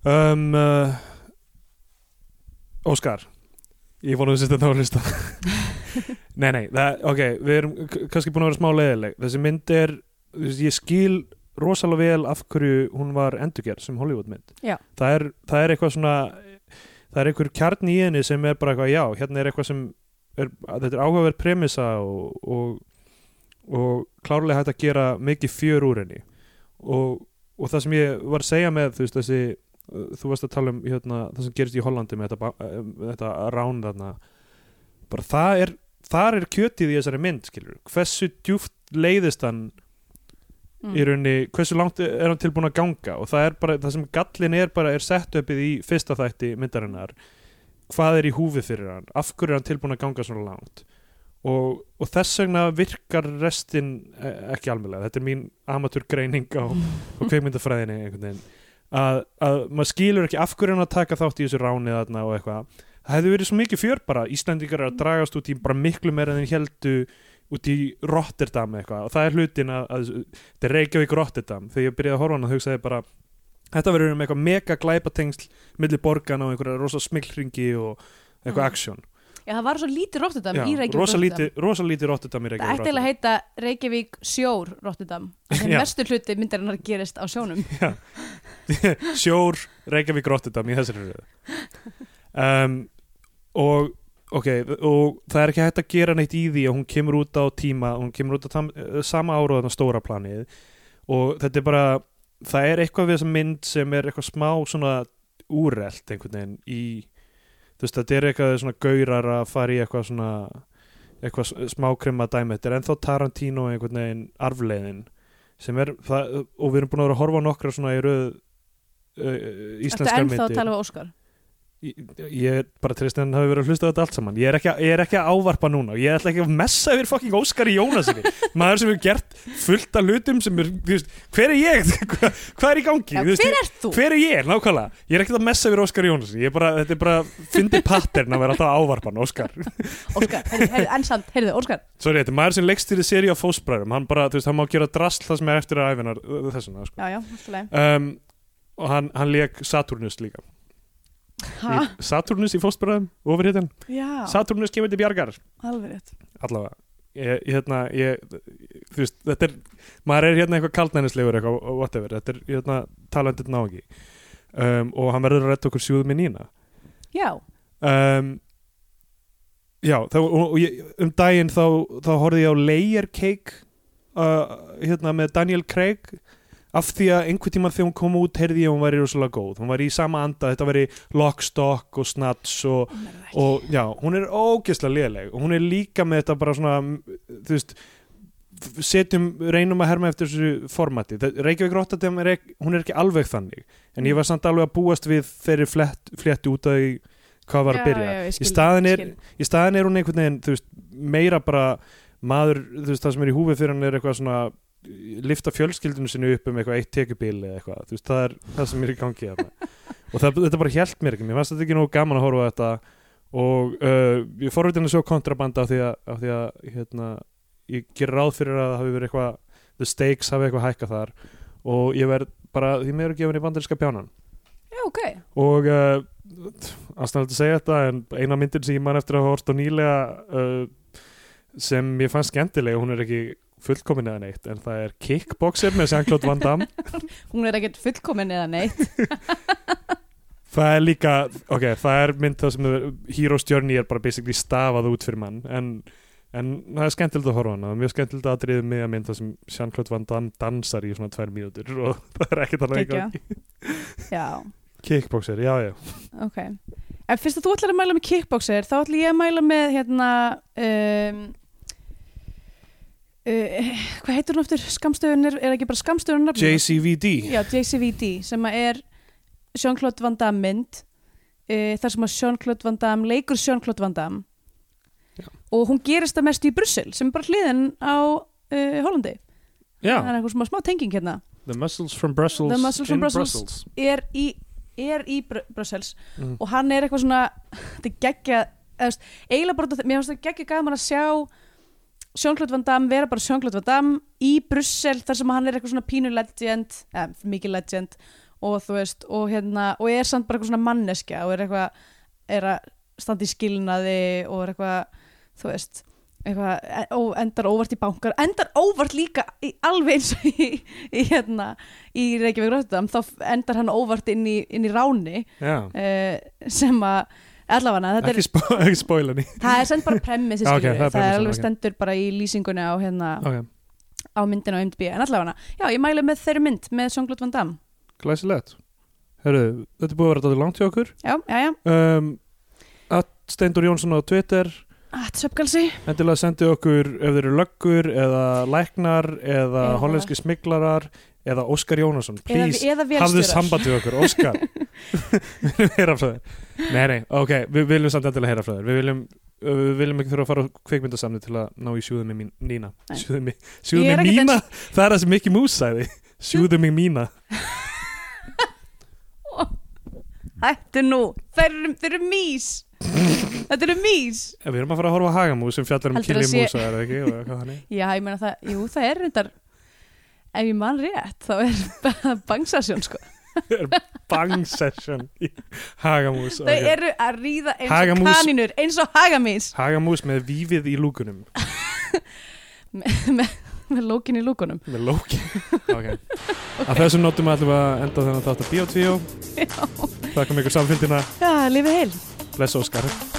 Speaker 2: um, uh, Óskar Ég vona að þú sérst þetta á lista Nei, nei, það, ok Við erum k- kannski búin að vera smá leiðileg Þessi mynd er, þú veist, ég skil rosalega vel af hverju hún var endurgerð sem Hollywood mynd
Speaker 3: Já.
Speaker 2: það er, það er eitthvað svona það er einhver kjarn í henni sem er bara eitthvað já, hérna er eitthvað sem er, að þetta er áhugaverð premissa og, og, og klárlega hægt að gera mikið fjör úr henni og, og það sem ég var að segja með þú veist þessi uh, þú varst að tala um hérna, það sem gerist í Hollandi með þetta, ba- eh, þetta rán þarna bara það er þar er kjötið í þessari mynd skilur hversu djúft leiðist hann
Speaker 3: mm.
Speaker 2: í rauninni, hversu langt er hann tilbúin að ganga og það er bara, það sem gallin er bara er sett uppið í fyrsta þætti myndarinnar hvað er í húfi fyrir hann af hverju er hann tilbúin að ganga svona langt og, og þess vegna virkar restin eh, ekki almennlega þetta er mín amatúrgreining á, á kveikmyndafræðinni einhvern veginn að, að maður skilur ekki af hverju er hann að taka þátt í þessu ráni þarna og eitthvað það hefði verið svo mikið fjör bara Íslandingar er að dragast út í bara miklu meira en þeir heldu út í Rotterdam eitthvað og það er hlutin að, að þetta er Reykjavík Rotterdam þegar ég byrjaði að horfa á hana þá hugsaði ég bara þetta verður um eitthvað mega glæpatengsl millir borgarna og einhverja rosa smilkringi og eitthvað
Speaker 3: Mm.
Speaker 2: action
Speaker 3: Já, það var svo lítið Rotterdam
Speaker 2: Já,
Speaker 3: í Reykjavík
Speaker 2: rosa,
Speaker 3: Rotterdam.
Speaker 2: lítið, rosa lítið Rotterdam í
Speaker 3: Það
Speaker 2: Reykjavík
Speaker 3: ætti eiginlega að heita Reykjavík sjór Rotterdam Þegar
Speaker 2: Já.
Speaker 3: mestu hluti myndarinnar gerist á sjónum
Speaker 2: Rotterdam. sjór Reykjavík Rotterdam í þessari röðu um, og ok, og það er ekki hægt að gera neitt í því að hún kemur út á tíma hún kemur út á tam, eh, sama ára og þarna stóra planið og þetta er bara það er eitthvað við þessa mynd sem er eitthvað smá svona úrelt einhvern veginn í þú veist þetta er eitthvað svona gaurar að fara í eitthvað svona eitthvað smákrimma dæmi þetta er ennþá Tarantino einhvern veginn arfleiðin sem er það, og við erum búin að vera að horfa á nokkra svona í röð uh,
Speaker 3: Þetta
Speaker 2: íslenskar
Speaker 3: ennþá
Speaker 2: myndir
Speaker 3: að tala um Óskar
Speaker 2: Ég, ég bara treyst en hafi verið að hlusta á þetta allt saman ég er, ekki, að- ég er ekki að ávarpa núna og ég ætla ekki að messa yfir fucking Óskari Jónasinni maður sem hefur gert fullt af hlutum sem er, þú veist, hver er ég Hva- hvað er í gangi
Speaker 3: Já,
Speaker 2: Þú veist,
Speaker 3: Hver er þú?
Speaker 2: hver er ég, nákvæmlega ég er ekkert að messa yfir Óskar Jónsson ég er bara, þetta er bara, fyndi pattern að vera alltaf ávarpan Óskar,
Speaker 3: Óskar, heyrðu, heyrðu, ennsamt, heyrðu, Óskar
Speaker 2: sorry, þetta er maður sem leggst til þið seri á fósbræðum, hann bara, þú veist, hann má gera drast það sem er eftir að æfinar, þessuna sko.
Speaker 3: Já, já, alltaf leið
Speaker 2: um, og hann, hann leik Saturnus líka
Speaker 3: Ha?
Speaker 2: í, Saturnus í fósbræðum, ofurhittan
Speaker 3: Já,
Speaker 2: Saturnus kemur til bjargar
Speaker 3: alveg rétt
Speaker 2: allavega ég, ég, hérna, ég, þú veist, þetta er maður er hérna eitthvað kaldnænislegur eitthvað, og whatever, þetta er hérna, talandir nági um, og hann verður að retta okkur sjúð með nýna
Speaker 3: Já,
Speaker 2: um, já, þá, og, og ég, um daginn þá, þá horfði ég á Layer Cake uh, hérna með Daniel Craig af því að einhvern tímann þegar hún kom út heyrði ég að hún væri rosalega góð, hún væri í sama anda þetta væri Lockstock og Snatch og
Speaker 3: hún verður ekki
Speaker 2: og já, hún er ógeðslega léleg og hún er líka með þetta bara svona mm, þú veist f- setjum, reynum að herma eftir þessu formati Það- Reykjavík Rotterdam er ekki, hún er ekki alveg þannig en ég var samt alveg að búast við þeirri flett, fletti út af því hvað var að byrja
Speaker 3: já, já, ég
Speaker 2: í,
Speaker 3: skil,
Speaker 2: staðin er,
Speaker 3: skil.
Speaker 2: í staðin er hún einhvern veginn þú veist, meira bara maður, þú veist, það sem er í húfi fyrir hann er eitthvað svona lifta fjölskyldinu sinni upp um eitthvað eitt tekjubíl eða eitthvað, þú veist, það er það sem er í gangi hérna. og það, þetta bara hjælt mér ekki mér fannst þetta ekki nógu gaman að horfa á þetta og uh, ég fór út henni svo kontrabanda af því að, af því að hérna, ég ger ráð fyrir að það hafi verið eitthvað the stakes hafi eitthvað hækkað þar og ég verð bara, því meður gefin í bandarinska pjánan
Speaker 3: Já, ok
Speaker 2: og uh, aðstæðan að segja þetta en eina myndin sem ég man eftir að hafa hort á nýlega uh, sem ég fann skemmtilega hún er ekki fullkomin eða neitt en það er Kickboxer með Jean-Claude Van Damme
Speaker 3: Hún er ekkert fullkomin eða neitt
Speaker 2: það er líka, ok, það er mynd það sem er, Hero's Journey er bara basically stafað út fyrir mann en, en það er skemmtilegt að horfa á hana, það er mjög skemmtilegt aðriðið með að mynd það sem Jean-Claude Van Damme dansar í svona tvær mínútur og það er ekkert alveg
Speaker 3: Geggjað. Já,
Speaker 2: Kickboxer, já, já
Speaker 3: ok En fyrst að þú ætlar að mæla með kickboxer þá ætla ég að mæla með hérna um, uh, hvað heitur hún aftur? Skamstöðun er, er ekki bara skamstöðun nafnið?
Speaker 2: JCVD
Speaker 3: Já, JCVD sem að er Jean-Claude Van Damme mynd uh, þar sem að Jean-Claude Van Damme leikur Jean-Claude Van Damme
Speaker 2: Já.
Speaker 3: og hún gerist það mest í Brussel sem er bara hliðin á uh, Hollandi það
Speaker 2: Já,
Speaker 3: er einhver smá, smá tenging hérna
Speaker 2: The Muscles from Brussels
Speaker 3: The Muscles from
Speaker 2: in
Speaker 3: Brussels. er í, er í Br Brussels
Speaker 2: Mm.
Speaker 3: og hann er eitthvað svona þetta er geggja eða, þú veist, eiginlega bara, út af því- mér finnst það geggja gaman að sjá Sjónklót Van Damme vera bara Sjónklót Van Damme í Brussel þar sem hann er eitthvað svona pínu legend eða mikið legend og þú veist og hérna og er samt bara eitthvað svona manneskja og er eitthvað er að standa í skilnaði og er eitthvað þú veist eitthvað, e- ó, endar óvart í bankar endar óvart líka í, alveg eins og í, í hérna í Reykjavík Röftam, þá endar hann óvart inn í, inn í ráni
Speaker 2: Já,
Speaker 3: uh, sem að allavega, þetta er,
Speaker 2: ekki, spo ekki spoila ný
Speaker 3: það er send bara premissi
Speaker 2: Já, ok, það er
Speaker 3: skilur, það er
Speaker 2: premissan,
Speaker 3: alveg
Speaker 2: ok.
Speaker 3: stendur bara í lýsingunni á, hérna,
Speaker 2: Ok,
Speaker 3: á myndinu á MDB, en allavega já, ég mæli með þeirri mynd, með Sjónglót Van Damme
Speaker 2: glæsilegt Herru, þetta er búið að vera dæti langt hjá okkur
Speaker 3: já, já, já,
Speaker 2: um, Að Steindur Jónsson á Twitter
Speaker 3: að söpkalsi
Speaker 2: Endilega sendið okkur ef þeir eru löggur eða læknar eða
Speaker 3: Eða-
Speaker 2: hollenski smiklarar eða Óskar Jónasson,
Speaker 3: eða,
Speaker 2: please
Speaker 3: eða
Speaker 2: hafðu
Speaker 3: vélstjórar
Speaker 2: samband við okkur, Óskar Við viljum heyra frá þér Nei, nei, ok, við viljum samt endilega heyra frá þér Við viljum, við viljum ekki þurfa að fara á kvikmyndasamni til að ná í sjúðum í mína
Speaker 3: Nei.
Speaker 2: Sjúðum í
Speaker 3: Ég er
Speaker 2: sjúðum í
Speaker 3: ekkert
Speaker 2: mína, það er það sem Mickey Mouse sagði Sjúðum í mína
Speaker 3: Ættu nú, þeir eru, þeir eru mís Þetta eru mís
Speaker 2: Ef Við erum að fara að horfa á Hagamú sem fjallar um
Speaker 3: Heldur að
Speaker 2: Killy
Speaker 3: sé-
Speaker 2: Músa, er það ekki? Og hvað hann er?
Speaker 3: Já, ég meina það, jú, það er reyndar Ef ég man rétt, þá er bangsasjón, sko
Speaker 2: Bang session í Hagamús
Speaker 3: Þau eru að ríða eins og
Speaker 2: Hagamús.
Speaker 3: kanínur, eins og hagamís
Speaker 2: Hagamús með vífið í lúkunum
Speaker 3: Með lókin í lúkunum
Speaker 2: með Loki okay. að þessum notum við allir að enda þennan þátt að Bíotvíó þakka mig ykkur samfélgina
Speaker 3: Já, lifi heil
Speaker 2: blessa Óskar